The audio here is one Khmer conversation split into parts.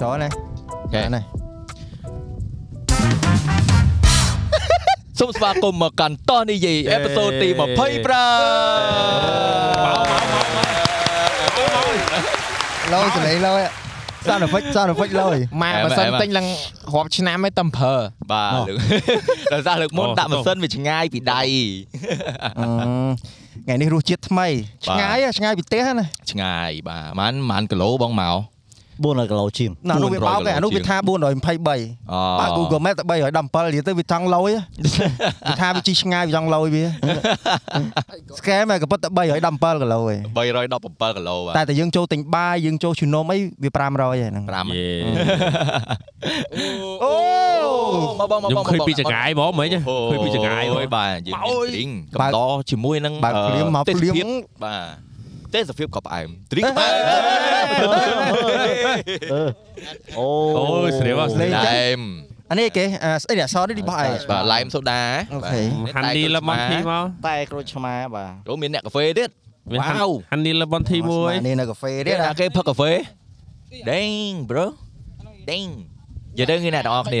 Chỗ này Okay. នេះ សូមស្វាគមន៍មកកាន់តោះនិយាយអេពីសូតទី25មក លោចលេងលោសានហ្វិចសានហ្វិចលោយ ម៉ែបើសិនទិញឡើងរាប់ឆ្នាំឯងតែប្រើ បាទលើកដល់សារលើកមុន អូ ដាក់ម៉ាស៊ីនវាឆ្ងាយពីដៃ អឺថ្ងៃនេះរសជាតិថ្មីឆ្ងាយហ៎ឆ្ងាយពីផ្ទះហ៎ណា ឆ្ងាយបាទប្រហែលប្រហែលគីឡូបងមក 400គីឡូជាង ណានោះវា 400 បោកឯងអានោះ ជាង វាថា423 អូ បើ Google Map តែ317ទៀតទៅវាចង់លយហ៎ វាថាវាជីឆ្ងាយវាចង់លយវា scam ហ៎ក៏ប៉ុន្តែ317គីឡូឯង 317គីឡូបាទ តែតែយើងចូលទិញបាយយើងចូលជូនំអីវា500ឯហ្នឹង 5 យេ អូមកបងមក ខ្ញុំ បង ឃើញពីចង្កាយហ្មងមែនទេឃើញពីចង្កាយហ្ម អូយ ង បាទយើងមាន drink កំដរជាមួយនឹង បើកភ្លៀមមក ទេស ភ្លៀម ភាពបាទទេសភាពក៏ផ្អែម drink ក៏ផ្អែម អូ អូយស្រីមកស្រី ផ្អែម អានេះគេអាស្អីនេះអសរនេះរបស់ឯង បាទឡាយមសូដា អូខេ ហាន់ឌីលេមនធីមក តែក្រូចឆ្មាបាទ ចូលមានអ្នកកាហ្វេទៀត មានហាន់ Wow. ហាន់ឌីលេមនធីមួយ ស្មានេះនៅកាហ្វេទេ ទៀត ណា អាគេផឹកកាហ្វេ Dang bro Dang និយាយទៅគេអ្នកទាំងអស់គ្នា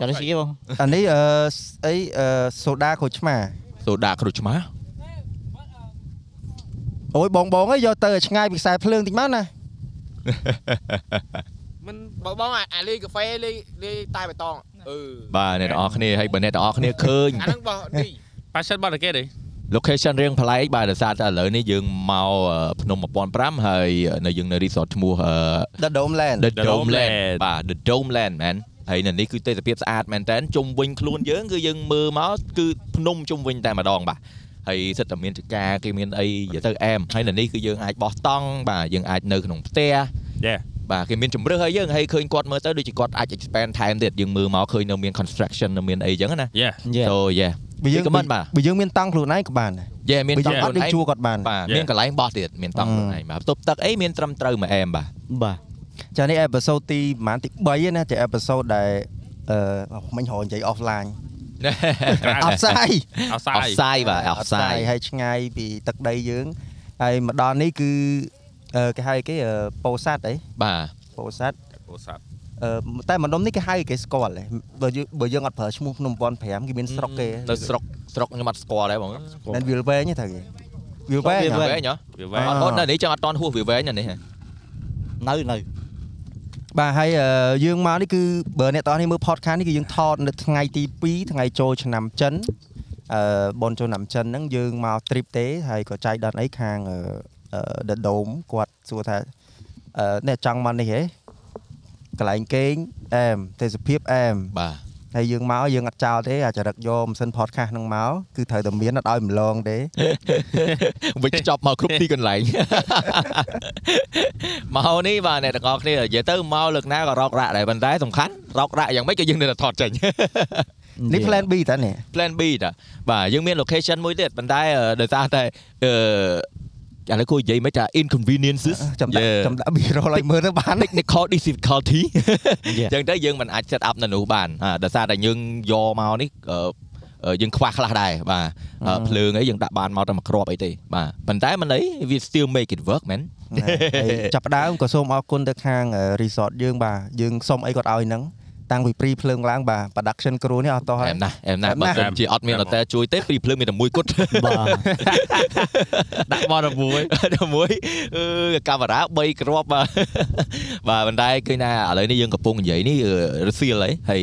ចុះនេះស្អីបង អានេះអឺស្អីអឺសូដាក្រូចឆ្មា សូដាគ្រូចឆ្មា អូយបងបងអើយយកទៅឲ្យឆ្ងាយពីខ្សែភ្លើងតិចមកណា មិន បងបងអាលេងកាហ្វេលេងលេងតែបៃតងអឺ បាទអ្នកទាំងអស់គ្នាហើយបើអ្នកទាំងអស់គ្នាឃើញ អាហ្នឹងបោះនេះ ប៉ាសិនបាត់តែគេទេ location រៀងប្លែកបាទដោយសារតែឥឡូវនេះយើងមកអឺភ្នំ1005ហើយនៅយើងនៅ resort ឈ្មោះអឺ The Dome Land The The Dome Dome Land Land បាទ The Dome Land man ហើយនៅនេះគឺទេសភាពស្អាតមែនតើជុំវិញខ្លួនយើងគឺយើងមើលមកគឺភ្នំជុំវិញតែម្ដងបាទហើយសិតតែមានចកាគេមានអីនិយាយទៅអែមហើយនៅនេះគឺយើងអាចបោះតង់បាទយើងអាចនៅក្នុងផ្ទះ Yeah. បាទគេមានជំរឿសឲ្យយើងហើយឃើញគាត់មើលទៅដូចជាគាត់អាច expand ថែមទៀតយើងមើលមកឃើញនៅមាន construction នៅមានអីចឹងណា យេ So yeah បើយើង ពី comment បាទ បើយើងមានតង់ខ្លួនឯងក៏បានដែរ yeah មាន បើ ត យើង ង់ អ អ ត់ ត់ ដូដូចច ជួ ជួ គាត់បាន បាទ Yeah. មានកន្លែងបោះទៀតមានតង់ខ្លួនឯងបាទបន្ទប់ទឹកអីមានត្រឹមត្រូវមួយអែមបាទ បាទ ចានេះអេពីសូតទីប្រហែលទី3ឯណាជាអេពីសូតដែលអឺមិញរហនិយាយ offline អត់ផ្សាយ អត់សា អត់ យ សាយបាទអត់សាយ ហើយឆ្ងាយពីទឹកដីយើងហើយមកដល់នេះគឺអឺគេហៅគេអឺពោធិ៍សាត់អី បាទ ពោធិ៍សាត់ អូសាប់ អឺតែម្ដុំនេះគេហៅគេស្គាល់ហ៎បើយើងបើយើងអត់ប្រើឈ្មោះភ្នំ1005គេមានស្រុកគេ នៅស្រុកស្រុកខ្ញុំអត់ស្គាល់ដែរបង នៅវាលវែងហ្នឹងទៅគេវាលវែងហ៎ វែងហ៎ វាវែង អ่า អូននៅនេះចឹងអត់តន់ហួសវាវែងនៅនេះហ៎ នៅនៅ បាទហើយអឺយើងមកនេះគឺបើអ្នកទាំងអស់នេះមើល podcast នេះគឺយើងថតនៅថ្ងៃទី2ថ្ងៃចូលឆ្នាំចិនអឺបនចូលឆ្នាំចិនហ្នឹងយើងមក trip ទេហើយក៏ចែកដល់អីខាងអឺអឺ The Dome គាត់សួរថាអឺអ្នកចង់មកនេះហេកន្លែងគេងអែមទេសភាពអែម បាទ ហើយយើងមកយើងអត់ចោលទេអាចរឹកយកម៉ាស៊ីន podcast ហ្នឹងមកគឺត្រូវតែមានអត់ឲ្យម្លងទេ វិចខ្ចប់មកគ្រប់ទីកន្លែង មកនេះបាទអ្នកទាំងអស់គ្នានិយាយទៅមកលើកណាក៏រករ៉ាក់ដែរប៉ុន្តែសំខាន់រករ៉ាក់យ៉ាងម៉េចក៏យើងនៅតែថតចេញ នេះ plan B តើនេះ plan B តាបាទយើងមាន location មួយទៀតប៉ុន្តែអឺដោយសារតែអឺឥឡូវគួរនិយាយមិនថា inconveniences ចាំដាក់ Yeah. ចាំដាក់ B roll ឲ្យមើលទៅ បាន technical difficulty យេ អញ្ចឹងទៅយើងមិនអាច set up នៅនោះបានអាដោយសារតែយើងយកមកនេះអឺអឺយើងខ្វះខ្លះដែរបាទអឺ អឺ ភ្លើងអីយើងដាក់បានមកតែមួយគ្រាប់អីទេបាទប៉ុន្តែមិនអីវា still make it work man ណែហើយចាប់ផ្ដើមក៏សូមអរគុណទៅខាងអឺ resort យើងបាទយើងសុំអីគាត់ឲ្យហ្នឹងតាំងពីព្រីភ្លើងឡើងបាទ production crew នេះអត់តោះហើយអែមណាស់អែមណាស់ អែមណា បើ ស់ សិនជាអត់មាន hotel ជួយទេព្រីភ្លើងមានតែមួយគត់ បាទ ដាក់បោះដល់មួយ តែមួយអឺកាមេរ៉ា3គ្រាប់ បាទបាទប៉ុន្តែឃើញថាឥឡូវនេះយើងកំពុងនិយាយនេះអឺរសៀលហីហើយ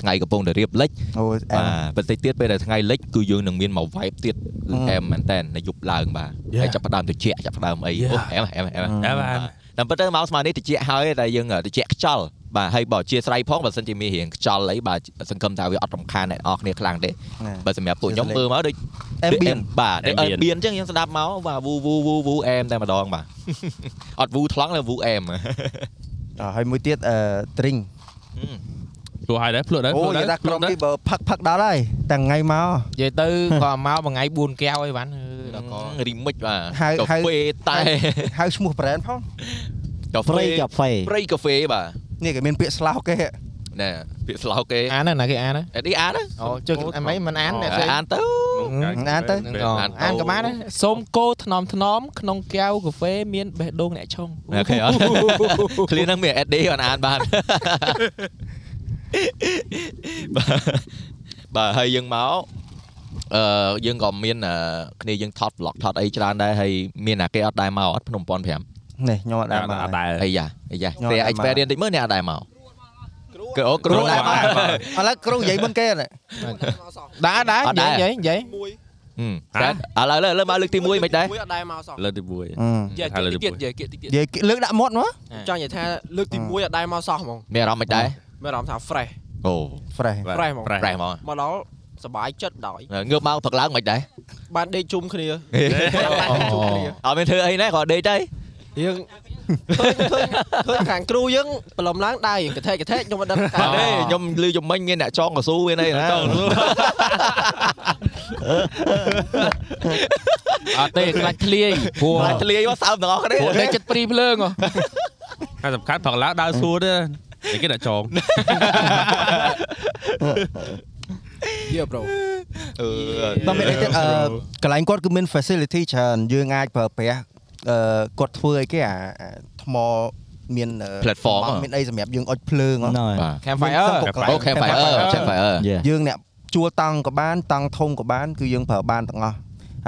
ថ្ងៃកំពុងតែរៀបលិច អូអែ បា ម ទបន្តិចទៀតពេលដែលថ្ងៃលិចគឺយើងនឹងមានមក vibe ទៀតគឺ Mm. អែមមែនតើនៅយប់ឡើងបាទហើយចាប់ផ្ដើមតិចចាប់ផ្ដើមអី Yeah. អូអែមអែមអែម Mm. អែមអែម តាមពិតទៅមកស្មើនេះតិចហើយតែយើងតិចខ្ចល់បាទហើយបើជាស្រ័យផងបើសិនជាមានរៀងខ្ចល់អីបាទសង្ឃឹមថាវាអត់រំខានអ្នកនរគ្នាខ្លាំងទេ ណែ បើសម្រាប់ពួកខ្ញុំ Yes, មើលមកដូច អែមបៀន បាទដូចអែមបៀន Ambient អញ្ចឹងយើងស្ដាប់មកបាទវូវូវូវូអែមតែម្ដងបាទ អត់វូថ្លង់តែវូអែម អ่าហើយមួយទៀតអឺ drink ព្រោះហើយដែរភ្លក់ដែរ អូ ភ្លក់ យ ដែ ល់ ថា ភ្ល ក្រុម ក់ដែ គេ រ បើផឹកផឹកដល់ហើយតែថ្ងៃមក និយាយទៅ ក៏មកមួយថ្ងៃ4កែវអីវ៉ាន់អឺដល់ក៏ រីមិចបាទ ហៅ កា ហៅ ហ្វេតែ ហៅឈ្មោះ brand ផង កា ព្រៃ ហ្វេ កាហ្វេ ព្រៃកាហ្វេបាទ នេះគេមានពាក្យស្លោកគេ ណែពាក្យស្លោកគេ អានណាគេអានណា អេនេះអានណា អូជើអានមិនអាន អាន អ្នក ទៅ ស្អី អានទៅ អានទៅ ហ្នឹង ពេល អ អាន អានក៏បានដែរសូមគោថ្នមថ្នមៗក្នុងកែវកាហ្វេមានបេះដូងអ្នកឆុង អូខេអ ត់ clear ហ្នឹងមាន SD អត់អាន បាន បាទបាទហើយយើងមកអឺយើងក៏មានអឺគ្នាយើងថត vlog ថតអីច្រើនដែរហើយមានអាគេអត់ដែរមកអត់ភ្នំ1005 នេះខ្ញុំអត់ ដា ដា ល់ ល់ មក មក អត់ ឥ ដែរ អីយ៉ាអីយ៉ា ខ្ញុំ គេ អត់ដែរមក experience តិចមើលអ្នកអត់ដែរមកគឺអូគ្រូ គ្រូ ដែរមក ដែរមក ឡូវគ្រូនិយាយមុនគេអត់ ដែរដែរ អត់ និដែរយាយនិយាយនិយាយ ហឹម ហ៎ តែឥឡូវឥឡូវឥឡូវមកលើកទី1មិនដែរ មួយអត់ដែរមកសោះ លើកទី និ និយាយ ហើយលើក តិច ទី ទៀតនិយាយតិចទៀត យាយលើកដាក់មាត់មក ចង់និយាយថាលើកទី អឺ 1អត់ដែរមកសោះហ្មង មានអារម្មណ៍មិនដែរ មានអារម្មណ៍ថា fresh អូ fresh 4 Fresh ហ្មង ប្រេះ ប្រេះមក មកដល់សบายចិត្តដល់ ងើបមកផឹកឡើងមិនដែរ បានដេកជុំគ្នា អូអត់មានធ្វើអីណាគ្រាន់ដេកទៅ យើងឃើញឃើញឃើញខាងគ្រូយើងប្រឡំឡើងដៃកថេកថេកខ្ញុំមិនដឹង អត់កាលទេខ្ញុំលឺជំនាញមាន អ្នកចងកស៊ូវានេះណា អត់ទេខ្លាច់ធ្លាយព្រោះ បាទធ្លាយមកសើមទាំងអស់ គ្នា ព្រោះនៅចិត្តព្រីភ្លើងហ៎ ហើយសំខាន់ផឹកឡើងដើរសួរទេតែគេដាក់ចង យើប្រូ អឺ តែមានអីទៀតអឺកន្លែងគាត់គឺមាន facility ច្រើនយើងអាចប្រើប្រាស់អឺគាត់ធ្វើអីគេអាអាថ្មមាន platform ហ៎ មានអីសម្រាប់យើងអុចភ្លើងហ៎ rồi បាទ Campfire មានសឹងក៏ អូខេ fire fire yeah យើងអ្នកជួលតង់ក៏បានតង់ធំក៏បានគឺយើងប្រើបានទាំងអស់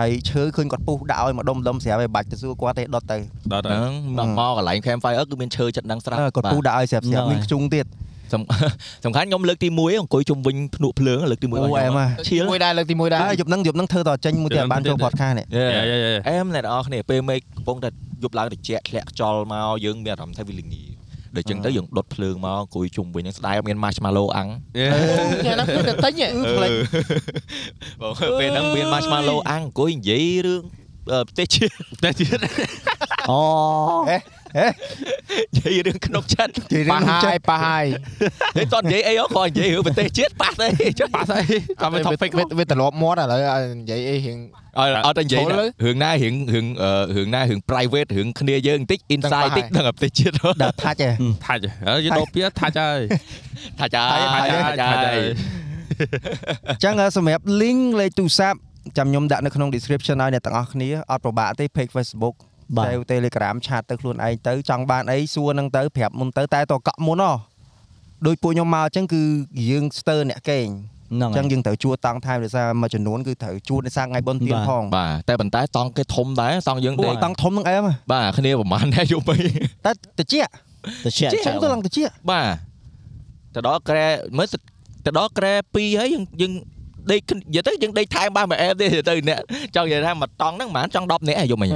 ហើយឈើឃើញគាត់ពុះដាក់ឲ្យមកដុំដុំស្រាប់ឲ្យបាច់ទៅសួរគាត់ទេដុតទៅ ដល់ទៅ ហ្នឹងមកមកកន្លែង camp fire គឺមានឈើចិត្តដឹងស្រាប់ អឺគាត់ពុះដាក់ឲ្យស្រាប់ស្រាប់មាហ្នឹងហើយនខ្ជុងទៀត សំ សំខាន់ខ្ញុំលើកទី1អង្គុយជុំវិញភ្នក់ភ្លើងលើកទី1 អូអែមហ៎ ឈៀល មួយដែរលើកទីមួយដែរ ហើយយប់ហ្នឹងយប់ហ្នឹងធ្វើតចេញមួយទៀត យប់ហ្នឹង បានចូល ទៀត podcast នេះ យ៉ាយ៉ាយ៉ា អែមអ្នកនរគ្នាពេលមេឃកំពុងតែយប់ឡើងត្រជាក់ធ្លាក់ខ្យល់មកយើងមានអារម្មណ៍ថាវាល្ងាចដូចចឹងទៅយើងដុតភ្លើងមកអង្គុយជុំវិញហ្នឹងស្ដាយអត់មាន marshmallow អាំង ខ្ញុំហ្នឹងគឺតែទិញហ៎ បងពេលហ្នឹងមាន marshmallow អាំងអង្គុយនិយាយរឿងប្រទេសជា តែទៀត Ồ. និយាយរឿងក្នុងចិត្ត និយាយ ប៉ះ រឿង ហើយប៉ះហើយ ហេតតនិយាយអីហ៎គាត់និយាយរឿងប្រទេសជាតិប៉ះ ទេចុះ ប៉ះស្អី តែ តាម វា topic វាវាត្រឡប់មាត់ឥឡូវឲ្យនិយាយអីរៀង ឲ្យឲ្យតែនិយាយ ចូលទៅ រឿងណារឿងរឿងអឺរឿងណារឿង private រឿងគ្នាយើងបន្តិច inside បន្តិដឹងចដឹងប្រទេសជាតិហ៎ ដាក់ថាច់ឯង ថាច់ហើយយើងដោពៀថាច់ហើយ ថាចាថាចាថាចា អញ្ចឹងអ่ะសម្រាប់ link លេខទូរស័ព្ទចាំខ្ញុំដាក់នៅក្នុង description ឲ្យអ្នកទាំងអស់គ្នាអត់ប្របាក់ទេ page Facebook បាទ តែ Telegram ឆាតទៅខ្លួនឯងទៅចង់បានអីសួរនឹងទៅប្រាប់មុនទៅតែតកក់មុនហ៎ដោយពួកខ្ញុំមកអញ្ចឹងគឺយើងស្ទើរអ្នកកេង Nâng អញ្ចឹងយើ rồi. ងត្រូវជួលតង់ថែមរសារមួយចំនួនគឺត្រូវជួលនៅសារថ្ងៃបុណ្យទៀ បា ន ទ ផង បាទតែប៉ុន្តែតង់គេធំដែរតង់យើង ពួក ដេក តង់ធំនឹងអែមហ៎ បាទគ្នាប្រហែលដែរយប់វិញ តែតិច Tôi sẽ ខ្ញុំ chạy ទៅ vào. ឡើងតិច បាទទៅដល់ក្រែមើលសិទៅដល់ក្រែ2ហើយយើងយើងដេកគ្នានិយាយទៅយើងដេកថែមបានមួយអែបទេនិយាយទៅអ្នកចង់និយាយថាមួយតង់ហ្នឹងប្រហែលចង់10នាក់ឯងយប់មិញ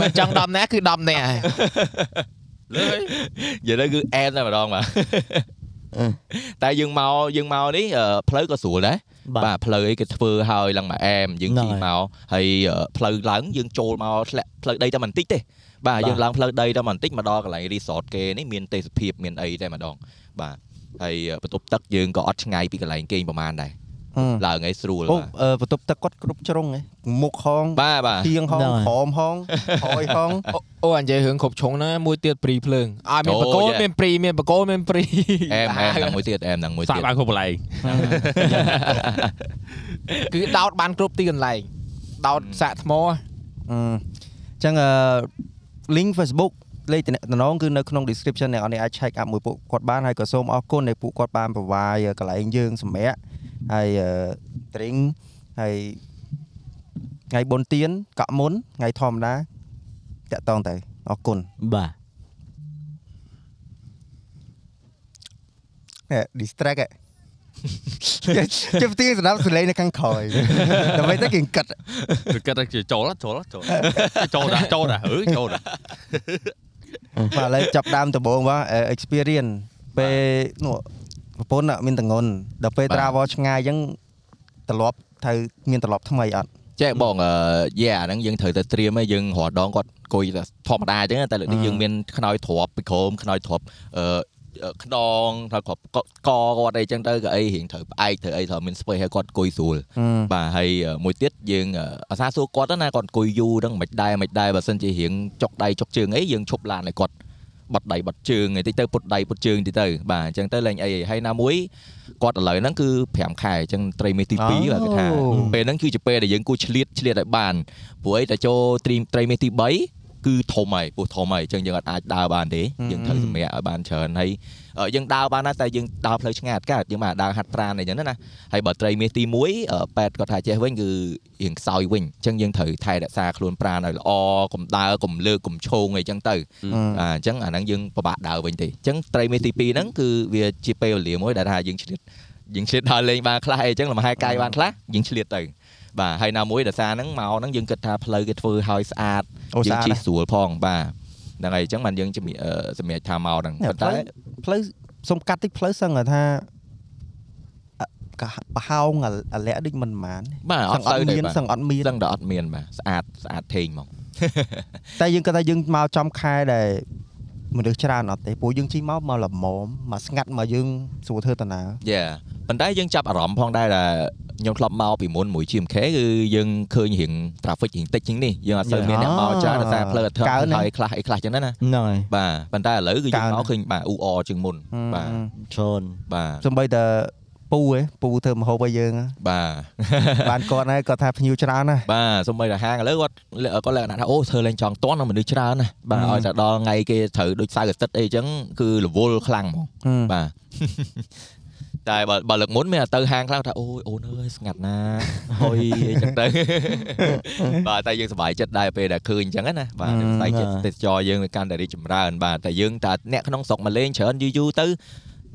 មិនចង់10នាក់គឺ10នាក់ហើយ លើយ giờ đó cứ em thôi mà đoan mà Ừ. tại dương mau dương mau đấy ờ, plei có sủa đấy បាទ បាទផ្លូវអីគេធ្វើហើយឡើងមកអែមយើង ហ្នឹង ជិះ ហើយ មកហើយអឺផ្លូវឡើងយើងចូលមកធ្លាក់ផ្លូវដីតែបន្តិចទេបាទ បាទ យើងឡើងផ្លូវដីតែបន្តិចមកដល់កន្លែង resort គេនេះមានទេសភាពមានអីតែម្ដងបាទហើយអឺបន្ទប់ទឹកយើងក៏អត់ឆ្ងាយពីកន្លែងគេងប្រហែលដែរឡើងឲ្យស្រួល អូអឺបន្ទប់ទឹកគាត់គ្រប់ជ្រុងហ៎មុខហង បាទបាទបាទ ទៀងហង ហ្នឹងហើយ ក្រោមហងក្រោយហង អូអញនិយាយរឿងគ្រប់ឆុងហ្នឹងមួយទៀតព្រីភ្លើងឲ្យមានបកគោ អូយ៉ា មានព្រីមានបកគោមានព្រី អែម À, អែមដល់មួយទៀតអែមដល់មួយ សា ទៀត ក់បានគ្រប់កន្លែង គឺដោតបានគ្រប់ទីកន្លែងដោតសាក់ថ្ម អឺអញ្ចឹងអឺ link Facebook លេខទំនាក់ទំនងគឺនៅក្នុង description អ្នកនរនេះអាច check up មួយពួកគាត់បានហើយក៏សូមអរគុណដែលពួកគាត់បានប្រវាយកន្លែងយើងសម្រាប់ហើយអឺ drink ហើយថ្ងៃបុណ្យទានកក់មុនថ្ងៃធម្មតាតាក់តងទៅអរគុណ Bà. distract ហ៎ ជិះផ្ទៀងសម្រាប់ស លេងនៅខាងក្រោយដើម្បីតែគេកឹត គឺគិតថាចូលចូលចូលចូលដែរចូលដែរអឺចូលដែរ បាទឥឡូវចាប់ដើមដំបូងបាទអឺ experience ពេលនោះប្រពន្ធអត់មានតងន់ដល់ពេល បាទ travel ឆ្ងាយអញ្ចឹងត្រឡប់ត្រូវមានត្រឡប់ថ្មីអត់ ចេះបងអឺយ៉ាហ្នឹងយើងត្រូវតែត្រៀមឲ្យយើងរាល់ដងគាត់អង្គុយតែធម្មតាអញ្ចឹងតែលើកនេះ អឺ យើងមានខ្នើយទ្របពីក្រោមខ្នើយទ្របអឺអឺខ្នងត្រូវគាត់កកគាត់អីអញ្ចឹងទៅក៏អីរៀងត្រូវផ្អែកត្រូវអីត្រូវមាន space ឲ្យគាត់អង្គុយស្រួលបាទហើយអឺមួយទៀតយើងអឺអាសាសួរគាត់ទៅណាគាត់អង្គុយយូរហ្នឹងមិនដែរមិនដែរបើសិនជារៀងចុកដៃចុកជើងអីយើងឈប់ឡានឲ្យគាត់ បត់ដៃបត់ជើងអីតិចទៅពុតដៃពុតជើងតិចទៅបាទអញ្ចឹងទៅលេងអីហើយណាមួយគាត់ឥឡូវហ្នឹងគឺ5ខែអញ្ចឹងត្រីមេសទី2បាទគេថា អូ ពេលហ្នឹងគឺជាពេលដែលយើងគួរឆ្លៀតឆ្លៀតឲ្យបានព្រោះអីតែចូលត្រីត្រីមេសទី3គឺធំហើយពោះធំហើយអញ្ចឹងយើងអត់អាចដើរបានទេយើងត្រូវសម្រាកឲ្យបានច្រើនហើយអឺយើងដើរបានណាស់តែយើងដើរផ្លូវឆ្ងាតកើតយើងមកដើរហាត់ប្រាណអីចឹងណាណាហើយបើត្រីមេសទី1អឺប៉ែតគាត់ថាចេះវិញគឺរៀងខ្សោយវិញអញ្ចឹងយើងត្រូវថែរក្សាខ្លួនប្រាណឲ្យល្អកុំដើរកុំលើកកុំឈោងអីចឹងទៅ អាអញ្ចឹងអាហ្នឹងយើងពិបាកដើរវិញទេអញ្ចឹងត្រីមេសទី2ហ្នឹងគឺវាជាពេលវេលាមួយដែលថាយើងឆ្លៀតយើងឆ្លៀតដើរលេងបានខ្លះអីអញ្ចឹងលំហែកាយបានខ្លះយើងឆ្លៀតទៅបាទហើយណាមួយដោយសារហ្នឹងមកហ្នឹងយើងគិតថាផ្លូវគេធ្វើឲ្យស្អាត អូ យើងជិះស្អាតណាស់ ស្រួលផងបាទហ្នឹងហើយអញ្ចឹងបានយើងជំរាអឺសម្រេចថាមកហ្នឹង អ្នក ប៉ុន្តែ ផ្លូវ ផ្លូវសុំកាត់តិចផ្លូវសឹងតែថាអ่ะកាប្រហោងអាលាក់ដូចមិនប្រហែល បាទអ សឹង ត់ អ ទៅទេបាទត់មានសឹងអត់មាន ដឹងដល់អត់មានបាទស្អាតស្អាតថេងមក តែយើងគាត់ថាយើងមកចំខែដែលមនុស្សច្រើនអត់ទេព្រោះយើងជិះមកមកល្មមមកស្ងាត់មកយើងស្រួលធ្វើដំណើរ យេប៉ុន្តែយើងចាប់អារម្មណ៍ផងដែរថាខ្ញុំធ្លាប់មកពីមុនមួយ GMK គឺយើងឃើញរៀង traffic រៀងតិចជាងនេះយើងអត់សូវមានអ្នកមកច្រើនដោយសារផ្លូវអត់ធ្វើ កើន ឲ្យខ្លះអីខ្លះចឹងណាណា ហ្នឹងហើយ បាទប៉ុន្តែឥឡូវគឺ កើ យើង ន មកឃើញបាទអ៊ូអជាងមុនបាទ ច្រើន បាទ សំបីតែពូឯងពូធ្វើមហូបឲ្យយើង បាទ បានគាត់ហើយគាត់ថាភ្ញៀវច្រើនណាស់ បាទសំបីតែហាងឥឡូវគាត់លក្ខគាត់លក្ខណៈថាអូធ្វើលេងចង់តន់មនុស្សច្រើនណាស់បាទឲ្យតែដល់ថ្ងៃគេត្រូវដូចសៅរ៍អាទិត្យអីចឹងគឺរវល់ខ្លាំងហ្មងបាទ តែបើបើលើកមុនមានតែទៅហាងខ្លះគាត់ថាអូយអូនអើយស្ងាត់ណាហុយអីចឹងទៅ បាទតែយើងសប្បាយចិត្តដែរពេលដែលឃើញចឹងណាបាទ អឺ សប្បាយចិត្តទេសចរយើងវាកាន់តែរីកចម្រើនបាទតែយើងតែអ្នកក្នុងស្រុកមកលេងច្រើនយូរយូរទៅ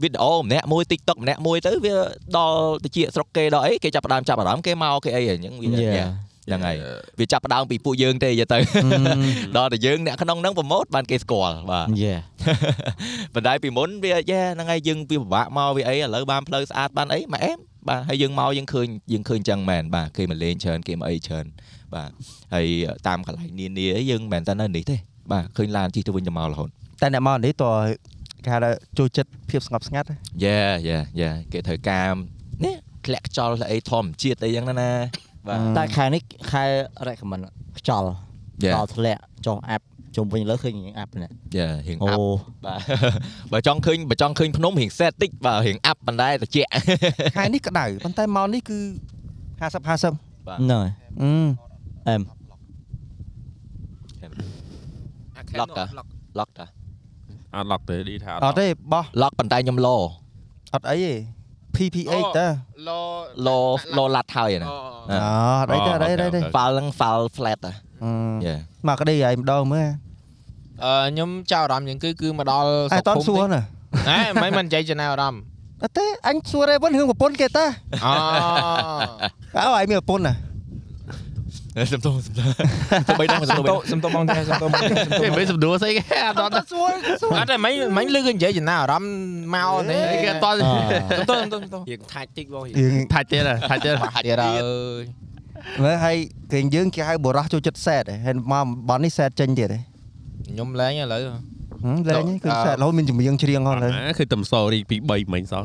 វីដេអូម្នាក់មួយ TikTok ម្នាក់មួយទៅវាដល់ទៅជាស្រុកគេដល់អីគេចាប់ផ្ដើមចាប់អារម្មណ៍គេមកគេអីហ្នឹងវា យេ យ៉ាងហើយវាចាប់ផ្ដើមពីពួកយើងទេយទៅ ដល់តែយើងអ្នកក្នុងហ្នឹងប្រម៉ូទបានគេស្គាល់បាទ យេ បណ្ដៃពីមុនវាយេហ្នឹងហើយយើងវាពិបាកមកវាអីឥឡូវបានផ្លូវស្អាតបានអីម៉ែអែមបាទហើយយើងមកយើងឃើញយើងឃើញចឹងមែនបាទគេមកលេងច្រើនគេមកអីច្រើនបាទហើយតាមកន្លែងនានាអីយើងមិនមែនតែនៅនេះទេបាទឃើញឡានជិះទៅវិញទៅមករហូត តែអ្នកមកនេះតើគេហៅថាចូលចិត្តភាពស្ងប់ស្ងាត់ យ៉ាយ៉ាយ៉ាគេត្រូវការនេះធ្លាក់ខ្យល់អីធម្មជាតិអីយ៉ាងណាណាបាទ តែខែនេះខែ recommend ខ្ចល់ យ៉ា ដល់ធ្លាក់ចុះអាប់ជុំវិញលើឃើញអាប់នេះ យ៉ារៀង អូ អាប់បាទ បើចង់ឃើញបើចង់ឃើញភ្នំរៀងសែតតិចបាទរៀងអាប់ប៉ុន្តែត្រជាក់ ខែនេះក្តៅប៉ុន្តែមកនេះគឺ50 50 ហ្នឹង ហើយ អឺ អេម Lock ហ៎ ឡុកតា អត់ឡុកទេឌីថា អត់ទេបោះ ឡុកប៉ុន្តែខ្ញុំឡ អត់អីទេ PPH តើ ឡ ឡឡឡាត់ហើយណា អអូូ អត់អីទេអត់អីទេអត់អីទេ ហ្វាល់ហ្នឹងហ្វាល់ flat ហ៎យ៉ាអឺមកក្តីឲ្យម្ដងមើល អឺខ្ញុំចាប់អារម្មណ៍យ៉ាងគឺគឺមកដល់ តែអស្រុត់តន់សួរ តិច ណា ហ៎មិនមិននិយាយចំណាយអារម្មណ៍ អត់ទេអញសួររ៉េវិញរឿងប្រពន្ធគេតើ អូ Ờ. អើឲ្យមានប្រពន្ធណា សំទោស សំទោសទៅបីដល់ទៅបី សុំតសុំតបងតែសុំតបងតែសុំត គេ បង មិនសំដួលស្អីគេអត់ដល់ សួរសួរ អត់តែមិញមិញលឺគេនិយាយចំណាយអារម្មណ៍មកនេះ គេ គេ អត់ ត ដល់ អ่า សុំតសុំតសុំត យើងថាច់តិចបងហៀង យើង ថាច់ទៀតហ៎ថាច់ទៀតហ៎ បាក់ទៀតហើយ មើលឲ្យគេយើងគេហៅបរោះចូលចិត្តសែតហើយមកបននេះសែតចេញទៀតឯង ខ្ញុំលេងឥឡូវ លេងគឺសែតរហូតមានចម្រៀងច្រៀងហ្នឹង អត់ លើ ណាគឺតំសោរីពី3មិញសោះ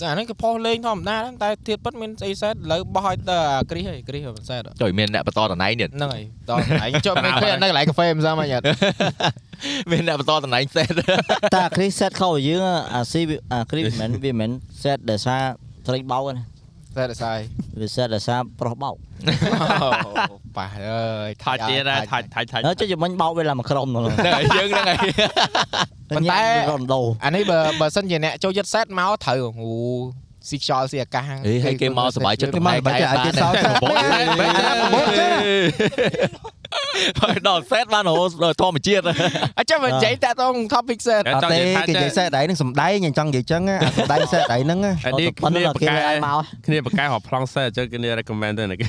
តែអាហ្នឹងគេផុសលេងធម្មតាហ្នឹងតែធៀបពិតមានស្អីសែតឥឡូវបោះឲ្យទៅអាគ្រីសហើយគ្រីសហើយមិនសែតហ៎ ចូលមានអ្នកបន្តតំណែងទៀត ហ្នឹងហើយតោះឯងចុះមិនឃើញនៅកន្លែងកាហ្វេមិនសោះមកញ៉ាត់ មានអ្នកបន្តតំណែង សេត តែអាគ្រីស set ខោយើងអាស៊ីអាគ្រីមិនមែនវាមិន set ដែលសារត្រីបោកណា សែតដល់សាយ វា set ដែលសារប្រុសបោក ប៉ះអើយ ថាច់ទៀតហ៎ថាច់ថាច់ថាច់ ហើយចុះមិនបោកវាឡើងមួយក្រុមហ្នឹង ហ្នឹងហើយយើងហ្នឹងហើយ ប៉ុន្តែ រំដោ អានេះបើបើសិនជាអ្នកចូលចិត្តសែតមកត្រូវអូស៊ីខ្យល់ស៊ីអាកាស អេហើយគេមកសប្បាយចិត្ត គេមកបាច់ឲ្យគេសោត ប្រពន្ធមិនថាប្រពន្ធទេ ហើយ ដល់សេតបានរហូតដល់ធម្ម ជាតិ អញ្ចឹងមិននិយាយតាក់ទង topic សែត អត់ទេគេនិយាយសែតដៃនឹងសំដែងអញ្ចឹងនិយាយចឹងអាសំដែងសែតដៃហ្នឹង អានេះ ប៉ុណ្ណឹ គ្នាបងគេ ក ឲ្យ កែ មក គ្នាបកកែហៅប្លង់សេអញ្ចឹងគ្នា recommend ទៅណាគេ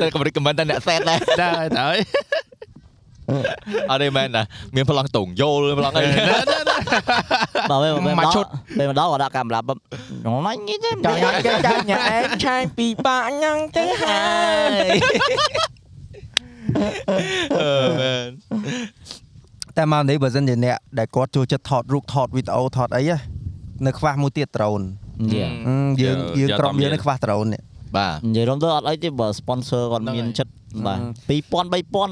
តែកម្រិតខមមិនតែ អ្នកសេតដែរ តែតែ អត់ទេមែនណាមានប្លង់តងយល់ប្លង់អី បើពេលមកឈុតពេលមកដល់ក៏ដាក់កាមេរ៉ាបឹបហ្នឹងណាញ៉េទេ ចង់ញ៉ាំគេចង់ញ៉ាំឯងឆាញ់ពីបាក់ញ៉ាំទៅហើយ អឺមែ ន តែមកនេះបើសិនជាអ្នកដែលគាត់ចូលចិត្តថតរូបថតវីដេអូថតអីនៅខ្វះមួយទៀតដ្រូន យេ យើងយើងក្រុមយើងនៅខ្វះដ្រូន បាទ និយាយរំទៅអត់អីទេបើ sponsor គាត់ ហ្នឹងហើយ មានចិត្តបា អឺ ទ2000 3000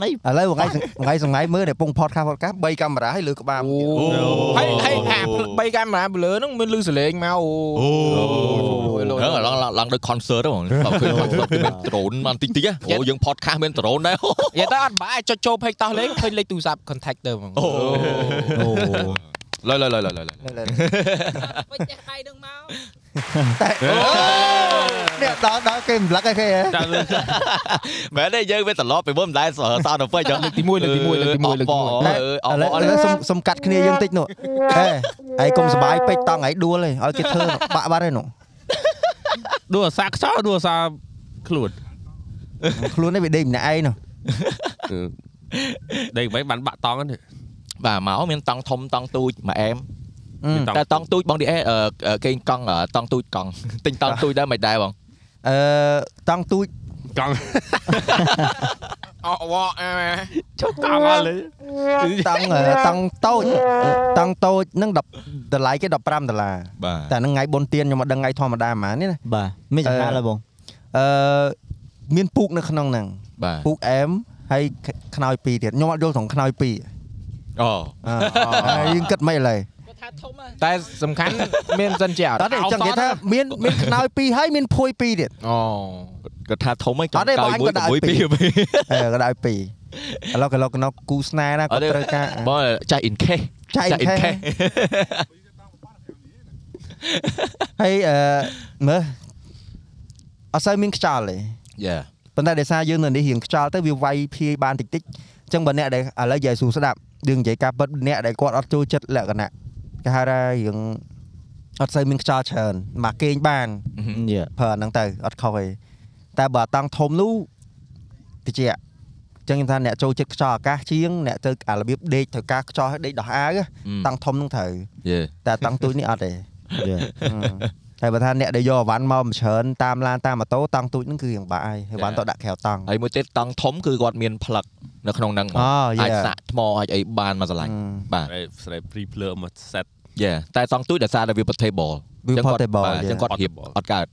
អី ឥឡូវថ្ងៃថ្ងៃសង្ងៃមើលតែពង podcast podcast 3កាមេរ៉ាហើយលើក្បាលមួយទៀត ហើ Hay យហើ hay យអា à បីកាមេរ៉ាពីលើហ្នឹងមានលឺសលេងមកអូ អូ ហ្នឹងឡងឡងឡងដូច concert ហ្នឹងបើឃើញ concert គេមាន drone បានតិចតិចអូយើង podcast មាន drone ដែរអូ និយាយទៅអត់បាយចុចចូល page តោះលេងឃើញលេខទូរស័ព្ទ contact ទៅហ្មង ឡើយឡើយឡើយឡើយ ពេចចេះដៃនឹងមក អ្នកដល់ដល់គេម្លឹកឲ្យគេហ៎ ចាំលើ មែនទេយើងវាត្រឡប់ពីមុនមិនដែលសសដល់ពេចចឹង លើកទីមួយលើកទីមួយលើកទីមួយ អឺអ ឥឡូវឥ អ ឡូវសុំសុំកាត់គ្នាយើងតិចនោះហេឯងកុំសបាយពេកតង់ឯងដួលឯងឲ្យគេធ្វើនោះបាក់បាត់ឯងនោះ ដួលអាសាខ្សោដួលអាសាខ្លួន ខ្លួននេះវាដេកម្នាក់ឯងនោះ ដេកមិនបានបាក់តង់ហ្នឹង បាទមកមានតង់ធំតង់ទូចមួយអែម អឺ តែតង់ទូចបងឌីអេគេកង់តង់ទូចក ង់ទិញតង់ទូចដែរមិនដែរបង អឺតង់ទូច កង់ អោវ៉ាអាម៉ា ចុះកង់អស់លើ តង់អឺតង់តូចតង់តូចនឹង10តម្លៃគេ15ដុល្លារ បាទ តែនឹងថ្ងៃបុណ្យទានខ្ញុំមកដឹងថ្ងៃធម្មតាហ្មងនេះណា បាទមានចំណា អឺ ល់ហើយបង អឺមានពូកនៅក្នុងហ្នឹង បាទ ពូកអែមហើយខ្នើយ2ទៀតខ្ញុំអត់យល់ត្រង់ខ្នើយ2 អូ អឺហើយយើងគិតមិនឥឡូវ គាត់ថាធំហ៎ តែសំខាន់មានសិនជាអត់ អត់ទេចឹងគេថាមានមានខ្នើយពីរហើយមានភួយពីរទៀត អូ គាត់ថាធំហ្នឹងច អត់ ង់ ទេ កា បង យ អញ មួយ ក៏ដាក់ មួយ ឲ្យពី ពី រ អឺក៏ដល់ពីរឥឡូវក៏លោកណោគូស្នេហ៍ណា អ ក៏ ត់ទេ ត្រូវការ បងចាស់ in case ចៃខែហើយអឺមើលអត់សូវមានខ្យល់ទេ យ៉ា ប៉ុន្តែដោយសារយើងនៅនេះរៀងខ្យល់ទៅវាវាយភាយបានតិចតិចអញ្ចឹងបើអ្នកដែលឥឡូវយាយស៊ូស្ដាប់យើងនិយាយការពិតអ្នកដែលគាត់អត់ចូលចិត្តលក្ខណៈគេហៅថារៀងអត់សូវមានខ្យល់ច្រើនមកគេងបាន យេ ប្រើអាហ្នឹងទៅអត់ខុសទេតែបើអាតង់ធំនោះតិចអញ្ចឹងខ្ញុំថាអ្នកចូលចិត្តខ្យល់អាកាសជាងអ្នកទៅអារបៀបដេកត្រូវការខ្យល់ឲ្យដេកដោះអាវហ៎តង់ធំហ្នឹងត្រូវ យ៉ា តែអាតង់ទូចនេះអត់ទេ យេ តែបើថាអ្នកដែលយកអវ៉ាន់មកមិនច្រើនតាមឡានតាមម៉ូតូតង់ទូចហ្នឹងគឺយ៉ាងបាក់ហើយហើយវ៉ាន់ទៅដាក់ក្រៅតង់ ហើយមួយទៀតតង់ធំគឺគាត់មានផ្លឹកនៅក្នុងហ្នឹងហ្ម អូ ង យេ អាចសាក់ថ្មអាចអីបានមកស្រឡាញ់បាទ ស្រីព្រីភ្លើមក set យ៉ាតែតង់ទូចដោយសារតែវា portable វាផតទេប បាទអញ្ចឹងគាត់រៀបអត់កើត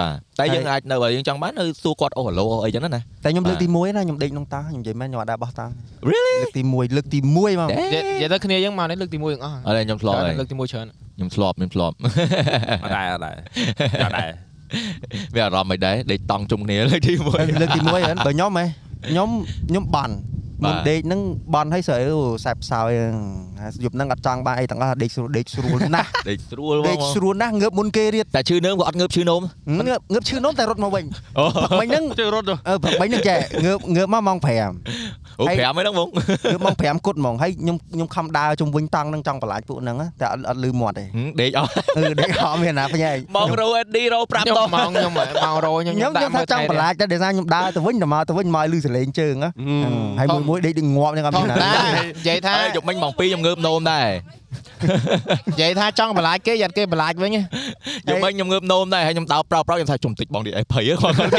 បាទតែយើងអាចនៅបើយើងចង់បាននៅសួរគាត់អូហឡូអីចឹងណាណា តែខ្ញុំ បា លើ ទ កទី1ណាខ្ញុំដេកក្នុងតង់ខ្ញុំនិយាយមែនខ្ញុំអត់ដាក់បោះតង់ Really? លើកទី1លើកទី1ហ្មង និយាយនិយាយទៅគ្នាយើងមកនេះលើកទី1ទាំងអស់ ឥឡូវខ្ញុំធ្លាប់ហើយ លើកទី1ច្រើន ខ្ញុំធ្លាប់ខ្ញុំធ្លាប់ អត់ដែវារអត់ដែរអត់ដែរអារម្មណ៍មិនដែរដេកតង់ជុំគ្នាលើកទី1 លើកទី1ហ្នឹងបើខ្ញុំហ៎ខ្ញុំខ្ញុំបន់ បាទ មុនដេកហ្នឹងបន់ឲ្យស្រីអូសែបផ្សោយហ្នឹងយប់ហ្នឹងអត់ចង់បានអីទាំងអស់ដេកស្រួលដេកស្រួលណាស់ ដេកស្រួលហ្ម ដេ ង កស្រួលណាស់ងើបមុនគេរៀត តែឈឺនើមក៏អត់ងើបឈឺនោម ងើបងើបឈឺនោមតែរត់មកវិញ អូ ព្រឹកមិញហ្នឹង ជួយរត់ទៅ អឺព្រឹកមិញហ្នឹងចែងើបងើបមកម៉ោង5 អូ5ហ្នឹងបង ងើបម៉ោង5គត់ហ្មងហើយខ្ញុំខ្ញុំខំដើរជុំវិញតង់ហ្នឹងចង់បន្លាចពួកហ្នឹងហ៎តែអត់អត់លឺមាត់ទេ ហឹមដេកអស់ អឺដេកអត់មានណាផ្ញែក មករោ SD រោ5តោះ ម៉ោងខ្ញុំម៉ោងរយខ្ញុំ ខ្ញុំខ្ញុំថាចង់បន្លាចតែដោយសារខ្ញុំដើរទៅវិញទៅមកទៅវិញមកឲ្យលឺសលេងជើងហ៎ហើយមួយមួយដេកដូចងាប់ហ្នឹងអត់ ធ មាន ម្ម ណា តានិយាយថា ហើយយប់មិញម៉ោង2ខ្ញុំងើបនោមដែរ និយាយថាចង់បន្លាចគេយ៉ាត់គេបន្លាចវិញ យប់មិញខ្ញុំងើបនោមដែរហើយខ្ញុំដើរប្រោប្រោខ្ញុំថាជុំតិចបងឌី អេភ័យគាត់គាត់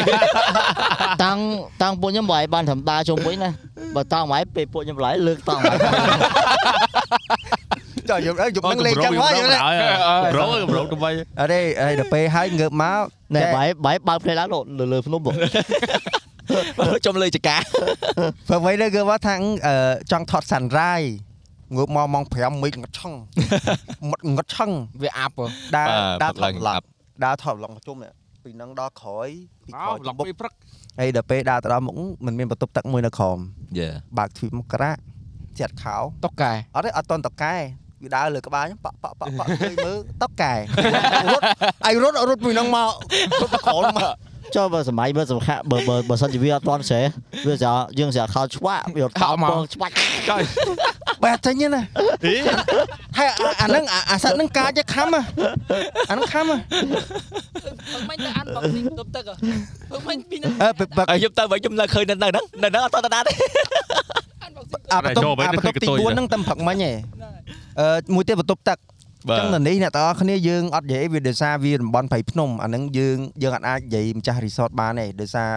តាំងតាំងពួកខ្ញុំបើឲ្យបានធម្មតាជុំវិញណាបើតាំងមកឲ្យពេលពួកខ្ញុំឡើយលើកតាំងមក ចុះយប់អើយយប់ហ្នឹងលេងចឹងហើយយប់ហ្នឹង រោរោទៅវិញ អត់ទេហើយដល់ពេលហើយងើបមក ណែ ណែ បាយបាយបើកផ្លែឡើងលើលើភ្នំបង ជុំលើចកា បើໄວទៅគឺមកថាអឺអឺចង់ថតសាន់រ៉ាយងើបមកម៉ោង5មិចងត់ឆឹង ងត់ងត់ឆឹង វាអាប់ហ៎ ដើរដើ ដើររថ ឡើង ត ឡា ឡា ប់ ប់ដើរថតឡងប្រជុំនេះពីនឹងដល់ក្រោយពីក្រោយ ឡុក បុក ពីព្រឹក ហើយដល់ពេលដើរទៅដល់មុខមិនមានបន្ទប់ទឹកមួយនៅក្រោម Yeah. បើកទ្វីបមកក្រាក់ចាត់ខោ តុកកែ អត់ទេអត់តន់តកែវាដើរលើក្បាលខ្ញុំប៉ក់ប៉ក់ប៉ក់ ប៉ក់ឃើញមើលតុកកែ រត់អីរត់រត់ពីនឹងមករត់ទៅក្រោមមក ចុះបើសម័យបើសំខាន់បើបើបើសិនជាវាអត់តន់ស្រែវាស្រាយើងស្រាខោឆ្វាក់វាអត់តន់បងឆ្វាក់ បែរចេញទេណាហើយអាអាហ្នឹងអាអាសត្វហ្នឹងកាចខំហ៎អាហ្នឹងខំហ៎ ព្រឹកមិញទៅអានបងនេះបន្ទប់ទឹកហ៎ព្រឹកមិញពីនឹង អើបើបើ ហើយខ្ញុំទៅវិញខ្ញុំនៅឃើញនៅនៅហ្នឹងនៅហ្នឹងអត់តតាទេ អានបងនេះ អាបន្ទប់ ចូលបែរ អាបន្ទប់ ទៅ ទី ឃើញកតុ4យហ្នឹងតែប្រឹកមិញឯងអឺមួយទៀតបន្ទប់ទឹកអញ្ចឹងនៅនេះអ្នកទាំងអស់គ្នាយើងអត់និយាយវាដោយសារវាតំបន់ប្រៃភ្នំអាហ្នឹងយើងយើងអត់អាចនិយាយម្ចាស់រីសតបានទេដោយសារ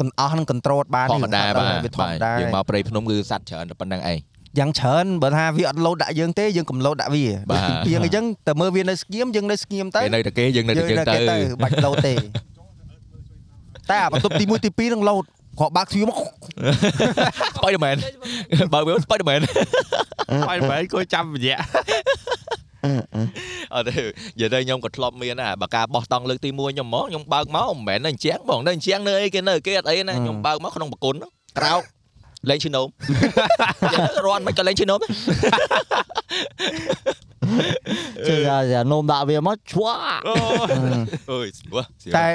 កណ្ដោះហ្នឹងកន្ត្រូតបាន ធម្មតាបាទ វាធម្មតា យើងមកព្រៃភ្នំគឺសัตว์ច្រើនតែប៉ុណ្្នឹងឯង យ៉ាងច្រើនបើថាវាអត់លោតដាក់យើងទេយើងកំលោតដាក់វា បាទ ពីពីអញ្ចឹងតែមើលវានៅស្ងៀមយើងនៅស្ងៀមទៅ គេនៅតែគេយើងនៅតែយើងទៅ បាច់លោតទេ តែអាបន្ទប់ទី1ទី2នឹងលោតគាត់បើកទ្វារមក Spiderman បើវា Spiderman បាយបាយគួរចាំរយៈ អត់ទេនិយាយទៅខ្ញុំក៏ធ្លាប់មានដែរបើការបោះតង់លើកទី1ខ្ញុំមកខ្ញុំបើកមកមិនមែននៅអញ្ចឹងបងនៅអញ្ចឹងនៅអីគេនៅគេអត់អីណាខ្ញុំបើកមកក្នុងប្រគុណហ្នឹងក្រោកលេងឈីណូម រត់មិនក៏លេងឈីណូម chơi ra giờ nôm đạo về mất chúa អូយអូយស្រួលស្រួល តែ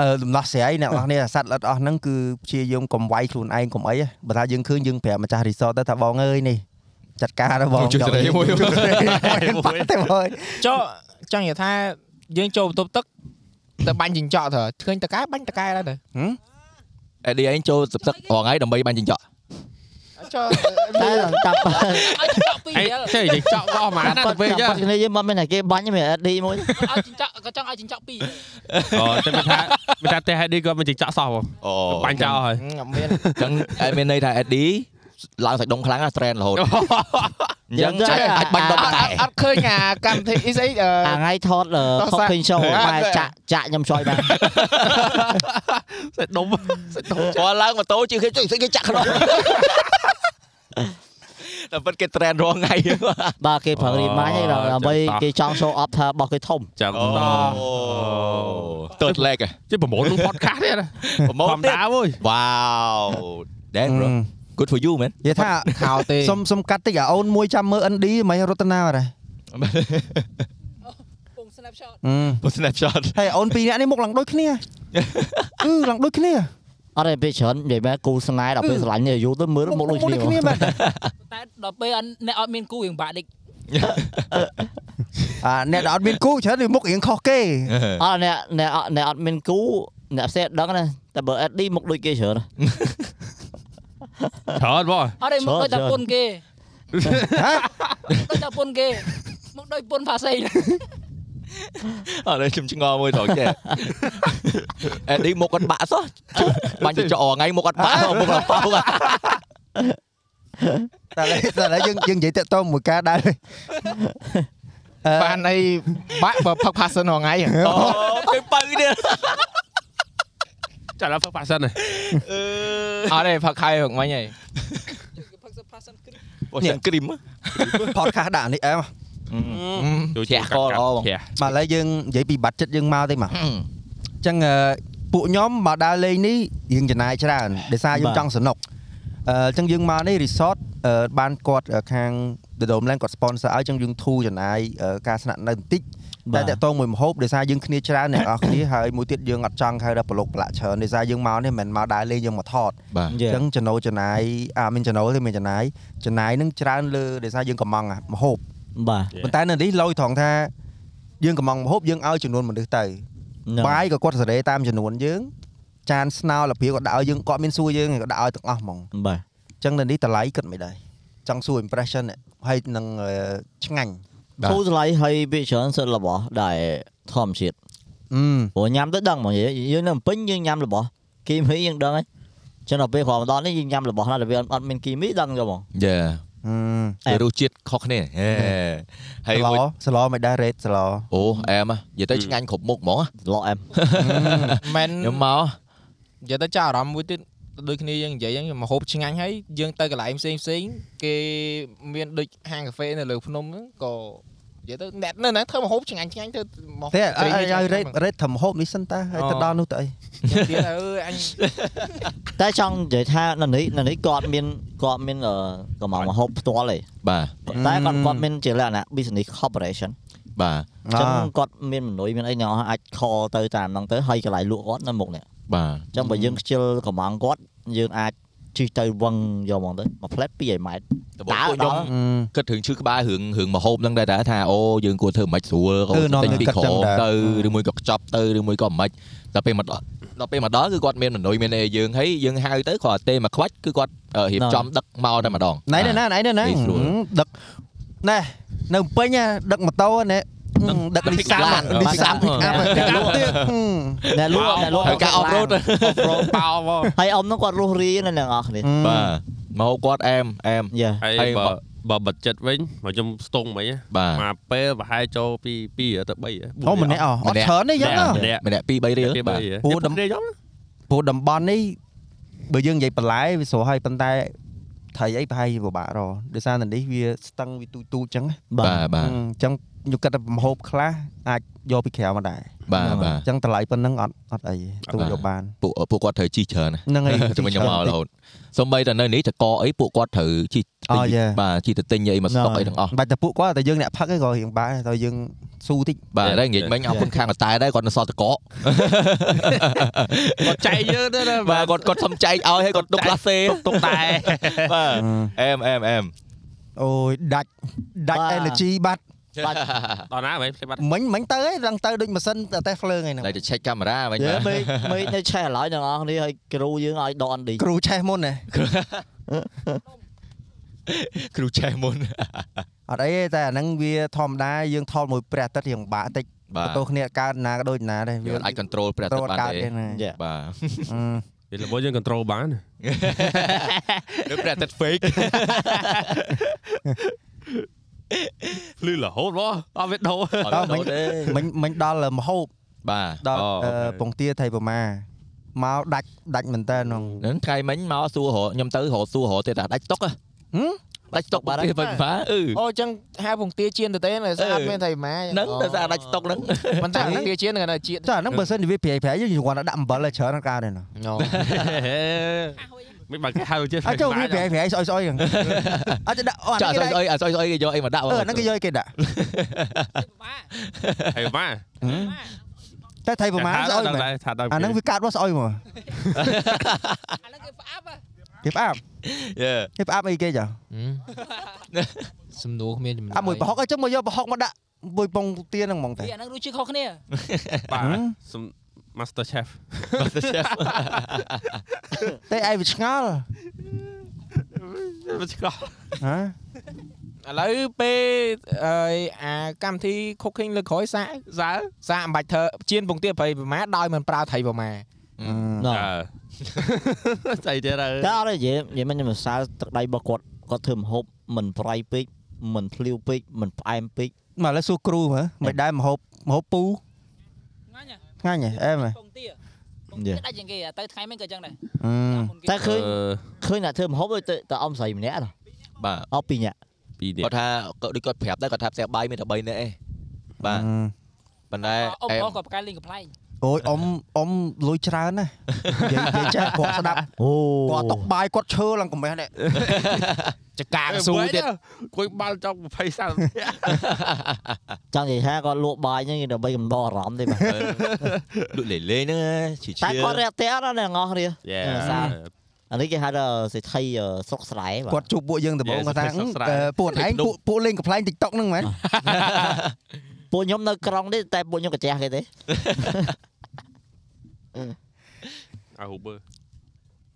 អឺដំណោះស្រាយអ្នកនរ គ្នាអាសត្វល្អិតអស់ហ្នឹងគឺព្យាយាមកុំវាយខ្លួនឯងកុំអីហ៎បើថាយើងឃើញយើងប្រាប់ម្ចាស់រីសតទៅថាបងអើយនេះចាត់ការទៅបង ជួយសេរីមួយ ជួយសេរីមួយ តែ បង ចុះចង់និយាយថាយើងចូលបន្ទប់ទឹកទៅបាញ់ចិញ្ចក់ទៅឃើញតកែបាញ់តកែដែរទៅ អេឌីឯងចូលទឹកទឹករងឯងដើម្បីបាញ់ចិញ្ចក់ ចុះ tay là tập ឲ្យចិញ្ចក់ពីរ អេ រៀល ចេះនិយាយចောက်បោះហ្មងណា tập tập ទៅ cái វិញចា này chứ mà bên này kia bắn như mày đi mỗi ឲ្យចិញ្ចក់ក៏ចង់ឲ្យចិញ្ចក់ពីររៀល អូតែមិនថាមិនថាទេហេតុនេះក៏មិនចេះចောက်សោះបង អូ បាញ់ចោលហើយ អត់មាន ចឹងអេមានន័យថាអេឌីឡើងសាច់ដុំខ្លាំងណាស់ trend រហូត អញ្ចឹង យើង ច ទៅ អាចបាញ់ដុំ អត់ តែ អត់ឃើញអាកម្មវិធីអីស្អីអឺ à ngay thót là Tao khóc sợ. kinh sâu À, mà vậy à? chạ chạ nhầm chọi bạn សាច់ដុំសាច់ដុំ គាត់ឡើងម៉ូតូជិះគេជួយគេចាក់ខ្នង តែពិតគេ trend រងថ្ងៃ ba kia phẳng đi máy hay Ờ, là bây chà. kia trong show up thà bỏ cái thùng ចឹង អូ ត ទើតលេក ជិះប្រមូលក្នុង podcast នេះណា ប្រមូល ធម្ម ទៀត តាវើយ Wow Damn bro Ừ. Good for you man និយាយថា ខោទេ សុំសុំកាត់តិចអាអូនមួយចាំមើល ND មិនរតនាអត់ហើយ ពង snapshot ពស្នេហ៍ shot ហើយអូនពីរនាក់នេះមុខឡើងដូចគ្នាគឺឡើងដូចគ្នា ở đây bị chấn để mẹ cú sân ai đọc Ừ. cái lạnh như vô tới mới một មុខ đôi ដូចគ្នា chiều បាទ តែដល់ពេលអ្នកអត់មានគូយើងបាក់ដេក អាអ្នកដែលអត់មានគូច្រើនវាមុខរៀងខុសគេ ở đây Ờ, nè nè nè ở bên cú nè xe đắng này tại bởi đi một đôi kia chở ច្រើនបង អត់ទេមកដូចតែពុនគេ ហ៎ ដូចតែពុនគេមកដូចពុនផាសៃ អត់ខ្ញុំឆ្ងល់មួយត្រង់ចេះអេឌីមកគាត់បាក់សោះបាញ់ទៅចោលថ្ងៃមកគាត់បាក់មកគាត់ប៉ោក តែឥឡូវតែឥឡូវយើងយើងនិយាយតាក់ទងមួយការដែរអឺ បានអីបាក់បើផឹកផាសិនហ្នឹងហើយ អូគេបើនេះ ចាំដល់ first person ហ្នឹង អត់ទេផឹកខៃហ្នឹងវិញហើយ ផឹកសផាសិនគ្រឹះ បើសិនគ្រីម podcast ដាក់នេះអែម ចូល ជះកល្អបង ជះ បាទឥឡូវយើងនិយាយពីបាត់ចិត្តយើងមកទេមក អញ្ចឹងអឺពួកខ្ញុំមកដើរលេងនេះយើងចំណាយច្រើនដោយសារយើង បាទ ចង់សនុកអឺអញ្ចឹងយើងមកនេះ resort អឺបានគាត់អឺខាង The Dome Land គាត់ sponsor ឲ្យអញ្ចឹងយើងធូរចំណាយអឺការស្នាក់នៅបន្តិចតែ Bà. តាក់ទងមួយម្ហូបដោយសារយើងគ្នាច្រើនអ្នកនរគ្នា ហើយមួយទៀតយើងអត់ចង់ខៅដល់ប្រឡុកប្រឡាក់ច្រើនដោយសារយើងមកនេះមិនមែនមកដើរលេងយើងមកថត Dạ. អញ្ចឹងចំណូលចំណាយអាមានចំណូលទេមានចំណាយចំណាយនឹងច្រើនលើដោយសារយើងកំងអាម្ហូប bà ប៉ុន្តែនៅនេះឡយត្រង់ថាយើងកំងម្ហូបយើងឲ្យចំនួនមនុស្សទៅ Nè. បាយក៏គាត់សេរីតាមចំនួនយើងចានស្នោលភាគាត់ដាក់ឲ្យយើងគាត់មានសួរយើងគាត់ដាក់ឲ្យទាំងអស់ហ្មង bà អញ្ចឹងនៅនេះតម្លៃគិតមិនដែរចង់សួរ impression នេះហើយនឹងអឺឆ្ងាញ់ Bà. thu lại hay bị chấn sẽ là bỏ đại thòm chết អឺ Ủa nhắm tới đằng mà vậy dưới nó pính dương nhắm là bỏ kim hí dương đơn ấy cho nên bây giờ đó nó dương nhắm là bỏ nó là vì anh anh mình kim hí đơn rồi mà យ៉ា អឺ វារសជាតិខុសគ្នាហេហើយ ស្ល មួយ ស្លមិនដែរ rate ស្ល អូអែមនិយាយទៅឆ្ងាញ់គ្រប់មុខហ្មង lọ em មែន ខ្ញុំមក និយាយទៅចាអារម្មណ៍មួយទៀតដូចគ្នាយើងនិយាយហ្នឹងមកហូបឆ្ងាញ់ហើយយើងទៅកន្លែងផ្សេងផ្សេងគេមានដូចហាងកាហ្វេនៅលើភ្នំហ្នឹងក៏និយាយទៅអ្នកនៅហ្នឹងធ្វើមកហូបឆ្ងាញ់ឆ្ងាញ់ធ្វើមក តែឲ្យឲ្យ rate rate ធ្វើម្ហូបនេះសិនតើហើយទៅដល់នោះទៅអី ទៀតអើយអញ តែចង់និយាយថានៅនេះនៅនេះគាត់មានគាត់មានអឺកម្លាំងមកហូបផ្ទាល់ឯង បាទ តែគាត់ Mm. គាត់មានជាលក្ខណៈ business corporation បាទ អញ្ចឹងគាត់មានមនុយមានអីអ្នកអាចខលទៅតាមហ្នឹងទៅហើយកន្លែងលក់គាត់នៅមុខនេះ បាទ អញ្ចឹងបើយើងខ្ជិលកម្លាំងគាត់យើងអាចជិះទៅវឹងយកមកទៅមួយផ្លែត2ម៉ែត្រ តើពួកខ្ញុំ អឺ គិតរឿងឈឺក្បាលរឿងរឿងមហូបហ្នឹងដែរដែរថាអូយើងគួរធ្វើមិនស្រួលក៏ គឺនាំ ទិញ យើង ពី គិតចឹ ក្រ ង ម ដែរ ទៅឬមួយក៏ខ្ចប់ទៅឬមួយក៏មិនដល់ពេលមកដល់ដល់ពេលមកដល់គឺគាត់មានមនុយមានអីយើងហើយយើងហៅទៅគ្រាន់តែមកខ្វាច់គឺគាត់អឺរៀបចំដឹកមកតែម្ដង ណៃណែណែណៃណែងាណែយស្រួល ដឹកណែនៅពេញណាដឹកម៉ូតូណែដឹកលីសា ឡាន លី លី សា សា ម ម ពីអាប់ ដឹក លក់ទៀតហឹម អ្នកលក់អ្នកលក់ ហើយការអប់រត់ ប្រងបោបង ហើយអ៊ំហ្នឹងគាត់រស់រាយនៅអ្នកនរគ្នា បាទមហូបគាត់អែមអែម យ៉ា ហើយបើបើបិទចិត្តវិញមកខ្ញុំស្ទង់មិញណា បាទ មកពេលប្រហែលចូលពី2ទៅ3 អូម្នាក់អអត់ច្រើនទេយ៉ាងណា ម្នាក់ ម្នាក់2 3រៀល ពី បាទ 3 ពូ ពូ ដំ ដំនេះខ្ញុំ ព្រោះតំបន់នេះបើយើងនិយាយបន្លែវាស្រួលហើយប៉ុន្តែត្រីអីប្រហែលជាពិបាករកដោយសារតែនេះវាស្ទឹងវាទូចទូចចឹងណា បាទ បាទបាទ អញ្ចឹងខ្ញុំគិតថាប្រហូបខ្លះអាចយកពីក្រៅមកដែរ បាទបាទ អញ្ចឹងតម្លៃប៉ុណ្ណឹងអត់អត់អីទេទូ បាទ យកបាន ពួកពួកគាត់ត្រូវជីកច្រើនណាស់ ហ្នឹងហើយ ជំនួយខ្ញុំមករហូតសំបីតែនៅនេះតកអីពួកគាត់ត្រូវជីកទិញ អូយ៉ា បាទជីកទៅទិញអីមកស្តុកអីទាំងអស់ បាច់តែពួកគាត់តែយើងអ្នកផឹកឯងក៏រៀងបាក់ដែរតែយើងស៊ូតិច បាទតែនិយាយមិញអរគុណខាងកតែដែរគាត់នៅសល់តក គាត់ចែកយើងទៅណា បាទគាត់គាត់សុំចែកឲ្យហើយគាត់ ទុកផ្លាសេ ទុកតែ បាទ អឺ អែមអែម អែម អូយដាច់ដាច់ energy បាត់ ដល់ណាវិញភ្លេចបាត់ មិញមិញទៅឯងរឹងទៅដូចម៉ាស៊ីនតែភ្លើងឯហ្នឹង តែទៅឆែកកាមេរ៉ាវិញបាយើទ មេឃមេឃនៅឆេះឡើយទាំងអស់គ្នាឲ្យគ្រូយើងឲ្យដកអណ្ឌី គ្រូឆេះមុនណា គ្រូឆែកមុន អត់អីទេតែអាហ្នឹងវាធម្មតាយើងថតមួយព្រះអាទិត្យរៀងបាក់តិច បា បន្ទោសគ្នាកើតណាក៏ដូចណាដែរ ទយើងអាច control ព្រះអា ទ ទិត្យបាន កើត ទេ ទេណា យ៉ា បាទ អឺ វារបស់យើង control បាន នៅព្រះអាទិត្យ fake ភ្លឺរហូតមកអត់វាដោ អត់ដឹងទេ មិញមិញដល់មហូប បាទ ដល់ អូ អឺ អូខេ ពងទាថៃប្រមាមកដាច់ដាច់មែនតើហ្នង ហ្នឹងថ្ងៃមិញមកសួររកខ្ញុំទៅរកសួររកទេតាដាច់តុកហ៎ ហឹម ដាច់តុកបាទទេបា បាទ ទបាទអឺ អូអញ្ចឹងហៅពងទាជៀនទៅទេណាស្អាត អឺ មែនតែម៉ែ ហ្នឹងតែសារដាច់តុកហ្នឹង មិនថាពងទាជៀនហ្នឹងណាជាតិ ចាអាហ្នឹងបើសិនជាវាប្រៃប្រៃយើងគ្រាន់តែដាក់អំបិលឲ្យច្រើនដល់កើតទេណា អូ មិនបើគេហៅជា អាចចូលវាប្រៃប្រៃ ស្អុយស្អុយហ្នឹងអាចដាក់អូអា ចុះ ហ្នឹ អត់ ង ស្អុយអត់ស្អុយអត់ស្អុយគេយកអីមកដាក់ អឺអាហ្នឹងគេយកឲ្យគេដាក់ ហៅមក ហឹមតែថៃប្រមាស្អុយមែន ថាថាដល់ អាហ្នឹងវាកាត់មកស្អុយមក អាហ្នឹងគេផ្អាប់ហ៎ គេផ្អាប់ យើ គេផ្អាប់អីគេចា ហឹម សំណួរគ្មានចំណុច អាមួយប្រហុកអីចឹងមកយកប្រហុកមកដាក់មួយពងទាហ្នឹងហ្មងតែ វាអាហ្នឹងរសជាតិខុសគ្នា បាទ Master Chef តែឯងវាឆ្ងល់ វាឆ្កោះ ហ៎ ឥឡូវពេលអីអាកម្មវិធី cooking លើកក្រោយសាក សើ សាកអំបាច់ធ្វើជៀនពងទាប្រៃប្រមាដោយមិនប្រើថៃប្រមា អឺ ណ៎ អឺចៃទៀតហើយ តែអត់ទេនិយាយនិយាយមិនខ្ញុំសរសើរទឹកដៃរបស់គាត់គាត់ធ្វើម្ហូបមិនប្រៃពេកមិនភ្លាវពេកមិនផ្អែមពេក មកឥឡូវសួរគ្រូមើលមិនដែរមហូបមហូបពូ ងាញ់ហ៎ ថ្ងៃនេះអែមហ៎ ពងទាពងទាដាច់ជាងគេទៅថ្ងៃមិញក៏ចឹងដែរ អឺ តែឃើញ អឺ ឃើញអ្នកធ្វើម្ហូបដូចតែតែអ៊ំស្រីម្នាក់ហ៎ បាទ អស់ពីរនាក់ ពីរនេះ គាត់ថាគាត់ដូចគាត់ប្រាប់ដែរគាត់ថាផ្ទះបាយមានតែ3នាក់ឯងបាទប៉ុន្តែ អ៊ំ អែម អ៊ំក៏ប្រកែកលេងកំ pl ែង អូយអ៊ំអ៊ំលួយច្រើនណាស់និយាយនិយាយចេះព្រោះស្ដាប់ អូ គាត់ຕົកបាយគាត់ឈើឡើងកំេះនេះ ចកាកស៊ូទៀត គួយបាល់ចង់20 30 ចង់និយាយថាគាត់លក់បាយហ្នឹងដើម្បីកំដរអារម្មណ៍ទេបាទ ដូចលេងលេងហ្នឹងឯងជា តែ ជា គាត់រាក់ទាក់ណាស់អ្នកអស់គ្នា យ៉ា អឺសា អានេះគេហៅថាសេដ្ឋីអឺស្រុកស្រែបាទ គាត់ជួបពួកយើងដំបូងគាត់ថាអឺពួកឯងពួកពួកលេងកំ pl ែង TikTok ហ្នឹងមែន ពួកខ្ញុំនៅក្រុងនេះតែពួកខ្ញុំកាចះគេទេ អើហូបឺ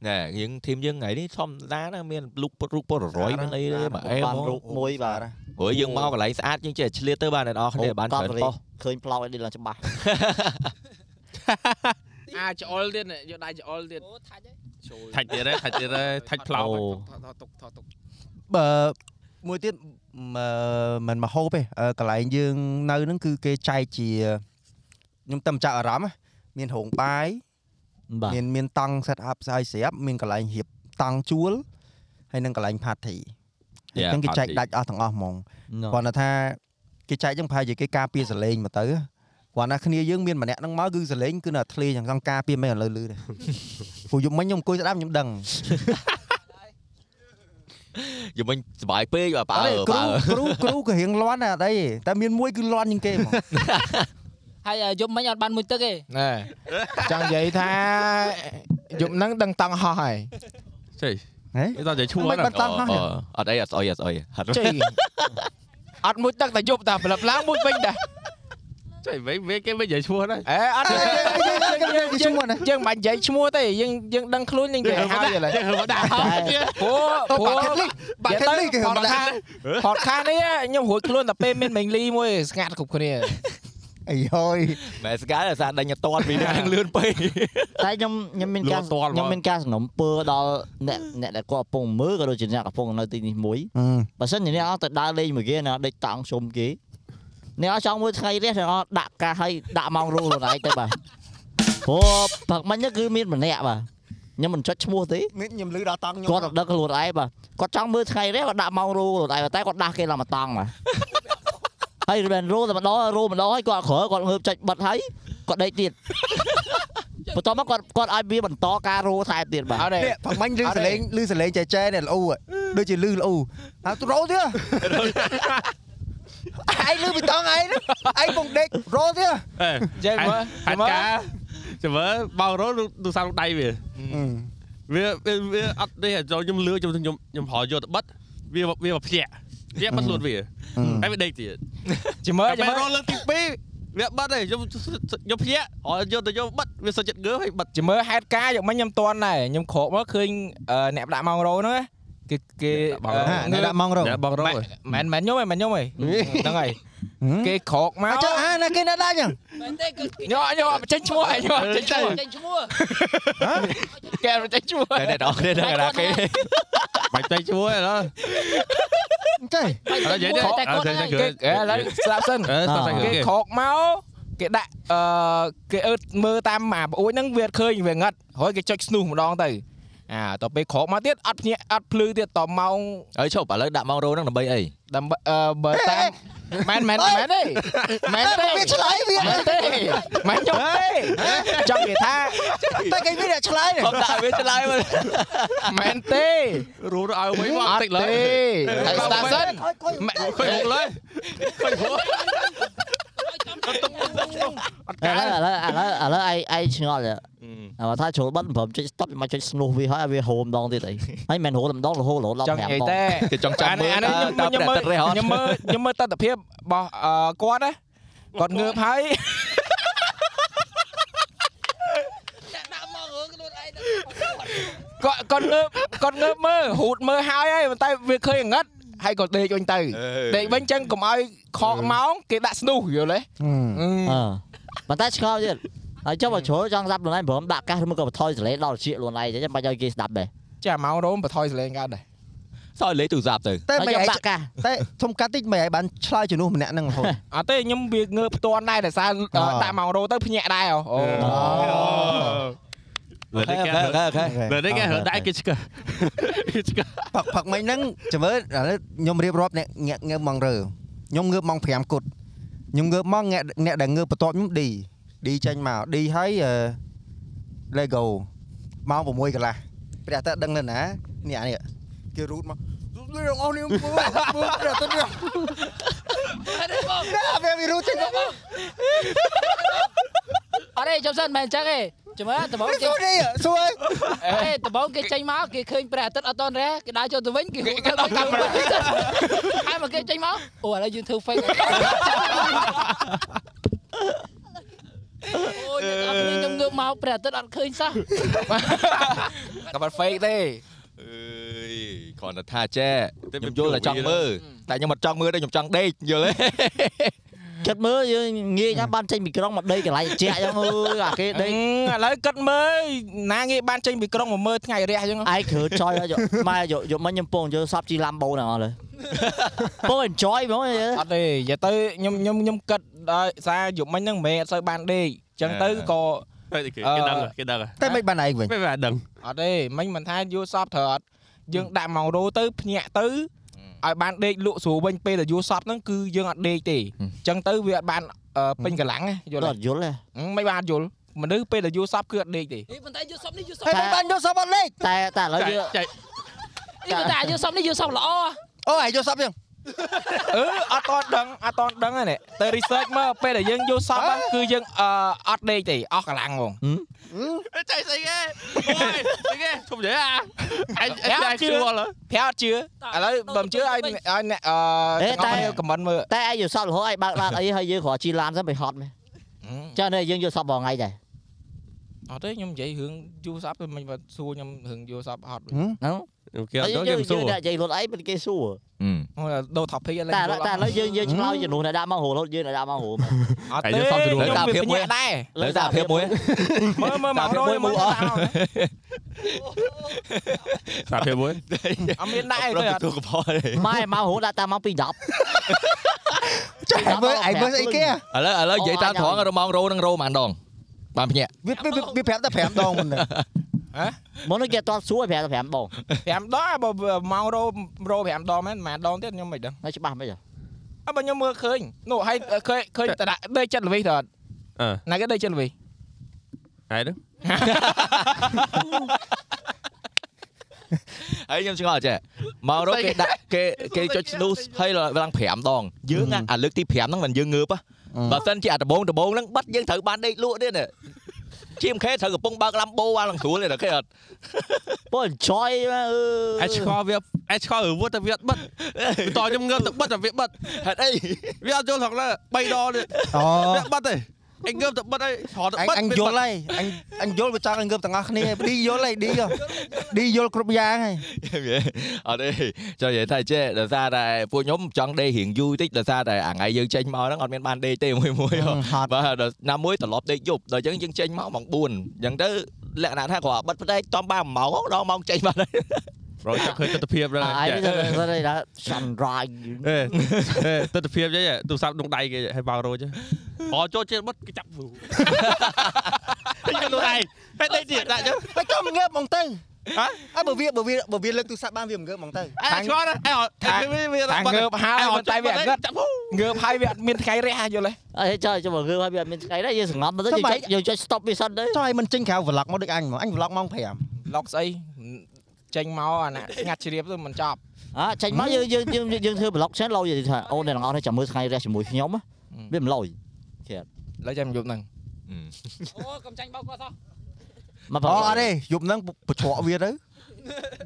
ណែយើងធីមយើងថ្ងៃនេះធម្មតាណាមានលុកពុតរូបពុតរយមានអីទេបាទអែម បានរូបមួយបាទ ព្រោះយើងមកកន្លែងស្អាតយើងចេះឆ្លៀតទៅបាទអ្នកនរគ្នា អូ បាន កប់ ច្រើន រី ប៉ោះ ឃើញផ្លោកនេះឡើងច្បាស់ អាចអល់ទៀតយកដៃចអល់ទៀត អូថាច់ហ៎ ថាច់ទៀតហើយថាច់ទៀតហើយថាច់ផ្លោមថអូតទុកថតទុក បើមួយទៀតមើមិនមកហូបទេអឺកន្លែងយើងនៅហ្នឹងគឺគេចែកជាខ្ញុំតែមិនចាក់អារម្មណ៍ណាមានរោងបាយ បាទ មានមានតង់ set up ស្អាយស្រាប់មានកន្លែងរៀបតង់ជួលហើយនឹងកន្លែង party អញ្ចឹងគេចែកដាច់អស់ទាំងអស់ហ្មង ណ៎ គ្រាន់តែថាគេចែកចឹងប្រហែលជាគេការពារសលេងមកទៅគ្រាន់តែគ្នាយើងមានម្នាក់ហ្នឹងមកគឺសលេងគឺនៅតែធ្លាចឹងសង្ការ ពារមិនឲ្យលើលឺទេ ព្រោះយប់មិញខ្ញុំអង្គុយស្ដាប់ខ្ញុំដឹង យើងមិញសុបាយពេកបាទ អ បើ ត់ទេ បើ គ្រូគ្រូគ្រូ ក៏រៀងលន់ដែរអត់អីទេតែមានមួយគឺលន់ជាងគេហ្មង ហើយយប់មិញអត់បានមួយទឹកទេ ណែចង់និយាយថាយប់ហ្នឹងដឹងតង់ហោះហើយ ចេះ ហេ នេះតោះចេះឈួរ មិន ណា បាត់ត Ờ, ង់ហោះទេ អត់អីអត់ស្អុយអត់ស្អុយហត់ ចេះអត់មួយទឹកតែយប់តែប្រឡប់ឡើងមួយវិញដែរ ចុយវិញវិញគេមិននិយាយឈ្មោះណា អេអត់ទេ គេឈ្មោះណា យើងមិនបាច់និយាយឈ្មោះទេយើងយើងដឹងខ្លួនយើងនិយាយហើយឥឡូវ យើងហៅមកដាក់ តែព្រោះព្រោះ បាក់ខេតលីបាក់ខេតលីគេហៅ ផត ដាក់ ខាផតខានេះខ្ញុំរួចខ្លួនតែពេលមានមេងលីមួយស្ងាត់គ្រប់គ្នា អីហើយ មែនស្កាយសារដេញអត់តាន់ពីណាលឿនពេក តែខ្ញុំខ្ញុំមានការខ្ញុំមានការសំណពើដល់អ្នកអ្នកដែលគាត់កំពុងមើលក៏ដូចជាអ្នកកំពុងនៅទីនេះមួយបើសិនជាអ្នកអត់ទៅដើរលេងមួយគេណាដេកតង់ជុំគេអ្នកអត់ចង់មួយថ្ងៃរះអ្នកអត់ដាក់ការឲ្យដាក់ម៉ោងរੂខ្លួនឯងទៅបាទ ព្រោះផឹកមិញហ្នឹងគឺមានម្នាក់បាទខ្ញុំមិនចុចឈ្មោះទេ នេះខ្ញុំលឺដល់តង់ខ្ញុំ គាត់រត់ដឹកខ្លួនឯងបាទគាត់ចង់មើលថ្ងៃរះគាត់ដាក់ម៉ោងរោខ្លួនឯងតែគាត់ដាស់គេឡើងមកតង់បាទ ហើយមែនរោតែម្ដងរោម្ដងហើយគាត់ក្រោយគាត់ងើបចុចបិទហើយគាត់ដេកទៀត បន្ទាប់មកគាត់គាត់ឲ្យវាបន្តការរោថែមទៀតបាទ អត់ទេ នេះប្រមាញ់លឺ អត់ ស ទេ លេងលឺសលេងចែចែ នេះល្អអ่ะដូចជាលឺល្អ អើរោទៀត អឯងលឺពីតង់ឯងហ្នឹងឯងពងដេករោទៀត អេ ចឹងមើល ហាត់ការចាំមើលបោករោលទូរស័ព្ទដៃវាវាវាវាអត់ទេចូលខ្ញុំលឿខ្ញុំខ្ញុំខ្ញុំប្រើយកទៅបិទវាវាមកភ្លាក់វាបិទខ្លួនវា Ừ. ហើយវាដេកទៀត ចាំមើល តែ ចាំមើ រោ ល លលើកទី2វាបិទហើយខ្ញុំខ្ញុំភ្លាក់អត់យកទៅយកបិទវាសុចចិត្តងើហើយបិទ ចាំមើលហេតុការណ៍យកមិញខ្ញុំតន់ដែរខ្ញុំក្រោកមកឃើញអឺអ្នកដាក់ម៉ោងរោហ្នឹងណាគឺគេ ហាអ្នកដាក់ម៉ងរោ បោករោល មិនមែនខ្ញុំឯងមិនខ្ញុំឯងហ្នឹងហើយគេក្រោកមក អញ្ចឹងអាណាគេណាស់ដាក់ចឹង មែនទេគឺគេ ញ៉ក់ញ៉ក់ចេញឈ្មោះឯងញ៉ក់ចេញឈ្មោះ ចេញឈ្មោះ កែចេញឈ្មោះ តែអ្នកនរគ្នាដឹងថាគេ បាច់តែជួយឥឡូវ អញ្ចឹង Ờ, តែចេញឈ្មោះតែគាត់ហ្នឹង គេឥឡូវស្រាប់សិន អឺស្ដាប់តែគេ គេ គេ ខកមកគេដាក់អឺគេអឺតមើលតាមអាប្អួយហ្នឹងវាអត់ឃើញវាងឹតហើយគេចុចស្នូសម្ដងទៅអាតទៅពេលខកមកទៀតអត់ភ្ញាក់អត់ភ្លឺទៀតតម៉ោង ហើយឈប់ឥឡូវដាក់ម៉ងរោហ្នឹងដើម្បីអី ដើម្បីអឺបើតាមមែនមែនមែនទេមែនទេ វាឆ្លើយវា មែនទេមែនចុះទេចង់និយាយថា តែគេមានអ្នកឆ្លើយនេះ ខ្ញុំដាក់ឲ្យវាឆ្លើយមក មែនទេ រੂរឲ្យវិញមក អត់ តិចឡើ ទេ យ ហើយស្ដាប់សិន មិនឃើញមុខឡើយ ឥឡូវឥឡូវឥឡូវឥឡូវឯងឯងឆ្ងល់ទេ Ừ. អើបើថាចូលបិទ5ចុច stop មកចុច snooze វាហើយឲ្យវាហូរម្ដងទៀតអីហើយមិនមែនហូរម្ដងរហូតរហូតដល់ ចង់និយាយ 5ដង តែ គេចង់ចាំមើល អានេះ តើ ខ្ញុំមើល តើព្រះអាទិត្យរះអត់ ខ្ញុំមើលខ្ញុំមើលទស្សនវិជ្ជារបស់អឺគាត់ណាគាត់ងើបហើយ ដាក់ដាក់មករឿងខ្លួនឯងទៅ គាត់គាត់ងើបគាត់ងើបមើលរូតមើលហើយហើយប៉ុន្តែវាឃើញអាងឹតហើយក៏ដេកវិញទៅ Ừ. ដេកវិញចឹងកុំឲ្យខកម៉ោងគេដាក់ស្នូសយល់ទេ អឺប៉ុន្តែឆ្ងល់ទៀតហើយចុះបើជ្រុលចង់ស្ដាប់ខ្លួនឯងព្រមដាក់កាសឬមួយក៏បន្ថយសលេងដល់ជាខ្លួនឯងចឹងចាំបាច់ឲ្យគេស្ដាប់ដែរ ចាម៉ោងរោមបន្ថយសលេងកើតដែរ សោយលេខទូរស័ព្ទទៅ តែ ហើយ មិន យក ឯង ដាក់កាស តែធំកាត់តិចមិនឯងបានឆ្លើយជំនួសម្នាក់ហ្នឹងរហូត អត់ទេខ្ញុំវាងើបផ្ទាន់ដែរតែសារ អ่า ដាក់ម៉ោងរោមទៅភ្ញាក់ដែរអូអូ លើនេះគេ អូខេ លើនេះគេដៃគេ ឆ្កឹះឆ្កឹះ ផឹកផឹកមិញហ្នឹងចាំមើលឥឡូវខ្ញុំរៀបរាប់អ្នកងាក់ងើបម៉ងរើខ្ញុំងើបម៉ង5គត់ខ្ញុំងើបម៉ងអ្នកអ្នកដែលងើបបន្ទាប់ខ្ញុំឌីឌីចេញមកឌីហើយអឺ Lego ម៉ោង6កន្លះព្រះអាទិត្យដឹងនៅណានេះអានេះគេរូតមកលោកអស់នេះមើលមើលព្រះអាទិត្យនេះ អត់ទេបង ណាវាវារូតចេញមក អត់ទេចាំសិនមិនអញ្ចឹងទេចាំមើលដំបង នេះ គេ សួរនេះសួរ អត់ទេដំបងគេចេញមកគេឃើញព្រះអាទិត្យអត់តនរះគេដើរចូលទៅវិញគេហូរទៅវិញ ហើយមកគេចេញមកអូឥឡូវយើងធ្វើ fake អូយអ្នកអត់ឃើញខ្ញុំងើបមកព្រះអាទិត្យអត់ឃើញសោះ ក៏បាត់ fake ទេ អើយគ្រាន់តែថាចែខ្ញុំយល់តែចង់មើលតែខ្ញុំអត់ចង់មើលទេខ្ញុំចង់ដេកយល់ទេ ចិត្តមើលយើងងាយណាស់បានចេញពីក្រុងមកដេកកន្លែងត្រជាក់ចឹងអើយអាគេ ដេក អឺឥឡូវគិតមើលណាងាយបានចេញពីក្រុងមកមើលថ្ងៃរះចឹង ឯងគ្រើចយហើយយកម៉ែយកយកមិញខ្ញុំពងយកសាប់ជីឡាំបូនហ្នឹងអស់លើពង enjoy ហ្មងយើ អត់ទេនិយាយទៅខ្ញុំខ្ញុំខ្ញុំគិតដោយសារយប់មិញហ្នឹងមិនមែនអត់សូវបានដេកចឹងទៅក៏ គេដឹងគេដឹង តែមិនបានឯងវិញ ពេលវាដឹង អត់ទេមិញមិនថាយូរសពត្រូវអត់យើងដាក់ម៉ោងរោទៅភ្ញាក់ទៅឲ្យបានដេកលក់ស្រួលវិញពេលដែលយូរសពហ្នឹងគឺយើងអត់ដេកទេអញ្ចឹងទៅវាអត់បានអឺពេញកម្លាំងណាយល់ អ ទេ ត់យល់ទេ ហឹមមិនបានយល់មនុស្សពេលដែលយូរសពគឺអត់ដេកទេ អីប៉ុន្តែយល់សពនេះយល់សព តែមិនបានយកសពអត់លេខ តែតែឥឡូវយើង ចែក អីប៉ុន្តែយល់សពនេះយល់សពល្អហ៎ អូឯងយកសពចឹង អឺអត់តន់ដឹងអត់តន់ដឹងហ្នឹងទៅ research មើលពេលដែលយើងយូរសពហ្នឹងគឺយើងអឺអត់ដេកទេអស់កម្លាំងហ្មង ចែកស្អីគេអូយគេធំនិយាយអាឯងឯងជួល ប្រែអត់ជឿឥឡូវបើមិនជឿឲ្យឲ្យអ្នកអ អេ ឺ តែ ចាំខ្ញុំខមមិនមើល តែឯងយកសាប់រហូតឯងបើកឡានអីហើយយើងគ្រាន់ជីឡានសិនទៅហត់មែន ហឹម ចានេះយើងយកសាប់បងថ្ងៃដែរ អត់ទេខ្ញុំនិយាយរឿងយូរសពមិនបើសួរខ្ញុំរឿងយូរសពហត់វិញ ហ្នឹគេង Ờ, អត់ដឹងគេមិនសួរ តែយើងនិយាយខ្លួនឯងមិនគេសួរ អូយដូរ topic ឥឡូវ តែឥឡូវតែឥឡូវយើងយើងឆ្លើយជំនួសអ្នកដាក់មកហូររត់យើងអ្នកដាក់មកហូរមក អត់ តែ ទេ យើងសុំជំនួស ខ្ញុំ តាម វា ភាពមួយភ្ញាក់ដែរ លើសារភាព មួយ មើលមើលមតាកមភាព រយ មួយមួមើលយ តាមអត់ សាប់ពេលមួយ អត់មានដែរ ប្រ ទេអត់ ទូកផលឥ ម៉ែមកហូរដាក់តាមមកពី10 ចាមើលឯងមើលស្អីគេ À, ឡូវឥឡូវនិយាយតាមត្រង់រម៉ងរោនឹងរោហ្មងដង បានភ្ញាក់ វាវាវាប្រាប់តែ5ដងមិនដឹង មុននេះគេអត់តសួរឲ្យ5 5ដង 5ដងបើម៉ោងរោរោ5ដងមែនម៉ាដងទៀតខ្ញុំមិនដឹង ហើយច្បាស់មិនអី អើបើខ្ញុំមើលឃើញនោះហើយឃើញឃើញតដាក់ដេកចិត្តល្វីតអត់ អឺ ណាគេដេកចិត្តល្វី ហើយហ្នឹង ហើយខ្ញុំឆ្ងល់ចេះមករកគេដាក់គេគេចុច snooze ហើយឡើង5ដងយើង អឺ អាអាលើកទី5ហ្នឹងមិនយើងងើបហ៎បើសិនជាអាដបងដបងហ្នឹងបាត់យើងត្រូវបានដេកលក់ទៀតណាជាមខេត្រូវកំពុងបើកឡាំបូអាឡើងស្រួលទេដល់គេអត់ ពូ enjoy អឺ អេឆ្កល់វាអេឆ្កល់រវត់តែវាអត់បិទបន្តខ្ញុំងើបទៅបិទតែវាបិទ ហេតុអី វាអត់យល់ផងឡើយ3ដងទៀត អូ វាបិទទេអញងើបទៅបិទហើយស្រោតទៅ អញ បិអញទយល់ហើយអញអញយល់វាចង់ឲ្យងើបទាំងអស់គ្នាហើយឌីយល់ហើយឌីហ៎ឌីយល់គ្រប់យ៉ាងហើយ អត់ទេចង់និយាយថាចេះដល់សារតែពួកខ្ញុំចង់ដេករៀងយូរតិចដល់សារតែអាថ្ងៃយើងចេញមកហ្នឹងអត់មានបានដេកទេមួយមួយហ៎ ហត់ បាទដល់ណាមួយត្រឡប់ដេកយប់ដល់អញ្ចឹងយើងចេញមកម៉ោង4អញ្ចឹងទៅលក្ខណៈថាគ្រាន់តែបិទផ្ទៃតំបាន1ម៉ោងដល់ម៉ោងចេញបានហើយ ប្រចាំឃើញទស្សនភាពហ្នឹង អាយ ចេះ នេះទៅទៅដល់ sunrise អេអេទស្សនភាពយីទូរស័ព្ទក្នុងដៃគេឲ្យបើករោចអោចូលចិត្តបិទគេចាប់វូខ្ញុំនោះឯងពេលដេកទៀតដាក់ចឹង ហើយក៏មិនងើបហ្មងទៅហ៎ហើយបើវាបើវាបើវាលើកទូរស័ព្ទបានវាមិនងើបហ្មងទៅ អេឆ្ងល់ណាអេថាវាវា តែងើបហើយប៉ុន្តែវាអង្ឹត ចាប់វូ ងើបហើយវាអត់មានថ្ងៃរះយល់ទេ អីចុះចាំមើលគឺឲ្យវាអត់មានថ្ងៃដែរយើងសង្ងំទៅយើងចុចយើងចុច stop វាសិនទៅ ចុះឲ្យមិនចេញក្រៅ vlog មកដូចអញហ្មងអញ vlog ម៉ោង ឡុកស្អីចេញមកអាណាស្ងាត់ជ្រាបទៅមិនចប់ អ่าចេញមកយើងយើងយើងយើងធ្វើប្លុកឆែនឡូយនិយាយថាអូនអ្នកទាំងអស់នេះចាំមើលថ្ងៃរះជាមួយខ្ញុំណាវាមិនឡូយ ឥឡូវចាំយប់ហ្នឹង អូកំចាញ់បោកគាត់សោះ មក 5អូអត់ទេយប់ហ្នឹងបច្រកវាទៅ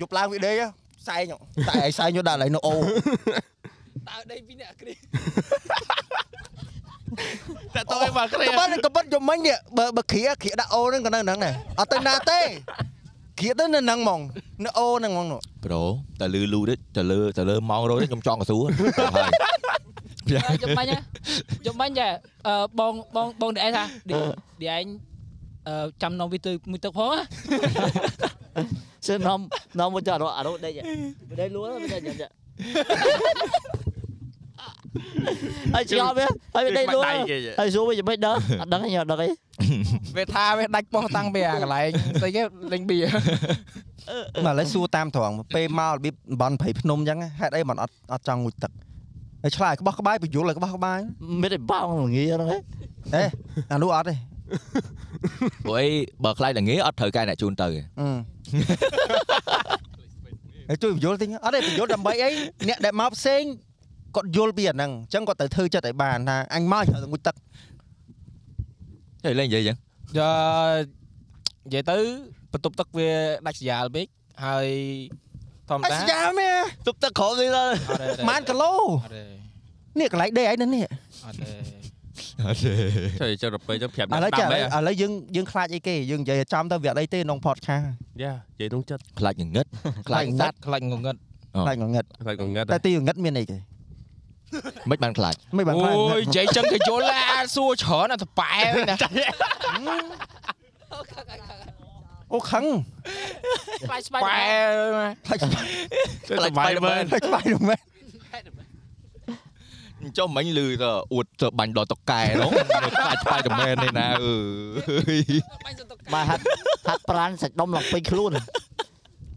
យប់ឡើងវាដេកហ៎សែងហ៎តែឯងសែងយកដាក់កន្លែងនោះអូ ដើរដេកពីអ្នកអាគ្រី តែតើមកគ្រា កបិតកបិតយំមិញនេះបើបើគ្រាគ្រាដាក់អូហ្នឹងក៏នៅហ្នឹងដែរអត់ទៅណាទេគ្រាទៅនៅហ្នឹងហ្មងនៅអូហ្នឹងហ្មងនោះ ប្រូតែលឺលូតិចតែលឺតែលឺម៉ោងរោនេះខ្ញុំចង់កស៊ូហើយ យំមិញណាយំមិញចាអឺបងបងបងឌីអេថាឌីអេអឺចាំនំវាទៅមួយទឹកផងណា សើនាំនាំមកចាក់អារោដេកដេកលួនមិនដេកចាហើយជាប់វាហើយដេកលួន ដៃគេ ហើយសួរវាយ៉ាងម៉េចដែរអត់ដឹងខ្ញុំអត់ដឹងអី វាថាវាដាច់ប៉ុសតាំងពីអាកន្លែង ស្អីគេលេងបៀ មកឥឡូវសួរតាមត្រង់ពេលមករបៀបបន់ព្រៃភ្នំអញ្ចឹងហេតុអីមិនអត់អត់ចង់ងុយទឹកហើយឆ្លើយក្បោះក្បាយបញ្យល់ឲ្យក្បោះក្បាយ មានតែបងងាហ្នឹងឯង អេអានោះអត់ទេ ព្រោះអីបើខ្លាចល្ងាអត់ត្រូវកែអ្នកជូនទៅ អឺហើយជួយបញ្យល់តិចអត់ទេបញ្យល់ដើម្បីអីអ្នកដែលមកផ្សេងគាត់យល់ពីអាហ្នឹងអញ្ចឹងគាត់ទៅធ្វើចិត្តឲ្យបានថាអញមកខ្ញុំទៅងុយទឹក ហេលេងនិយាយអញ្ចឹង យ៉ានិយាយទៅបន្ទប់ទឹកវាដាច់ស្រយាលពេកហើយធម្ម អ តា ស្ចារ្យមែន ទុបទឹកក្រោមនេះទៅ អត់ទេ ម៉ានគីឡូ អត់ទេ នេះកន្លែងដេកឯងអត់នេះ អត់ទេទេ ចូលចិត្តទៅពេលចឹងប្រាប់ ឥឡូវចាំឥឡូវឥឡូយវយើងយើងខ្លាចអីគេយើងនិយាយឲ្យចំទៅវាអត់អីទេក្នុង podcast យ៉ានិយាយក្នុងចិត្ត ខ្លាចងឹត ខ្លាច ស ងាត់ ត្វខ្លាច់ងងឹត ខ្លាចងងឹត ខ្លាចក៏ងឹត តែទីងងឹតមានអីគេ មិនបានខ្លាច មិនបានខ្លាចង អូ ងឹ យ ត និយាយចឹងគេយល់ឡាសួរច្រើនអាតប៉ែវិញណា អូខឹង ស្បាយស្បាយ ប៉ែ ខ្លាចខ្ ខ្លាចបាយមើល លាចខ្លាចមិនមែន ចុះមិញលឺទៅអួតទៅបាញ់ដល់តកែហ្នឹងខ្លាចស្បាយតែមែននេះណាអឺ បាញ់សន្តុក បាទហាត់ហាត់ប្រានសាច់ដុំឡើងពេញខ្លួន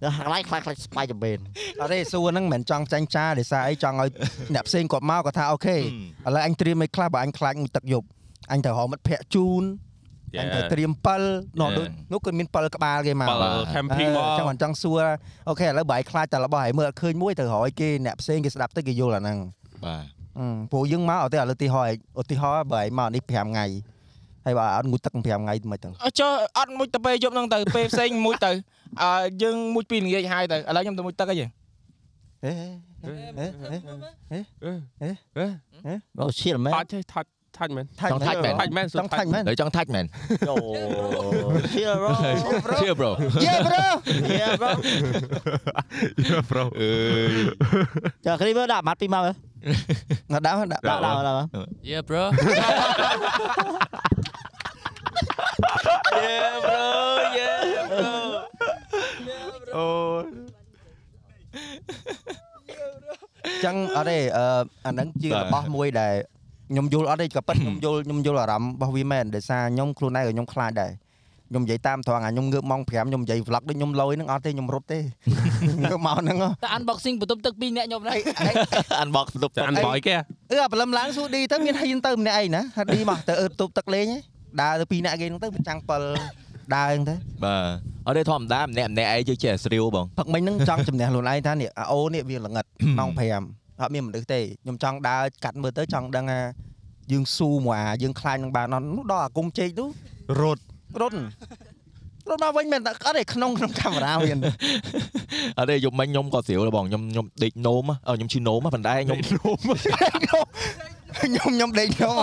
ដល់ហាក់ឡៃខ្លាចខ្លាចស្បាយតែមែន អត់ទេសួរហ្នឹងមិនមែនចង់ចាញ់ចាដោយសារអីចង់ឲ្យអ្នកផ្សេងគាត់មកគាត់ថាអូខេឥឡូវអញត្រៀមឲ្យខ្លះបើអញខ្លាចមួយទឹកយប់អញទៅរកមិត្តភ័ក្តិជូន Dạ. អញទៅត្រៀម7នោះដូចនោះគាត់មាន7ក្បាលគេមក បើ camping មក ចង់មិនចង់សួរអូខេឥឡូវបើឯងខ្លាចតែរបស់ឯងមើលអត់ឃើញមួយទៅរកឲ្យគេអ្នកផ្សេងគេស្ដាប់ទៅគេយល់អាហ្នឹង បាទ អឺព្រោះយើងមកឧទាហរណ៍ឧទាហរណ៍ឧទាហរណ៍បើឯងមកនេះ5ថ្ងៃហើយបើអត់ងូតទឹក5ថ្ងៃមិនទៅ អត់ចុះអត់មួយទៅពេលយប់ហ្នឹងទៅពេលផ្សេងមួយទៅអឺយើងមួយពីរល្ងាចហើយទៅឥឡូវខ្ញុំទៅមួយទឹកអីយើង ហេ អូឈៀលមែន អត់ទេថាច់ថាច់មែន ថាច់មែន ថាច់មែន ចង់ថាច់មែន ហើយចង់ថាច់មែន អូឈៀលរ៉ូ ជឿ bro យេប្រូ ប្រូ អឺ ចាគ្រីមើលដាក់ម៉ាត់ពីរម៉ាត់មើល មកដាក់មកដាក់ ដាក់ដាក់ដាក់មើល យេ bro Yeah bro yeah bro អូ អញ្ចឹងអត់ទេអឺអាហ្នឹងជារបស់មួយដែល ខ្ញុំយល់អត់ទេក៏ប៉ិត ខ្ញុំយល់ខ្ញុំយល់អារម្មណ៍របស់វាមែនដោយសារខ្ញុំខ្លួនឯងក៏ខ្ញុំខ្លាចដែរខ្ញុំនិយាយតាមត្រង់អាខ្ញុំងើបម៉ោង5ខ្ញុំនិយាយ vlog ដូចខ្ញុំលយហ្នឹងអត់ទេខ្ញុំរត់ទេ ងើបមកហ្នឹងហ៎ តែ unboxing បន្ទប់ទឹកពីរអ្នកខ្ញុំហ្នឹង អានបកបន្ទប់ តែ ទឹក អានបយគេ អឺអាព្រលឹមឡើងសួរឌីទៅមានហ៊ានទៅម្នាក់ឯងណាហាត់ឌីមកទៅអឺបន្ទប់ទឹកលេងឯងដើរទៅពីរអ្នកគេហ្នឹងទៅចាំង7ដើរហ្នឹងទៅ បាទអត់ទេធម្មតាម្នាក់ម្នាក់ឯងជួយចេះស្រាវបង ផឹកមិញហ្នឹងចង់ជំនះខ្លួនឯងថានេះអាអូនេះវាល្ងិត ម៉ោង5អត់មានមនុស្សទេខ្ញុំចង់ដើរកាត់មើលទៅចង់ដឹងថាយើងស៊ូមកអាយើងខ្លាញ់នឹងបានអត់នោះដល់អាកុំជែកនោះរត់រត់រត់មកវិញមែនតែអត់ទេក្នុងក្នុង កាមេរ៉ាវា អត់ទេយប់មិញខ្ញុំក៏ស្រាវដែរបងខ្ញុំខ្ញុំដេកនោមហ៎អឺខ្ញុំឈឺនោមហ៎ប៉ុន្តែខ្ញុំ ខ្ញុំខ្ញុំដេកខ្ញុំ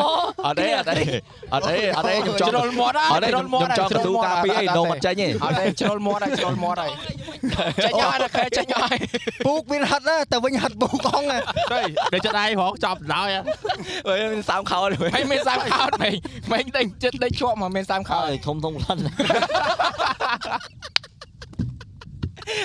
អត់ទេអត់ទេអត់ទេអត់ទេខ្ញុំចង់ ជ្រុលមាត់ហើអយត់ទេខ្ញុំខ្ញុំចង់កន្ទូការពារឯងនោមអត់ចេញទេ អត់ទេជ្រុលមាត់ហើយជ្រុលមាត់ហើយចេញអស់ហើយខែចេញអស់ហើយ ពូកមានហិតណាទៅវិញហិតពូកអងណា ទៅតែចិត្តឯងហងចប់ដល់ហើយ មានសោមខោទេ មិនមានសាំខោតវិញមិនដេញចិត្តដេញឈប់មកមានសាំខោតហើយធំធំខ្លួន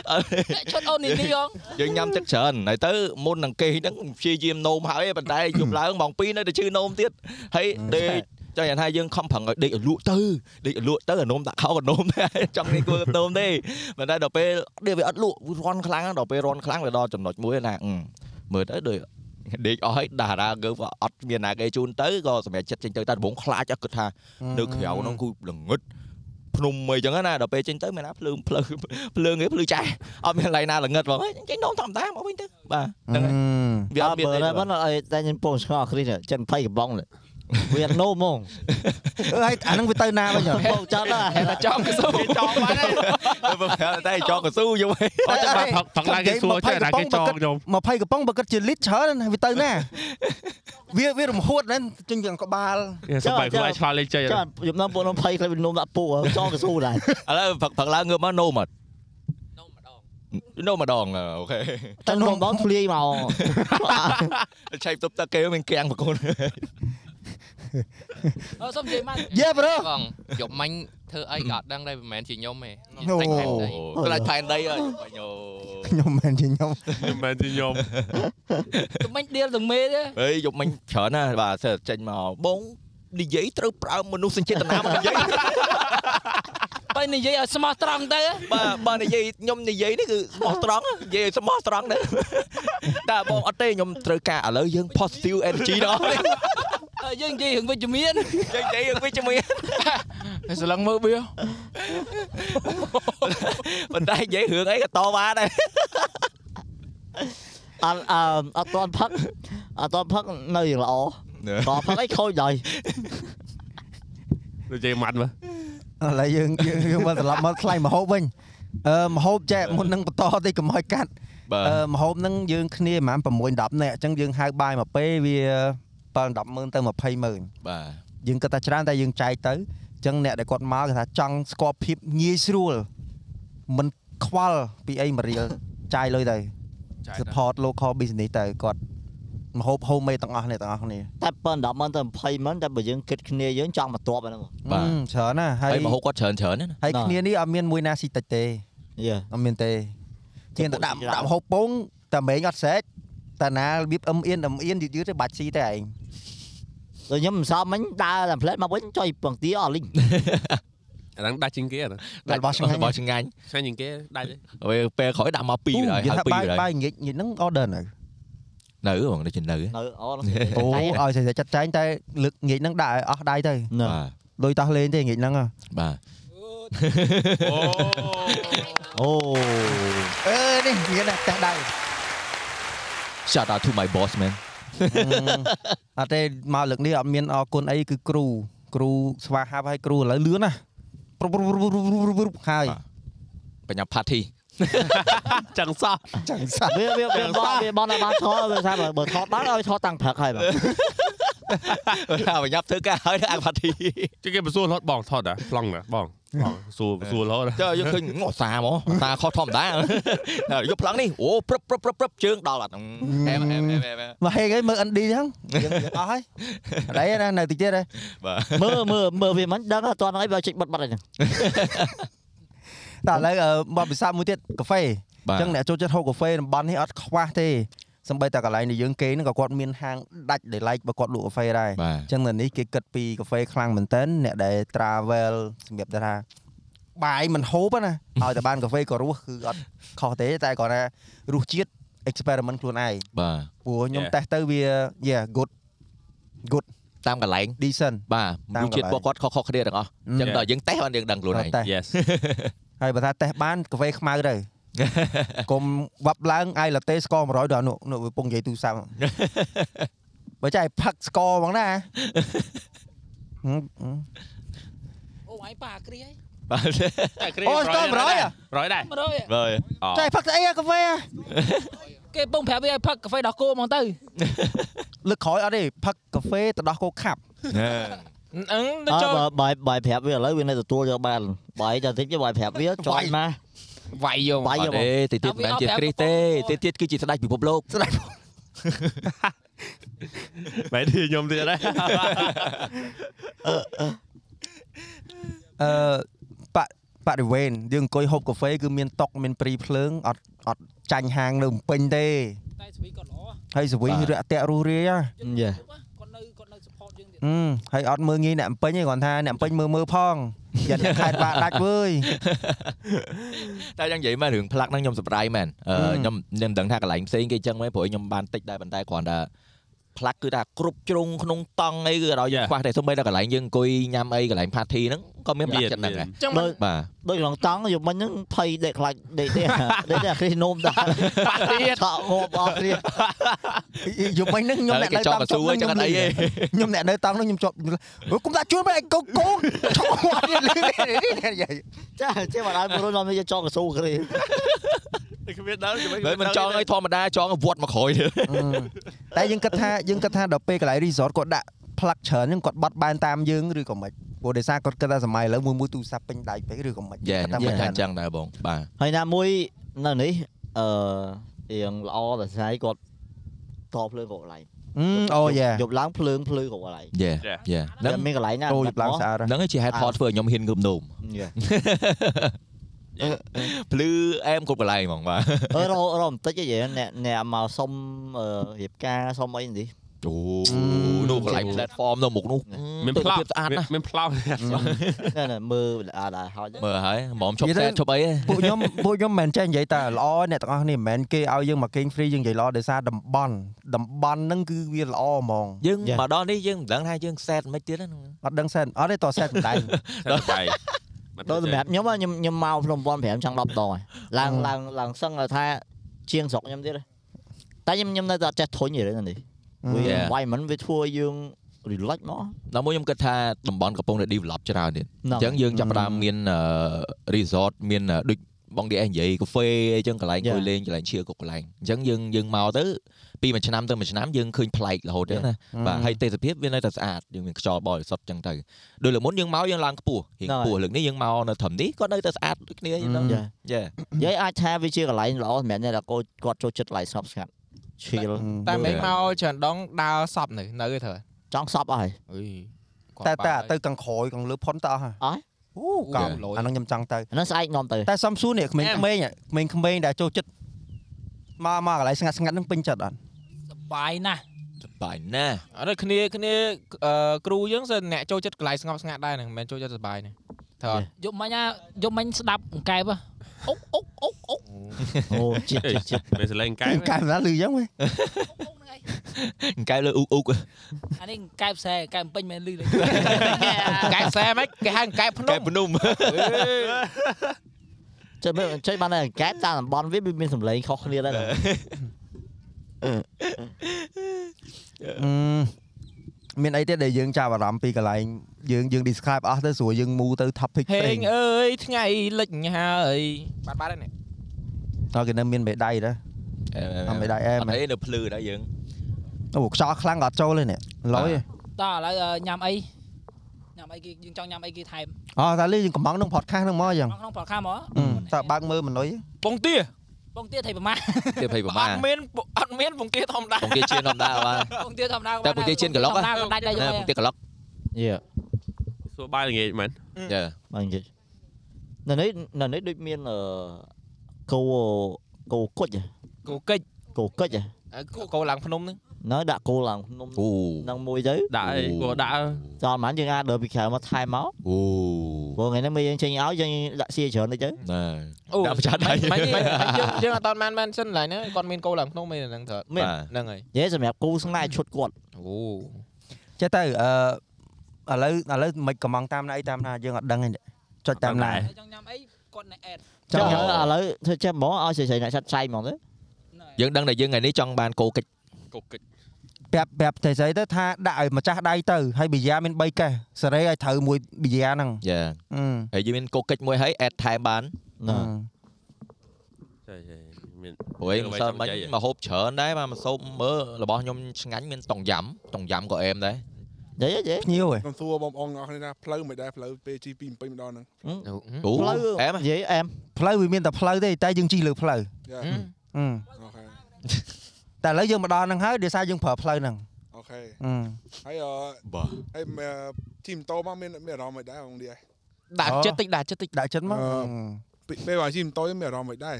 អ្នកឈុតអូននេះនេះហង យើងញ៉ាំទឹកច្រើនហើយទៅមុននឹងគេហ្នឹងព្យាយាមនោមហើយឯងប៉ុន្តែយប់ឡើងម៉ោង2នៅតែឈឺនោមទៀតហើយដេកចង់យ៉ាងថាយើងខំប្រឹងឲ្យដេកឲ្យលក់ទៅដេកឲ្យលក់ទៅអានោមដាក់ខោក៏ នោមដែរចង់នេះគួរនោមទេប៉ុន្តែដល់ពេលដេកវាអត់លក់វារន់ខ្លាំងណាស់ដល់ពេលរន់ខ្លាំងវាដល់ចំណុចមួយណាអឺមើលទៅដូចដេកអស់ហើយតារាគឺអត់មានណាគេជូនទៅក៏សម្រាប់ចិត្តចេញទៅតែដំបងខ្លាចអត់គិតថា នៅក្រៅហ្នឹងគឺល្ងឹតភ្នំអីចឹងណាដល់ពេលចេញទៅមានណាភ្លើងភ្លើងភ្លើងគេភ្លឺចាស់អត់មានកន្លែងណាល្ងឹតបងហើយចេញនោមធម្មតាមកវិញទៅ បាទហ្នឹងហើយវា អ អ ត់ ត់ មា មាន នអីទេបតែង មិនឲ្យតែខ្ញុំពងឆ្ងល់គ្រីសចិត្ត20កំបងវានោមហ្មង អឺហើយអាហ្នឹងវាទៅណាវិញហ៎ ពងចិត្តណា តែចង់សូវ គេចង់បានហើយ តែចង់កស៊ូយំហី អត់ចាំ បាច់ផឹកផឹកឡើងគេសួរចេះណាគេចង់ខ្ញុំ 20កំប៉ុងបើគិតជាលីត្រច្រើនណាវាទៅណាវាវារំហួតណាស់ជិញទាំងក្បាល សុបាយខ្លួនឯងឆ្លាតលេងចេះ ចាំខ្ញុំនាំពួកនោម20ខ្លះវានោមដាក់ពូចង់កស៊ូដែរ ឥឡូវផឹកផឹកឡើងងើបមកនោមអត់នោមម្ដងនោមម្ដង អូខេ តែនោមបងធ្លាយមក ឆៃតុបតាគេមានកៀងប្រគល់ អឺសុំនិយាយមក យេប្រូ បងយកមាញ់ធ្វើអីក៏អត់ដឹងដែរមិនមែនជាខ្ញុំទេ អូ តែថែមអី ខ្លាចថែនដីអើយញោ ខ្ញុំមិនមែនជាខ្ញុំ ខ្ញុំមិនមែនជាខ្ញុំ ទៅមិញដៀលទៅមេទេ ហេយប់មិញច្រើនណាស់បាទសិលចេញមកបងនិយាយត្រូវប្រើមនុស្សសេចក្ដីណាមកនិយាយ បើនិយាយឲ្យស្មោះត្រង់ទៅ បើបើនិយាយខ្ញុំនិយាយនេះគឺស្មោះត្រង់និយាយឲ្យស្មោះត្រង់ដែរតែបងអត់ទេខ្ញុំត្រូវការឥឡូវយើង positive energy ដល់ នេះ អឺយើងនិយាយរឿងវិជ្ជមាន យើងនិយាយ រឿងវិជ្ជមាន ស្រឡឹងមើលបៀ ប៉ុន្តែនិយាយរឿងអីក៏តវ៉ាដែរ អត់អឺអត់តន់ផឹកអត់តន់ផឹកនៅយ៉ាងល្អតផឹកអីខូចដែរ និយាយម៉ាត់មើល ឥឡូវយើងយើងយើងមកត្រឡប់មកថ្លៃម្ហូបវិញអឺម្ហូបចែកមុននឹងបន្តតិចកុំឲ្យកាត់ បាទ អឺម្ហូបហ្នឹងយើងគ្នាប្រហែល6 10នាក់អញ្ចឹងយើងហៅបាយមកពេលវា7 10ម៉ឺនទៅ20ម៉ឺន បាទ យើងគិតថាច្រើនតែយើងចែកទៅអញ្ចឹងអ្នកដែលគាត់មកគេថាចង់ស្គាល់ភាពងាយស្រួលមិនខ្វល់ពីអីមួយរៀលចាយលុយទៅ support local business ទៅគាត់មហូប home made ទាំងអស់នេះទាំងអស់គ្នា តែប៉ុណ្ណឹង10ម៉ឺនទៅ20ម៉ឺនតែបើយើងគិតគ្នាយើងចង់បន្ទាប់អាហ្នឹង បាទ អឺច្រើនណាស់ហើយ ហើយមហូបគាត់ច្រើនច្រើនណាស់ណា ហើយគ្នានេះអត់មានមួយណាស៊ីតិចទេ យេ អត់មានទេជាងតែដាក់ ពួកស៊ីដាក់ច្រើនមហូបពងតែម៉េងអត់ស្រេចតាណារបៀបអឹមអៀនអឹមអៀនយឺតៗទៅបាច់ស៊ីតែឯង ដូចខ្ញុំមិនសមមិញដើរតាមផ្លែតមកវិញចុយពងទាអស់លីង អាហ្នឹងដាច់ជាងគេអាហ្នឹង តែរបស់ឆ្ងាញ់ បោះឆ្ងាញ់ ឆ្ងាញ់ជាងគេដាច់ទេ ពេលពេលក្រោយដាក់មកពីរហើយ យ ហើយ ថា ពី បាយ រហើ បាយ យងិចងិចហ្នឹង order នៅ នៅបងដូចជានៅ នៅអូ អូឲ្យសេចក្ដីចាត់ចែងតែលើកងាយហ្នឹងដាក់ឲ្យអស់ដៃទៅ ណ៎ បាទ លុយតោះលេងទេងាយហ្នឹង បាទ អូ អូ អឺនេះងាយណាស់តែដៃ shout out to my boss man អត់ទេមកលើកនេះអត់មានអរគុណអីគឺគ្រូគ្រូស្វាហាប់ឲ្យគ្រូឥឡូវលឿនណាព្រុបព្រុបព្រុបព្រុបព្រុបព្រុបហើយ បញ្ញា party ចឹងសោះ ចឹងសោះ វាវាវាបងវាបងបានថតវាថាបើបើថតបានឲ្យថតតាំងព្រឹកហើយបង បញ្ញាធ្វើការ ហើយដាក់ party ជាងគេបើសួររហត់បងថតណាប្លង់ណាបងបងសួរសួររហត់ណា ចុះយើងឃើញងក់សាហ្មងសាខុសធម្មតា ហើយយកប្លង់នេះអូព្រឹបព្រឹបព្រឹបព្រឹបជើងដល់អត់អែមអែមអែមអែម មកហេកអីមើល ND ចឹងយើងយើងអស់ហើយអត់អីណានៅតិចទៀតហើយ មើលមើលមើលវាមិនដឹងអត់ហ្នឹងអីបើចេញបិទបាត់អីហ្នឹង តែឥឡូវអឺមកពិសាមួយទៀតកាហ្វេអ បាទ ញ្ចឹងអ្នកចូលចិត្តហូបកាហ្វេតំបន់នេះអត់ខ្វះទេស សម្បីតែកន្លែងដែលយើងគេងហ្នឹងក៏គាត់មានហាងដាច់ដែលឡែកបើគាត់លក់កាហ្វេដែរ បាទ អញ្ចឹងនៅនេះគេគិតពីកាហ្វេខ្លាំងមែនតើអ្នកដែល travel សម្រាប់ថាបាយមិនហូបណាឲ្យតែបានកាហ្វេក៏រសគឺអត់ខុសទេតែគាត់ថារសជាតិ experiment ខ្លួនឯង បាទ ព្រោះខ្ញុំ Yeah. តេស្តទៅវា yeah good តាមកន្លែង decent បាទ តាម មួយជាតិ ករបស់ន្លែងគាត់ខុសៗគ្នាទាំងអស់អញ្ចឹង ហឹដមល់យើងតេសបានយើងដឹងខ្លួន ឯង តេស្ត Yes ហើយបើថាតេស្តបានកាហ្វេខ្មៅ ទៅ កុំវាប់ឡើងអាយឡាតេស្ក100ដល់នោះនោះវាពងនិយាយទូរស័ព្ទ បើចៃផឹកស្កហ្មងណា ហឹមហឹម អូអញប៉ាអាគ្រីហើយ បាទ អូស្ទើរ100អ่ะ រយដែរ 100ហើយ បាទ ចៃផឹកស្អីអាកាហ្វេអា គេពងប្រាប់វាឲ្យផឹកកាហ្វេដោះគោហ្មងទៅ លើកក្រោយអត់ទេផឹកកាហ្វេទៅដោះគោខាប់ អឹងទៅ អើ ចូល បើបាយបាយប្រាប់វាឥឡូវវានៅទទួលយកបានបាយតែតិចវាបាយប្រាប់វាចន់មក វាយយក បាយ អ យក ត់ មក ទេតិចទៀតមិនមែនជាគ្រីស្ទទេតិចទៀតគឺជាស្ដេចពិភពលោកស្ដេច បែរទីខ្ញុំទៀតដែរ អឺបរិបរិវេណយើងអង្គុយហូបកាហ្វេគឺមានតុកមានព្រីភ្លើងអត់អត់ចាញ់ហាងនៅភ្នំពេញទេ តែស្វីគាត់ល្អ ហើយសវិងរាក់តាក់រស់រាយហ៎ យេ គាត់នៅគាត់នៅ support យើងទៀត អឺហើយអត់មើងងាយអ្នកភ្នំពេញទេគ្រាន់ថាអ្នកភ្នំពេញមើលមើលផងយ៉ាងអ្នកខេត្តបាដាច់វើយ តែយ៉ាងនិយាយមករឿងផ្លាក់ហ្នឹងខ្ញុំសម្រាយមែនអឺ Mm. ខ្ញុំខ្ញុំដឹងថាកន្លែងផ្សេងគេអញ្ចឹងមែនព្រោះខ្ញុំបានតិចដែរប៉ុន្តែគ្រាន់តែផ្លាក់គឺថាគ្រប់ជ្រុងក្នុងតង់អីគឺអត់ឲ្យយើងខ្វះទេសូម្បីតែកន្លែងយើងអង្គុយញ៉ាំអីកន្លែង party ហ្នឹងក៏មានផ្លាក់ចិត្តហ្នឹងដែរ ចឹង ដូច បាទ ដូចឡងតង់យកមិញហ្នឹងភ័យដេកខ្លាចដេកទេ ដេកតែគ្រីណូមដែរបាទ ទៀតឆក់ងប់អស់គ្នា យប់មិញហ្នឹងខ្ញុំ ឥឡូវ អ្នក គេ នៅ ចង់ តង់ កស៊ូហើយចឹងអត់អីទេ ខ្ញុំអ្នកនៅតង់នោះខ្ញុំជាប់អូយគុំដាក់ជួនបែកកូកូនឈប់អត់ទៀតលឺនេះ ចាជាបាត់ឲ្យព្រោះនាំវាចង់កស៊ូគ្រី គ្មានដល់ខ្ញុំ ហើយមិនចង់ឲ្យធម្មតាចង់ឲ្យវត្តមកក្រោយទៀត តែយើងគិតថាយើងគិតថាដល់ពេលកន្លែង resort គាត់ដាក់ plug ច្រើនហ្នឹងគាត់បត់បែនតាមយើងឬក៏មិនព្រោះដោយសារគាត់គិតថាសម័យឥឡូវមួយមួយទូរស័ព្ទពេញដៃពេកឬក៏មិន យ៉ា គាត់ខ្ញុំថាមិន ថា ថា អញ្ចឹងដែរបងបាទ ហើយណាមួយនៅនេះអឺរៀងល្អតែស្អីគាត់តភ្លើងគ្រប់កន្លែង អឺអូយ៉ា យប់ឡើងភ្លើងភ្លឺគ្រប់កន្លែង យ៉ាយ៉ា តែ ហ្នឹង មានកន្លែងណា ចូលយប់ឡើងស្អាតហ៎ ហ្នឹងឯងជា head hot ធ្វើឲ្យខ្ញុំហ៊ានងើបនោម យេ ភ្លឺអែមគ្រប់កន្លែងហ្មងបាទ អឺរហូតរហូតបន្តិចហីអ្នកអ្នកមកសុំអឺរៀបការសុំអីនេះ អូនោះកន្លែង platform នៅមុខនោះ មានទផ្លោស្សនភាពស្អាតណាស់ មានផ្លោ ណែនមើលល្អដែរហើយ មើលហើយហ្មងឈប់សែឈប់អីហ៎ ពួកខ្ញុំពួកខ្ញុំមិនមែនចេះនិយាយតែល្អអ្នកទាំងអស់គ្នាមិនមែនគេឲ្យយើងមកគេង free យើងនិយាយល្អដោយសារតំបន់តំបន់ហ្នឹងគឺវាល្អហ្មង យើងមកដល់នេះយើងមិនដឹងថាយើងសែតមិនទៀតហ្នឹង អត់ដឹងសែនអត់ទេតសែនបណ្ដៃ ដល់បាយ ដល់សម្រាប់ខ្ញុំហ៎ខ្ញុំខ្ញុំមកភ្នំពេញ5ចង់10ដងហើយឡើង អឺ ឡើងឡើងសឹងឲ្យថាជាងស្រុកខ្ញុំទៀតហ៎តែខ្ញុំខ្ញុំនៅតែអត់ចេះធុញហីរឿងនេះ Ừ. វា environment វាធ្វើឲ្យយើង relax មក ដល់មួយខ្ញុំគិតថាតំបន់កំពុងតែ develop ច្រើនទៀតអ ហ្នឹង ញ្ចឹងយើងចាប់ផ្ដើមមាន resort មានអឺដូចបង DS និយាយកាហ្វេអីចឹងកន្លែង Yeah. គួយលេងកន្លែងឈៀរគ្រប់កន្លែងអញ្ចឹងយើងយើងមកទៅពីមួយឆ្នាំទៅមួយឆ្នាំយើងឃើញប្លែករហូតទេ Yeah. ណាបាទហើយទេសភាពវានៅតែស្អាតយើងមានខ្យល់បរិសុទ្ធអញ្ចឹងទៅដោយលើកមុនយើងមកយើងឡើងខ្ពស់រៀង ហ្នឹងហើខ្ពយស់លើកនេះយើងមកនៅត្រឹមនេះក៏នៅតែស្អាតដូចគ្នាអញ្ចឹង Mm. ចា យ៉ា និយាយអាចថាវាជាកន្លែងល្អសម្រាប់អ្នកដែលគាត់គាត់ចូលចិត្តកន្លែងស្ងប់ស្ងាត់ chill តែមិនមកច្រើនដងដើរសប់នៅនៅទេត្រូវ ចង់សប់អស់ហើយ អុយ តែតែទៅកង្រោយកង្លើផុនតអស់ហ៎ អស់ អូកោ លយ អាហ្នឹងខ្ញុំចង់ទៅ អាហ្នឹងស្អែកនាំ ទៅ តែសំសួរនេះក្មេងៗៗក្មេងៗដែលចូលចិត្តមកមកកន្លែងស្ងាត់ស្ងាត់ហ្នឹងពេញចិត្តអត់ សបាយណាស់ បាយណាស់ អត់គ្នាគ្នាអឺគ្រូយើងសិនអ្នកចូលចិត្តកន្លែងស្ងប់ស្ងាត់ដែរហ្នឹងមិនមែនចូលចិត្តសប្បាយទេត្រូវអត់ យប់មិញណាយប់មិញស្ដាប់អង្កែបហ៎អុកអុកអុកអុក អូជាតិជាតិជាតិ មានសលេងកែវ កែកែមិនដឹងឮអញ្ចឹងហ៎ អុកអុកហ្នឹងឯង កែវលើអ៊ូកអ៊ូក អានេះអង្កែបផ្សែអង្កែបពេញមែនលឺលេង កែបសែហ្មងគេហៅកែប កែវភ្នំ ភ្នំ ចេះមើលចេះបានតែកែបតាមតំបន់វាវាមានសម្លេងខុសគ្នាដែរណា មានអីទៀតដែលយើងចាប់អារម្មណ៍ពីកន្លែងយើងយើង describe អស់ទៅស្រួលយើងមូទៅ topic ហេផ្សេង ងអើយថ្ងៃលិចហើយបាត់បាត់ហើយនេះ តោះគេនៅមានមេដៃដែរអត់មេដៃអែម អត់ទេនៅភ្លឺដែរយើង អូខ្យល់ខ្លាំងក៏អត់ចូលទេនេះឡយ តោះឥឡូវញ៉ាំអីញ៉ាំអីគេយើងចង់ញ៉ាំអីគេថែម អូតាលីយើងកំងក្នុង podcast ហ្នឹងមកអញ្ចឹង ក្នុងក្នុងប្រខាមហ៎ តើបើកមើលមនុយ ពងទា បងទៀតថៃប្រមាណ ទៀតភ័យប្រ អ មា ត់មានពអត់មានពងទាធម្មតា បងគេជឿនំដែរបាទ បងទៀតធម្មតា តែពងទាជិនកន្លុកហ៎ ហ៎ដាច់ដែរ យ ណា ល់ ប ទេ ងទៀតក្លុក យេ សួរបាយល្ងាចមែន យើ បាននិយាយនៅនេះនៅនេះដូចមានអឺគោគោគុជហ៎ គូកិច្ច គោគុជហ៎ កោឡើងភ្នំហ្នឹង nó đã cô là nông អូ nông mùi chứ ដាក់អី អូ គាត់ដាក់ cho mà dương ai đợi bị khởi mà thay máu អូ vừa ngày nó mới chân áo dân đã xia trở nữa chứ ណែ អូ ដាក់ប្រចាំដៃ មិន ទេយើងយើងអត់តាន់បានបានសិនឡើយហ្នឹងគាត់មានកោឡើងភ្នំមានហ្នឹងត្រូវ បាទ ហ្នឹងហើយ dễ rồi mẹ cô sáng nay chuột cuộn អូ ចេះទៅអឺឥឡូវឥឡូវមិនកំងតាមណាអីតាមណាយើងអត់ដឹងទេចុចតាមណា ចង់ញ៉ាំអីគាត់ណែអេត chẳng Trời nhớ ơi. là lấy thôi chứ bỏ ao xì xì này sạch say mà thế យើងដឹងតែយើងថ្ងៃនេះចង់បានកោកិច្ច កុកកិច្ច ប្រាប់ប្រាប់តែស្អីទៅថាដាក់ឲ្យម្ចាស់ដៃទៅហើយប៊ីយ៉ាមាន3កេសសេរីឲ្យត្រូវមួយប៊ីយ៉ាហ្នឹង យ៉ា អឺ ហើយយើងមានកោកិច្ចមួយហើយអេតថែមបាន nè ចៃចៃមាន ព្រោះឯង អ្វី មិនសល់ ចង់ មិញ ចៃ មកហូបច្រើនដែរបាទមកសូបមើលរបស់ខ្ញុំឆ្ងាញ់មានតុងយ៉ាំតុងយ៉ាំក៏អែមដែរ dễ dễ ភ្ញៀវហ៎ ខ្ញុំសួរបងប្អូនទាំងអស់គ្នាណាផ្លូវមិនដែរផ្លូវពេលជី2 20ម្ដងហ្នឹង Ừ. អូអែម em dễ em ផ្លូវវាមានតែផ្លូវទេតែយើងជិះលើផ្លូវ យ៉ា ហឹម អឺ អូខេ តែឥឡូវយើងមកដល់ហ្នឹងហើយដោយសារយើងប្រើផ្លូវហ្នឹង អូខេ អឺ ហើយអឺ បាទ ហើយមអឺជីម៉ូតូមកមានមានអារម្មណ៍មិនដែរបងឌីអី ដាក់ចិត្តតិចដាក់ចិត្តតិច ដាក់ចិត្តមក អឺ អឺ ពេលពេលមកជីម៉ូតូមានអារម្មណ៍មិនដែរ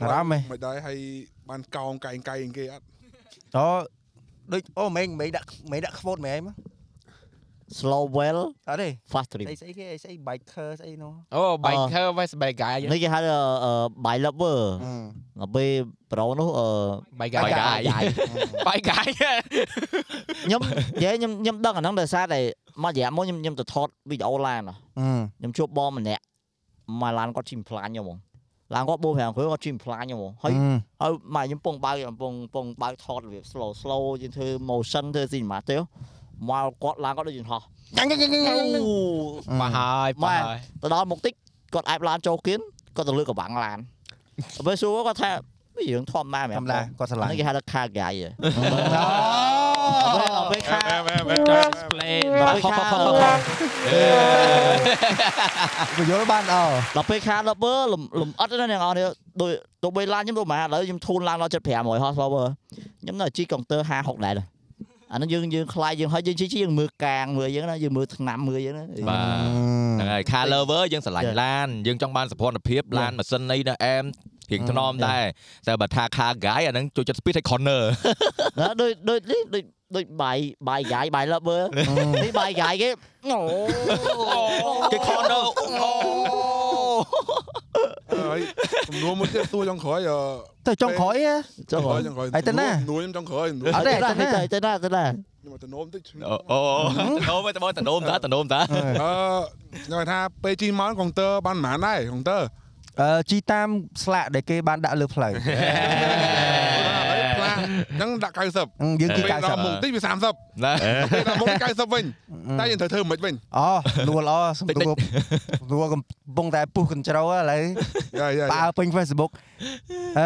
អារម្មណ៍ហ៎ មិនដែរហើយបានកោងកែងកែងគេអត់ តដូចអូម៉េងម៉េងដាក់ម៉េងដាក់ខ្វូតម៉េងមក slow well អត់ទេ fast trip អីស្អីគេអីស្អី biker ស្អីនោះ អូ biker West Bega នេះគេហៅថាអឺ by lover ដល់ពេលប្រូនោះអឺ Bega Bike guy. Bega ខ្ញុំនិយាយខ្ញុំខ្ញុំដឹងអាហ្នឹងដោយសារតែមករយៈមកខ្ញុំខ្ញុំទៅថតវីដេអូឡានហ៎ អឺ ខ្ញុំជួបបងម្នាក់មកឡានគាត់ជិះផ្លាញខ្ញុំហ្មងឡានគាត់បូ5គ្រឿងគាត់ជិះផ្លាញខ្ញុំហ្មងហើយហើយមកខ្ញុំពងបើកកំពុងពងបើកថតរបៀប slow slow យើងធ្វើ motion ធ្វើ cinema ទៅមកគាត់ឡានគាត់ដូចយន្តហោះ មកហើយមកហើយ ទៅដល់មុខតិចគាត់អែបឡានចូលគៀនគាត់ទៅលើកកបាំងឡានដល់ពេលសួរគាត់ថាវារឿងធម្មតាមែន ធម្មតាគាត់ស្រឡាញ់ ហ្នឹងគេហៅថា car guy ហ៎ដល់ពេល car ដល់ពេល car ពន្យល់បានអោ ដល់ពេលខាដល់បើលំលំអិតណាស់អ្នកនរនេះដូចទៅបីឡានខ្ញុំទៅមកឥឡូវខ្ញុំធូនឡើងដល់7500ហោះបើខ្ញុំនៅជីកុងទ័រ50 60ដែរណាអានោះយើងយើងខ្លាយយើងហើយយើងជីជីយើងមើលកាងមើលយើងណាយើងមើលឆ្នាំមើលយើងណា បាទ ហ្នឹងហើយ car lover យើងស្រឡាញ់ Yeah. ឡានយើងចង់បានសុភ័ណភាពឡានម៉ាស៊ីនអីណាអែមរៀងថ្នម Mm, ដែរតែបើថា car guy អាហ្នឹងចូលចិត្ត speed ឲ្យ corner ណាដូចដូចនេះដូចដូចបាយបាយហ្គាយបាយលបើនេះបាយហ្គាយគេអូ គេ corner អូ ហើយសំណួរមួយទៀតសួរចុងក្រោយអឺ ទៅចុងក្រោយហ៎ ចុះ ចុងក្រោយ ហើយទៅណា នួលខ្ញុំចុងក្រោយនួល អត់ទេអត់ទេទៅណាទៅណា ខ្ញុំមកទៅនោមតិចអឺ អូអូតនោមតនោមតាតនោមតា ខ្ញុំថាពេលជីមកកុងទ័របានប៉ុន្មានដែរកុងទ័រ អឺជីតាមស្លាកដែលគេបានដាក់លើផ្លូវ ផ្លាស់អញ្ចឹងដាក់90 អឺយើងគឺ ពេលដល់មុខ 90 តិចវា30 ណា ពេលដល់មុខវា90វិញតែយើងត្រូវធ្វើមិនវិញ អូលួលអសម្រួលលួលកំពុងតែពុះ control ឥឡូវ យ៉ាយ៉ា បើពេញ Facebook អឺ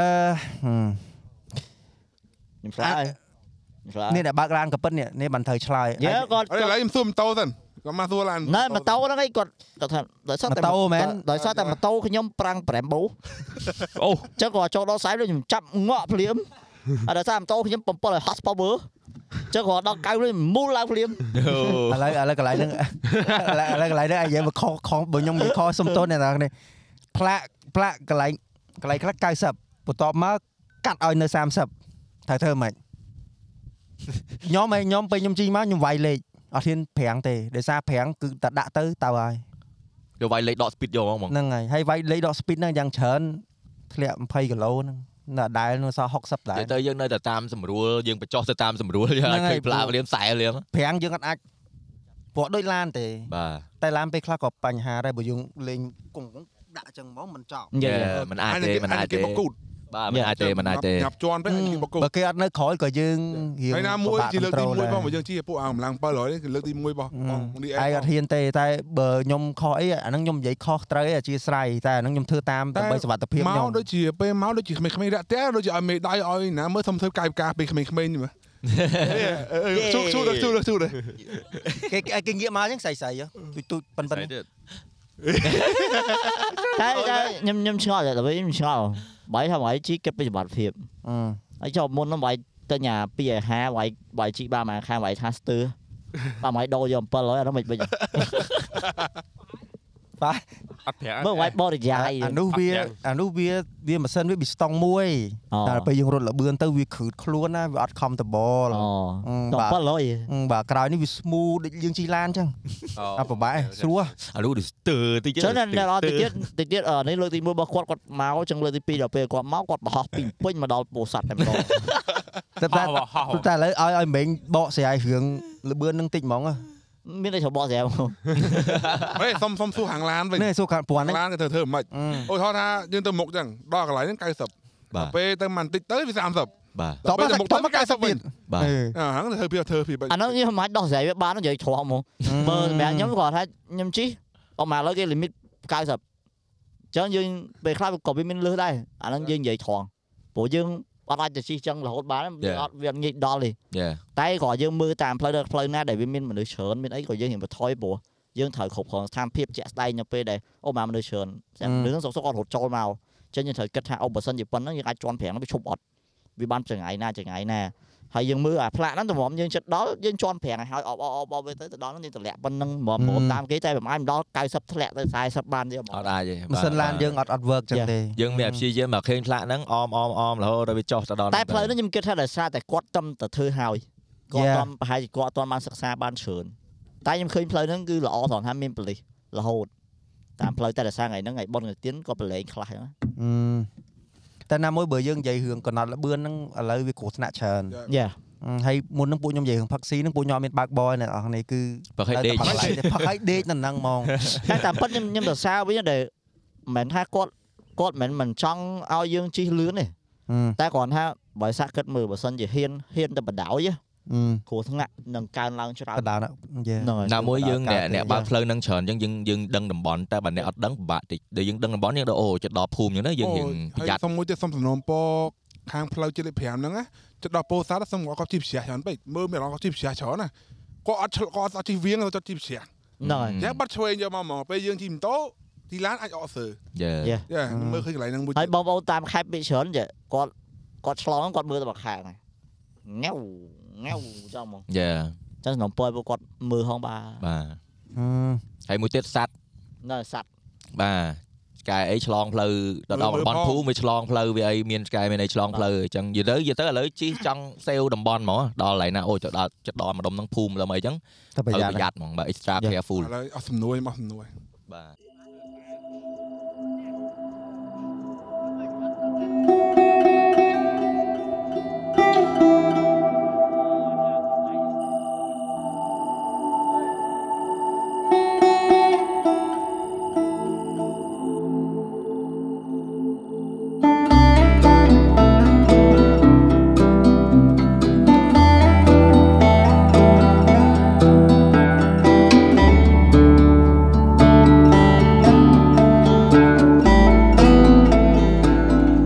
ខ្ញុំឆ្លើយឆ្លើយ នេះអ្នកបើកឡានក៏ប៉ិននេះនេះបានត្រូវឆ្លើយ យើគាត់ ឥឡូវខ្ញុំសួរម៉ូតូសិនគាត់មកសួរឡាន ណែម៉ូតូហ្នឹងឯងគាត់គាត់ថាដោយសារតែ ម៉ូតូមែន ដោយសារតែម៉ូតូខ្ញុំប្រាំង5បូ អូ អញ្ចឹងគាត់ចូលដល់ខ្សែលុយខ្ញុំចាប់ងក់ភ្លាមហើយដោយសារម៉ូតូខ្ញុំ7ឲ្យ hot power អញ្ចឹងគាត់ដល់9លុយមូលឡើង ភ្លាម អូ ឥឡូវឥឡូវកន្លែង ហ្នឹងឥឡូវឥឡូវកន្លែងហ្នឹងអាយយើងមកខខបើខ្ញុំនិយាយខសុំទោសអ្នកនរគ្នាផ្លាកផ្លាកកន្លែងកន្លែងខ្លះ90បន្ទាប់មកកាត់ឲ្យនៅ30ត្រូវធ្វើ ម៉េចខ្ញុំឯងខ្ញុំពេលខ្ញុំជីមកខ្ញុំវាយលេខអត់ហ៊ានប្រាំងទេដោយសារប្រាំងគឺតែដាក់ទៅទៅហើយ យកវាយលេខដក speed យកហ្មងបង ហ្នឹងហើយហើយវាយលេខដក speed ហ្នឹងយ៉ាងច្រើនធ្លាក់20គីឡូហ្នឹងនៅដែលនៅសល់60ដែរ តែទៅយើងនៅតែតាមសម្រួលយើងបញ្ចុះទៅតាមសម្រួលយើង ហ្នឹ អាចឃើងហើយ ញផ្លា ព្រោះ កលៀមខ្សែលៀម ប្រាំងយើងអត់អាចព្រោះដូចឡានទេ បាទ តែឡានពេលខ្លះក៏បញ្ហាដែរបើយើងលេងគង់ដាក់ចឹងហ្មងមិនចប់ Yeah, មិនអាចទេមិនអាចទេ បកគូត បាទមិនអាចទេមិនអាចទេ ញ៉ាប់ជន់ពេកគេបកគូត បើគេអត់នៅក្រោយក៏យើងរៀង ហើយណាមួយ ពិបា ជាលើកទី គ្រប់គ្រ 1បង ដែ យើងជីពួកអាកម្លាំង700នេះគឺលើកទី1របស់បងឌីអេ រឯងអត់ហ៊ានទេតែបើខ្ញុំខុសអីអាហ្នឹងខ្ញុំនិយាយខុសត្រូវអីអធិស្ស្រ័យតែអាហ្នឹងខ្ញុំធ្វើតាមដើម្បីសុវត្ថិភាព ម ខ្ញុំ កដូចជាពេលមកដូចជាក្មេងៗរាក់តែដូចជាឲ្យមេដៃឲ្យណាមើលសុំធ្វើកាយវិការពេលក្មេងៗមើល Ừ, ជូជូដល់ជូដល់ជូដល់ គេគេងាកមកចឹងស្អីស្អីទូចទូចប៉ិនប៉ិន តែទៀត តែតែខ្ញុំខ្ញុំឆ្ងល់តែដល់ពេលខ្ញុំឆ្ងល់បាយថាបាយជីគិតពីសុវត្ថិភាពហើយចូលមុនហ្នឹងបាយតែញ៉ា2ឲ្យ50បាយបាយជីបានមួយខាងបាយថាស្ទើរបានមួយដោយក700អាហ្នឹងមិនបិច បាទ អត់ប្រាក់ មើលវាយបរិយាយ អានោះវា អត់យ៉ាង អានោះវាវាម៉ាស៊ីនវាប៊ីស្តុងមួយតែពេលយើងរត់លបឿនទៅវាគ្រឺតខ្លួនណាវាអត់ខំតបល អូ អឺបាទ 700យ អឺបាទក្រោយនេះវាស្មូទដូចយើងជីឡានអញ្ចឹងអត់ប្របែកស្រួល អានោះទៅស្ទើរតិច ចឹងដល់ដល់តិចទៀតតិចទៀតអឺនេះលើកទី1របស់គាត់គាត់មកចឹងលើកទី2ដល់ពេលគាត់មកគាត់បោះពីពេញមកដល់ពោធិ៍សាត់តែម្ដង តែតែ ហោះហោះហោះ តែឥឡូវឲ្យឲ្យមេងបកស្រាយរឿងលបឿននឹងតិចហ្មងហ៎ មានតែច្របល់ស្រាប់ហ្មង ហេសុំសុំសួរខាងឡានវិញ នេះសួរខាងព្រោះហ្នឹង ឡានគេធ្វើធ្វើមិនខ្មិច អឺ អូថតថាយើងទៅមុខចឹងដល់កន្លែងហ្នឹង90 បាទ ពេលទៅមិនតិចទៅវា30 បាទ តោះមកតោះមក90ទៀត បាទ អឺ អាហ្នឹងទៅធ្វើពីធ្វើពីបាច់ អាហ្នឹងខ្ញុំមិនអាចដោះស្រាយវាបានទេនិយាយធ្លាក់ហ្មងបើសម្រាប់ខ្ញុំគាត់ថាខ្ញុំជិះអស់មកឥឡូវគេ limit 90ចឹងយើងពេលខ្លះក៏វាមានលើសដែរអាហ្នឹងយើងនិយាយធ្លងព្រោះយើងអត់អាចទៅជិះចឹងរហូតបានទេ Yeah. អត់វាអត់ងាយដល់ទេ យ៉ា តែគ្រាន់យើងមើលតាមផ្លូវដល់ផ្លូវណាដែលវាមានមនុស្សច្រើនមានអីក៏យើងហ៊ានបន្ថយព្រោះយើងត្រូវគ្រប់គ្រងស្ថានភាពជាក់ស្ដែងនៅពេលដែលអូមកមនុស្សច្រើនតែ អឺ មនុស្សហ្នឹងសុកសុកគាត់រត់ចូលមកចឹងយើងត្រូវគិតថាអូបើសិនជាប៉ុណ្ណឹងយើងអាចជន់ប្រាំងហ្នឹងវាឈប់អត់វាបានចង្អាយណាចង្អាយណាហើយយើងមើលអាផ្លាកហ្នឹងតម្រាំយើងចិត្តដល់យើងជន់ប្រាំងឲ្យហើយអបអបអបអបវាទៅទៅដល់ហ្នឹងយើងទម្លាក់ប៉ុណ្ណឹងម្រាមព្រមតាមគេតែមិនអាចមិនដល់90ធ្លាក់ទៅ40បានទេហ្ម អ ង ត់អាចទេ ម៉ាស៊ីនឡានយើងអត់អត់ work ចឹងទេ យើងមានអាព្យាយាមមកឃើញផ្លាកហ្នឹងអមអមអមរហូតដល់វាចុះទៅដល់ តែផ្លូវហ្នឹងខ្ញុំគិតថាដោយសារតែគាត់ទំតែធ្វើហើយគាត់ទំប្រហែលជាគាត់អត់ទាន់បានសិក្សាបានច្រើនតែខ្ញុំឃើញផ្លូវហ្នឹងគឺល្អត្រង់ថាមានប៉ូលីសរហូតតាមផ្លូវតែដោយសារថ្ងៃហ្នឹងថ្ងៃបុណ្យទានក៏ប្រឡែងខ្លះហ្នឹង អឺតែណាមួយបើយើងនិយាយរឿងកណ្ដាត់លបឿនហ្នឹងឥឡូវវាគ្រោះថ្នាក់ច្រើន យ៉ា អឺហើយមុនហ្នឹងពួកខ្ញុំនិយាយរឿងផឹកស៊ីហ្នឹងពួកខ្ញុំអត់មានបើកបយអ្នកនរគ្នាគឺ បើឃើញដេក ផឹកតែផឹកឲ្យដេកនៅហ្នឹងហ្មង តែតាមពិតខ្ញុំខ្ញុំសរសើរវិញដែរមិនមែនថាគាត់គាត់មិនមិនចង់ឲ្យយើងជិះលឿនទេ អឺ តែគ្រាន់ថាបើសាក់គិតមើលបើសិនជាហ៊ានហ៊ានតែបដ ாய் អឺ គ្រោះថ្នាក់នឹងកើនឡើងច្រើន កណ្ដាលហ្នឹងយេ ហ្នឹងហើយ ណាមួយយើង កើត អ្នក ទេ អ្នកបើកផ្លូវហ្នឹងច្រើនអញ្ចឹងយើងយើងដឹងតំបន់តែបើអ្នកអត់ដឹងពិបាកតិចដែលយើងដឹងតំបន់យើងដឹងអូចិត្តដល់ភូមិអញ្ចឹងណាយើងរៀងប្រយ័ត្ន សុំមួយទៀតសុំសំណូមពរខាងផ្លូវជាតិលេខ5ហ្នឹងណាចិត្តដល់ពោធិ៍សាត់សុំគាត់គាត់ជីវជ្រះច្រើនពេកមើលមានអារម្មណ៍គាត់ជីវជ្រះច្រើនណាគាត់អត់ឆ្លគាត់អត់ជីវវៀងគាត់ជីវហជ្រះ្នឹងហើយ យ៉ាងបាត់ឆ្វេងយកមកហ្មងពេលយើងជីម៉ូតូទីឡានអាចអកសើ យេ Yeah. យ៉ាមើលឃើញកន្លែងហ្នឹងមួយ ហើយបងប្អូនតាមខេត្តពីច្រើនចេះគាត់គាត់ឆ្លងគាត់មើលតែបកខែហ្នឹងញ៉ៅញ៉ៅចាំមក យេ ចាំសំណពរពួកគាត់មើលហងបា បាទ ឺ ហើយមួយទៀតសัตว์ នៅសัตว์ បាទឆ្កែអីឆ្លងផ្លូវដល់ដល់តំបន់ភូមិវាឆ្លងផ្លូវវាអីមានឆ្កែមានអីឆ្លងផ្លូវអញ្ចឹងយទៅយទៅឥឡូវជីចង់សេវតំបន់ហ្មងដល់កន្លែងណាអូចិត្តដល់ចិត្តដល់ម្ដុំហ្នឹងភូមិលំអីអញ្ចឹង តែប្រ ត្រូវ យ័ត្ន ប្រយ័ត្នហ្មងបាទ extra careful ឥឡូវអស់សំណួរអស់សំណួរ បាទ ម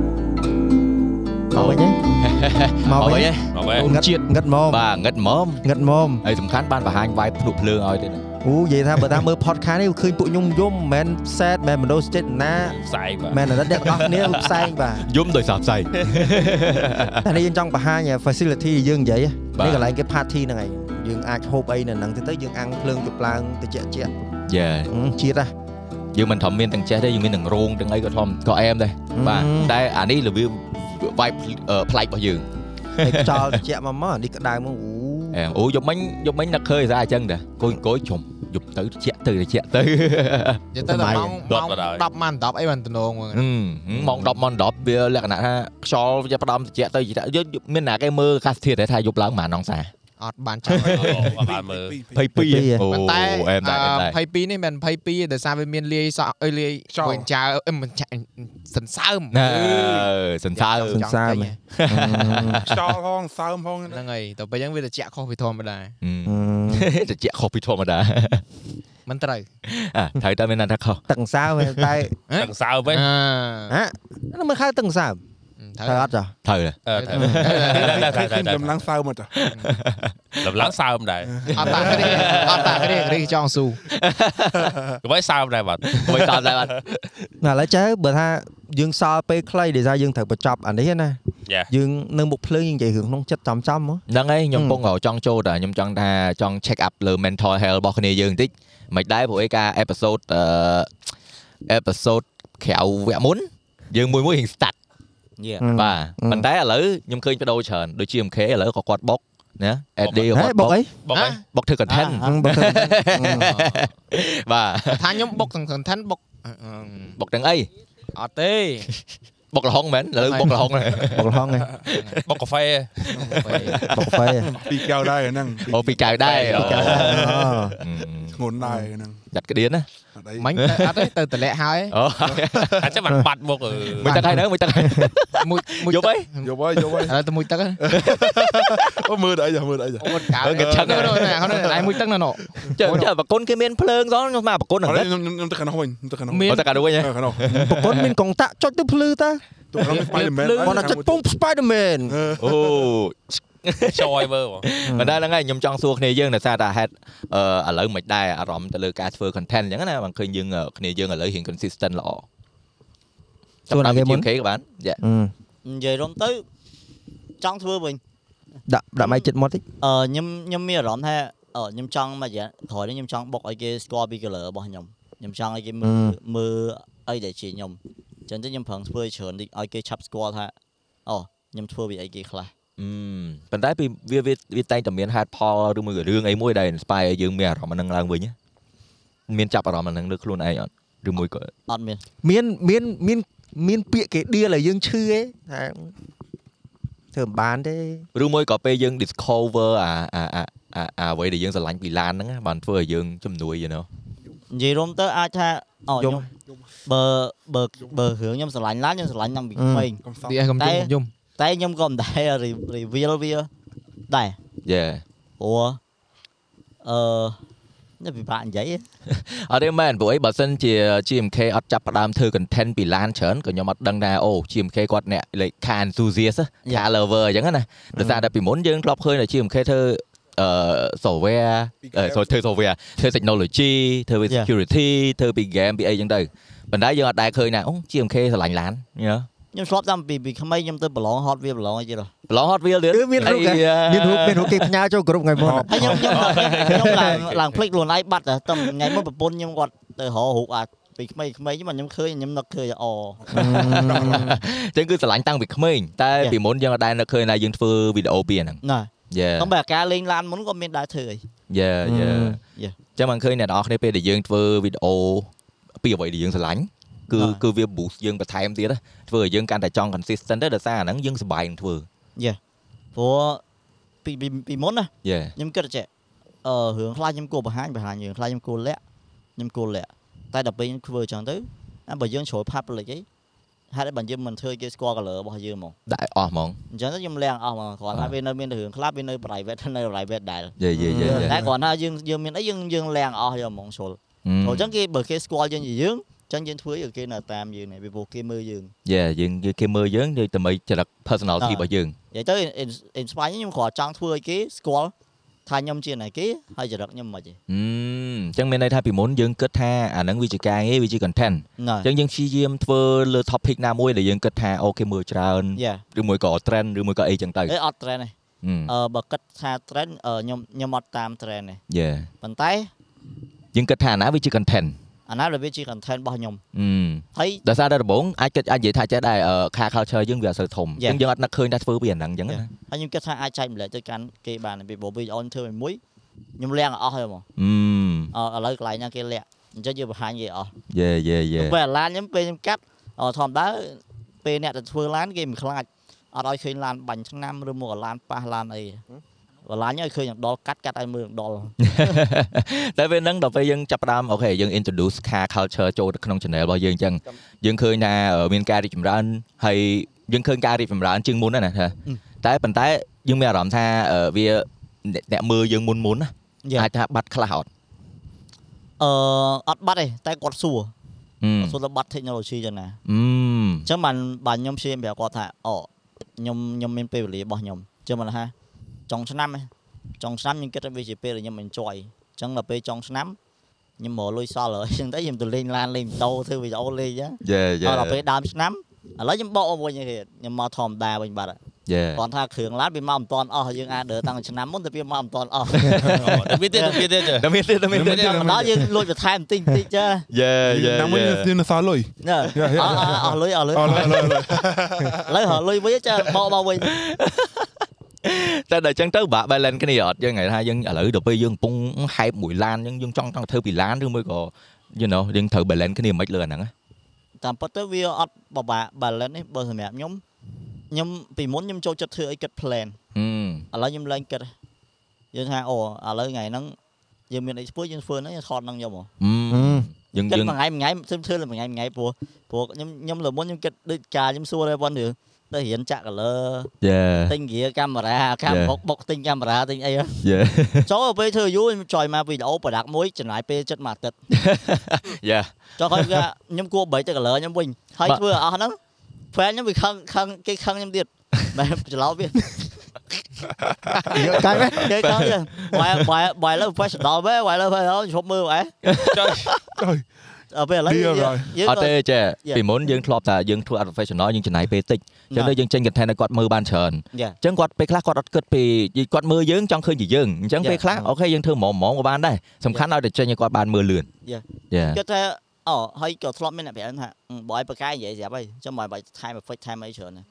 កវិញទេមក អូ វិញ យ ទេ មកវិញ ងឹតជាតិងឹតមក បាទងឹតហ្មង ងឹតមក ហើយសំខាន់បានបង្ហាញ vibe ភ្នក់ភ្លើងឲ្យទៀតណា អូនិយាយថាបើតាមមើល podcast នេះឃើញពួកខ្ញុំយំមិនមែនសែតមិនមែនមនោសញ្ចេតនា ផ្សែងបាទ មិនមែនអាណិតអ្នកនរគ្នាផ្សែងបាទ យំដោយសារផ្សែង តែនេះយើងចង់បង្ហាញ facility ដែលយើងនិយាយ បាទ នេះកន្លែងគេ party ហ្នឹងឯងយើងអាចហូបអីនៅហ្នឹងទៅទៅយើងអាំងភ្លើងជប់ឡើងតិចតិច យេ ជាតិហ่ะ យើងមិនធំមានទាំងចេះទេយើងមានទាំងរោងទាំងអីក៏ធំក៏អែមដែរបាទ អឺ តែអានេះរបៀប vibe អឺប្លែករបស់យើង តែខ្យល់តិចមកមកនេះក្តៅមកអូ អែមអូយប់មិញយប់មិញនឹកឃើញសារអញ្ចឹងដែរអង្គុយអង្គុយជុំយប់ទៅត្រជាក់ទៅត្រជាក់ទៅ និយាយទៅដល់ម៉ោង ដុ ម៉ោ ត ង បណ្ដោយ 10ម៉ោង10អីបានតំណងហ្មង ហឹមហឹមម៉ោង10ម៉ោង10វាលក្ខណៈថាខ្យល់វាផ្ដំត្រជាក់ទៅត្រជាក់យើងមានណាគេមើលអាកាសធាតុដែរថាយប់ឡើងប៉ុន្មានអង្សា អត់បានចាំ អូអត់បានមើល 22អូ ប៉ុន្តែ អែមដែរអែមដែរ អឺ22នេះមិនមែន22ទេដោយសារវាមានលាយសក់អីលាយ ខ្យល់ ពងចៅអីមិនចាសន្សើម ណែសន្សើម ចង់ទិញ ខ្យល់ហងសើមហង ហ្នឹងហើយតែពេលហ្នឹងវាត្រជាក់ខុសពីធម្មតា ហឹមត្រជាក់ខុសពីធម្មតា មិនត្រូវ អាត្រូវតែមានណាថាខុស តឹងសាវមែនតែ ទាំងសើវិញ អ ហ៎ហ្នឹងមិនខៅតឹងសាវ ឺ តែ ត្រូវ អ អត់ ត់ចា ត្រូវដែរ អឺតែតែតែ ខ្ញុំដំឡើងសើមអត់ ដំឡើងសើមដែរ អត់តាគ្រាអត់តាគ្រាគ្រាចង់ស៊ូ ក្បីសើមដែរបាទ ក្មួយតាមដែរបាទ ណាឥឡូវចៅបើថាយើងសល់ពេលខ្លីដែលថាយើងត្រូវបញ្ចប់អានេះណា យ៉ា យើងនៅមុខភ្លើងយើងនិយាយរឿងក្នុងចិត្តចំចំៗមក ហ្នឹងហើយខ្ញុំ ហឹម ពងក៏ចង់ចូលតែខ្ញុំចង់ថាចង់ check up លើ mental health របស់គ្នាយើងបន្តិច មិនដែរព្រោះឯការអេពីសូតអឺអេពីសូតក្រៅវគ្គមុនយើងមួយមួយរៀងស្តាត់ យេ បាទ អឺ ប៉ុន្តែឥឡូវខ្ញុំឃើញបដូរច្រើនដូចជា MK ឥឡូវក៏គាត់បុកណា AD ហេ គាត់ បុ បុ ក ក អី បងឯង បុកធ្វើ content អឺបុកទៅ បាទ ថាខ្ញុំបុកទាំង content បុកអឺអឺ បុកទាំងអី អត់ទេ បុកលហុងមែនឥឡូវបុកលហុង ហើយ បុកលហុងឯង បុកកាហ្វេ បុកកាហ្វេ ពីកៅដែរអាហ្នឹង អូពីកៅដែរអូ អូ អឺ ធ្ងន់ដែរអាហ្នឹង ចាត់ក្តៀនណា អត់អី មិញទៅអត់ទេទៅតម្លាក់ហើយ អូ អាចចាំបានបាត់មកអឺ មួយទឹកហើយនៅមួយទឹកហើយ មួយមួយ យប់អី យកហើយ យកហើឥយឡូវទៅមួយទឹកហ៎ អូមើលអីចាមើលអីចា អូនកៅ អឺកញ្ចឹង នោះនោះនោះនោះឯងមួយទឹកនោះនោះ ចើចើប្រគុណគេមានភ្លើងសោះខ្ញុំស្មានប្រគុណហ្នឹង អត់ខ្ញុំខ្ញុំខ្ញុំទៅខាងនោះវិញខ្ញុំទៅខាងនោះ មាន អូតែកាដូចហ៎ អឺខាងនោះ ប្រពន្ធមានកងតាក់ចុចទៅភ្លឺតា ទៅខាងនោះស្ប៉ៃដឺមែន គាត់ថាចុចពង Spider-Man អូ ចូលឲ្យមើលបង បណ្ដាលហ្នឹងហើយខ្ញុំចង់សួរគ្នាយើងដោយសារតែហេតុអឺឥឡូវមិនដែរអារម្មណ៍ទៅលើការធ្វើ content អញ្ចឹងណាបងឃើញយើងអឺគ្នាយើងឥឡូវរៀង consistent ល្អ សួរណាគេមុន គេក៏បានយ៉ា អឺ និយាយរួមទៅចង់ធ្វើវិញ ដាក់ដាក់ម៉ៃចិត្តមកតិច អឺខ្ញុំខ្ញុំមានអារម្មណ៍ថាអឺខ្ញុំចង់មួយរយៈក្រោយនេះខ្ញុំចង់បុកឲ្យគេស្គាល់ពី color របស់ខ្ញុំខ្ញុំចង់ឲ្យគេមើលមើលអីដែលជាខ្ញុំអញ្ចឹងទៅខ្ញុំប្រឹងធ្វើឲ្យច្រើនតិចឲ្យគេឆាប់ស្គាល់ថាអូខ្ញុំធ្វើពីអីគេខ្លះ អឺប៉ុន្តែពីវាវាវាតែងតែមានហេតុផលឬមួយក៏រឿងអីមួយដែល inspire ឲ្យយើងមានអារម្មណ៍ហ្នឹងឡើងវិញណាមានចាប់អារម្មណ៍ហ្នឹងលើខ្លួនឯងអត់ឬមួយក៏ អត់មាន មានមានមានមានពាក្យគេដៀលឲ្យយើងឈឺឯងថាធ្វើមិនបានទេ ឬមួយក៏ពេលយើង discover à, អាអាអាអាអាអ្វីដែលយើងស្រឡាញ់ពីឡានហ្នឹងណាបានធ្វើឲ្យយើងជំនួយ you know និយាយរួមទៅអាចថាអូ យំ ខ្ញុំបើបើបើរឿងខ្ញុំស្រឡាញ់ឡានខ្ញុំស្រឡាញ់តាំងពី អឺ ក្មេង កំសត់ ទីឯងកំជុំ តែ កំជុំ តែខ្ញុំក៏ មិនដែល re- reveal វាដែរ yeah ព្រោះអឺនេះពិបាកនិយាយហ៎ អត់ទេមែនព្រោះអីបើសិនជា GMK អត់ចាប់ផ្ដើមធ្វើ content ពីឡានច្រើនក៏ខ្ញុំអត់ដឹងដែរអូ GMK គាត់អ្នកលេខខាន enthusiast ណា car lover អញ្ចឹងណាដោយសារតែពីមុនយើងធ្លាប់ឃើញតែ GMK ធ្វើអឺ software អឺ Game ធ្វើ software ធ្វើ technology ធ្វើ Yeah. security ធ្វើពី game ពីអីអញ្ចឹងទៅប៉ុន្តែយើងអត់ដែរឃើញណាអូ GMK ស្រឡាញ់ឡានយល់ ខ្ញុំធ្លាប់តាំងពីពីក្មេងខ្ញុំទៅប្រឡងហត់វាប្រឡងអីទៀតហ៎ ប្រឡង Hot Wheels ទៀត គឺមានរូបគេ មានរូបមានរូបគេផ្ញើចូលក្រុមថ្ងៃមុន ហើយខ្ញុំខ្ញុំខ្ញុំឡើងឡើងភ្លេចខ្លួនឯងបាត់តែតែថ្ងៃមុនប្រពន្ធខ្ញុំគាត់ទៅរករូបអាពីក្មេងៗហ្នឹងមកខ្ញុំឃើញខ្ញុំនឹកឃើញអូ អញ្ចឹងគឺស្រឡាញ់តាំងពីក្មេងតែ Yeah. ពីមុនយើងអត់ដែរនឹកឃើញណាយើងធ្វើវីដេអូពីអាហ្នឹង ណា Yeah តំបែការលេងឡានមុនក៏មានដែរធ្វើអី យ៉ាយ៉ា យ៉ា ចាំមិនឃើញអ្នកនរអគ្នាពេលដែលយើងធ្វើវីដេអូពីអ្វីដែលយើងស្រឡាញ់គឺ បាទ គឺវា boost យើងបន្ថែមទៀតណាធ្វើឲ្យយើងកាន់តែចង់ consistent ទៅដោយសារអាហ្នឹងយើងសប្បាយនឹងធ្វើ ព្រោះពីពីពីមុនណា យ៉ា ខ្ញុំគិតចេះអឺរឿងខ្លះខ្ញុំគួរបង្ហាញបង្ហាញរឿងខ្លះខ្ញុំគួរលាក់ខ្ញុំគួរលាក់តែដល់ពេលខ្ញុំធ្វើចឹងទៅណាបើយើងជ្រុល public អីហេតុអីបើយើងមិនធ្វើឲ្យគេស្គាល់ color របស់យើងហ្មង ដាក់អស់ហ្មង អញ្ចឹងទៅខ្ញុំលាងអស់ហ្មងគ្រាន់ថាវានៅមានតែរឿងខ្លះវានៅ private នៅ private ដែរ យ៉ាយ៉ាយ៉ា តែគ្រាន់ថាយើងយើងមានអីយើងយើងលាងអស់យកហ្មងជ្រុលព្រោះអញ្ចឹងគេបើគេស្គាល់យើងជាយើងអញ្ចឹងយើងធ្វើឲ្យគេនៅតាមយើងនេះពីព្រោះគេមើលយើង យ៉ាយើងគេគេមើលយើងនិយាយតែមិនចរិត personality អ่า របស់យើង និយាយទៅ in- inspire ខ្ញុំគ្រាន់ចង់ធ្វើឲ្យគេស្គាល់ថាខ្ញុំជាអ្នកគេហើយចរិតខ្ញុំមិនខ្មិចហឹទេមអញ្ចឹងមានន័យថាពីមុនយើងគិតថាអាហ្នឹងវាជាការងារវាជា content ណា អញ្ចឹងយើងព្យាយាមធ្វើលើ topic ណាមួយដែលយើងគិតថាអូគេមើលច្រើន យ៉ា ឬមួយក៏ trend ឬមួយក៏អីចឹងទៅ អេអត់ trend ទេ ហឹម អឺបើគិតថា trend អឺខ្ញុំខ្ញុំអត់តាម trend ទេ យ៉ា ប៉ុន្តែ យើងគិតថាអាណាវាជា content អាណាដែលវាជា content របស់ខ្ញុំ ហឹម ហើយ ដោយសារតែដំបូងអាចគិតអាចនិយាយថាចេះដែរអឺខា culture យើងវាអត់សូវធំ Yeah. អញ្ចឹងយើងអត់នឹកឃើញថាធ្វើពីអាហ្នឹងអញ្ចឹងណា Yeah. ហើយខ្ញុំគិតថាអាចចែកម្លែកទៅកាន់គេបានពីព្រោះវីដេអូខ្ញុំធ្វើឲ្យមួយខ្ញុំលាងឲ្យអស់ហើយហ្មហឹងម អឥឡូវកន្លែងហ្នឹងគេលាក់អញ្ចឹងយើងបង្ហាញគេអស់ យេយេ យេ ពេលឡានខ្ញុំពេលខ្ញុំកាត់អធម្មតាពេលអ្នកទៅធ្វើឡានគេមិនខ្លាចអត់ឲ្យឃើញឡានបាញ់ឆ្នាំឬមកឡានប៉ះឡានអីបើឡានខ្ញុំឲ្យឃើញដល់កាត់កាត់ឲ្យមើលដល់ តែពេលហ្នឹងដល់ពេលយើងចាប់ផ្ដើមអូខេយើង introduce ខា culture ចូលទៅក្នុង channel របស់យើងអញ្ចឹងយើងឃើញថាអឺមានការរីកចម្រើនហើយយើងឃើញការរីកចម្រើនជាងមុនណាណាថាតែប៉ុន្តែយើងមានអារម្មណ៍ថាអឺវាអ្នកអ្នកមើលយើងមុនមុនណាអាចថាបាត់ខ្លះអត់ អឺអត់បាត់ទេតែគាត់សួរ ហឹម គាត់សួរទៅបាត់ technology ចឹងណា ហឹម អញ្ចឹងបានបានខ្ញុំព្យាយាមប្រាប់គាត់ថាអូខ្ញុំខ្ញុំមានពេលវេលារបស់ខ្ញុំអញ្ចឹងបានថាចុងឆ្នាំឯងចុងឆ្នាំខ្ញុំគិតថាវាជាពេលដែលខ្ញុំ enjoy អញ្ចឹងដល់ពេលចុងឆ្នាំខ្ញុំមកលុយសល់ហើយអញ្ចឹងទៅខ្ញុំទៅលេងឡានលេងម៉ូតូធ្វើវីដេអូលេងអញ្ចឹង យេយេ ដល់ពេលដើមឆ្នាំឥឡូវខ្ញុំបកអស់វិញគេខ្ញុំមកធម្មតាវិញបាត់ហើយ យេ គ្រាន់ថាគ្រឿងឡានវាមកមិនតាន់អស់យើងអាចដើរតាំងឆ្នាំមុនតែវាមកមិនតាន់អស់ មានទេមានទេតែមានទេតែមានទេ តែមកដល់យើងលួចបន្ថែមតិចតិចចា យេយេ តាមវិញយើងនៅសល់លុយ អស់អស់អស់លុយអស់លុយឥឡូវហៅលុយវិញចាបោកបោកវិញ តែដល់អញ្ចឹងទៅបាក់ balance គ្នាអត់យើងថ្ងៃថាយើងឥឡូវដល់ពេលយើងកំពុងហែបមួយឡានអញ្ចឹងយើងចង់ចង់ធ្វើពីរឡានឬមួយក៏ you know យើងត្រូវ balance គ្នាមិនខ្មិចលើអាហ្នឹងហ៎ តាមពិតទៅវាអត់បបាក់ balance នេះបើសម្រាប់ខ្ញុំខ្ញុំពីមុនខ្ញុំចូលចិត្តធ្វើអីគិត plan ហឹម ឥឡូវខ្ញុំឡើងគិតយើងថាអូឥឡូវថ្ងៃហ្នឹងយើងមានអីស្ពើយើងធ្វើហ្នឹងយើងថតហ្នឹងយកមក យើង គិត យើង មួយថ្ងៃមួយថ្ងៃខ្ញុំធ្វើលើមួយថ្ងៃមួយថ្ងៃព្រោះព្រោះខ្ញុំខ្ញុំលើមុនខ្ញុំគិតដូចការខ្ញុំសួរតែប៉ុនរឿងទៅរៀនចាក់ color យេ ទិញហ្គាកាមេរ៉ាកាម Yeah. បុកបុកទិញកាមេរ៉ាទិញអីហ៎ យេ ចូលទៅពេលធ្វើយូរខ្ញុំចយមកវីដេអូ product មួយចំណាយពេលចិត្តមួយអាទិត្យ យេ ចូលគាត់ថាខ្ញុំគួរបីទៅ color ខ្ញុំវិញហើយ But- ធ្វើឲ្យអស់ហ្នឹង friend ខ្ញុំវាខឹងខឹងគេខឹងខ្ញុំទៀត បែបច្រឡោត វា យកកាច់វិញ គេខឹងទៀតបាយបាយបាយលើ professional វិញបាយលើជប់មើល អីអើពេលឥឡូវ Deal ហើយ យើង អត់ ក៏ ទេចេះ Yeah. ពីមុនយើងធ្លាប់តែយើងធ្វើ ad professional យើងចំណាយពេលតិចអញ្ចឹងទៅយើងចេញ content ឲ្យគាត់មើលបានច្រើន Yeah. អញ្ចឹងគាត់ពេលខ្លះគាត់អត់គិតពីគាត់មើលយើងចង់ឃើញពីយើងអញ្ចឹង Yeah. ពេលខ្លះអូខេយើងធ្វើហ្មងហ្មងក៏បានដែរសំខាន់ឲ្យតែចេញឲ្យគាត់បានមើលលឿន Yeah. យេ គាត់ថាអូហើយក៏ធ្លាប់មានអ្នកប្រាប់ថាអឺបើឲ្យបកកាយនិយាយស្រាប់ហើយចាំបើបាយថែម effect ថែមអីច្រើនណាស់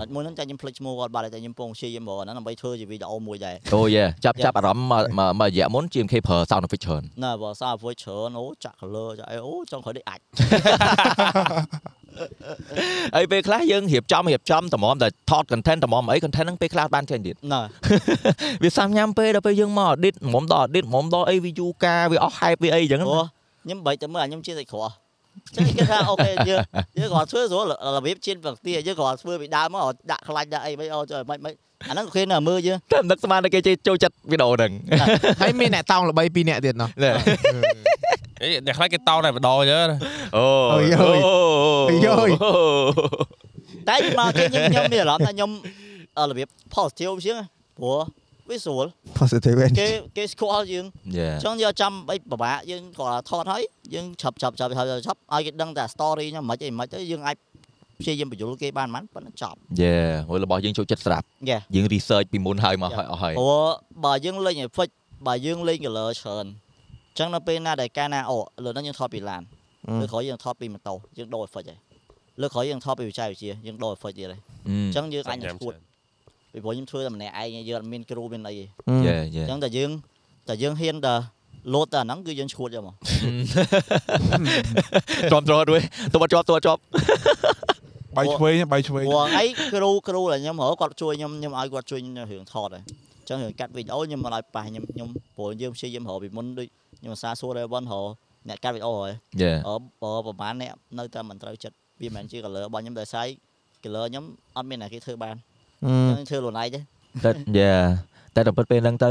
បាត់មួយហ្នឹងចាខ្ញុំភ្លេចឈ្មោះគាត់បាត់ហើយតែខ្ញុំពងព្យាយាមរកអាហ្នឹងដើម្បីធ្វើជាវីដេអូមួយដែរ អូយេចាប់ចាប់អារម្មណ៍មកមកមករយៈមុន GMK ប្រើ sound effect ច្រើន ណាបើសារ effect ច្រើនអូចាក់ color ចាក់អីអូចង់ក្រោយនេះអាច ហើយពេលខ្លះយើងរៀបចំរៀបចំតម្រាំតែថត content តម្រាំអី content ហ្នឹងពេលខ្លះបានចេញទៀត ណា វាសាំញ៉ាំពេលដល់ពេលយើងមក edit ហ្មងដល់ edit ហ្មងដល់អីវាយូរការវាអស់ hype វាអីអញ្ចឹង អូខ្ញុំបែកទៅមើលអាខ្ញុំជាសាច់ក្រោះចឹងគេថាអូខេយើងយើងគាត់ធ្វើស្រួលរបៀបជាតិបង្ទាយើងគាត់ធ្វើពីដើមមកឲ្យដាក់ខ្លាច់ដាក់អីមិនអូចុះមិនមិនអាហ្នឹងគេណាមើលយើង តែមិនដឹកស្មានតែគេចូលចិត្តវីដេអូហ្នឹង ហើយមានអ្នកតោងល្បី2នាក់ទៀតណោះ ណែ អេអ្នកខ្លះគេតោនតែម្ដងយើ អូ អើយអើយអើយអើយ តែមកគេខ្ញុំខ្ញុំមានអារម្មណ៍ថាខ្ញុំអឺរបៀប positive ជាងណាព្រោះវាស្រួល positive គេគេស្គាល់យើង យេ ចឹងយកចាំអីពិបាកយើងក៏ថតហើយយើងឆាប់ឆាប់ឆាប់ឆាប់ឆាប់ឲ្យគេដឹងតែ story ហ្នឹងមិនអីមិនទៅយើងអាចព្យាយាមបញ្យលគេបានមិនប៉ុណ្ណឹងចប់ យេហើយរបស់យើងចូលចិត្តស្ដាប់ Yeah. យើង research ពីមុនហើយមកហើយអស់ហើយ ព្រោះបើយើងលេង effect បើយើងលេង color ច្រើនចឹងនៅពេលណាដែលកាលណាអូលើហ្នឹងយើងថតពីឡានលើក្រោយយើងថតពីម៉ូតូយើងដូរ effect ហើយលើក្រោយយើងថតពីវិច័យវិទ្យាយើងដូរ effect ទៀតហើយចឹងយើងអាចនឹងឈួតពីព្រោះខ្ញុំធ្វើតែម្នាក់ឯងឯងយើងអត់មានគ្រូមានអីទេ យេយេ ចឹងតែយើងតែយើងហ៊ានតែលោតតែអាហ្នឹងគឺយើងឈួតយកមក ទ្រាំទ្រด้วยតបជាប់តបជាប់ បាយឆ្វេងបាយឆ្វេង ព្រោះអីគ្រូគ្រូដែលខ្ញុំរកគាត់ជួយខ្ញុំខ្ញុំឲ្យគាត់ជួយខ្ញុំរឿងថតហ្នឹងអញ្ចឹងរឿងកាត់វីដេអូខ្ញុំមិនឲ្យប៉ះខ្ញុំខ្ញុំព្រោះយើងព្យាយាមរកពីមុនដូចខ្ញុំឧស្សាហ៍សួរ Raven រកអ្នកកាត់វីដេអូហើយ យេ អឺបើប្រហែលអ្នកនៅតែមិនត្រូវចិត្តវាមិនមែនជា color របស់ខ្ញុំដោយសារ color ខ្ញុំអត់មានអ្នកគេធ្វើបានអញ្ចឹងធ្វើខ្លួនឯងទេ តែយេតែដល់ពិតពេលហ្នឹងទៅ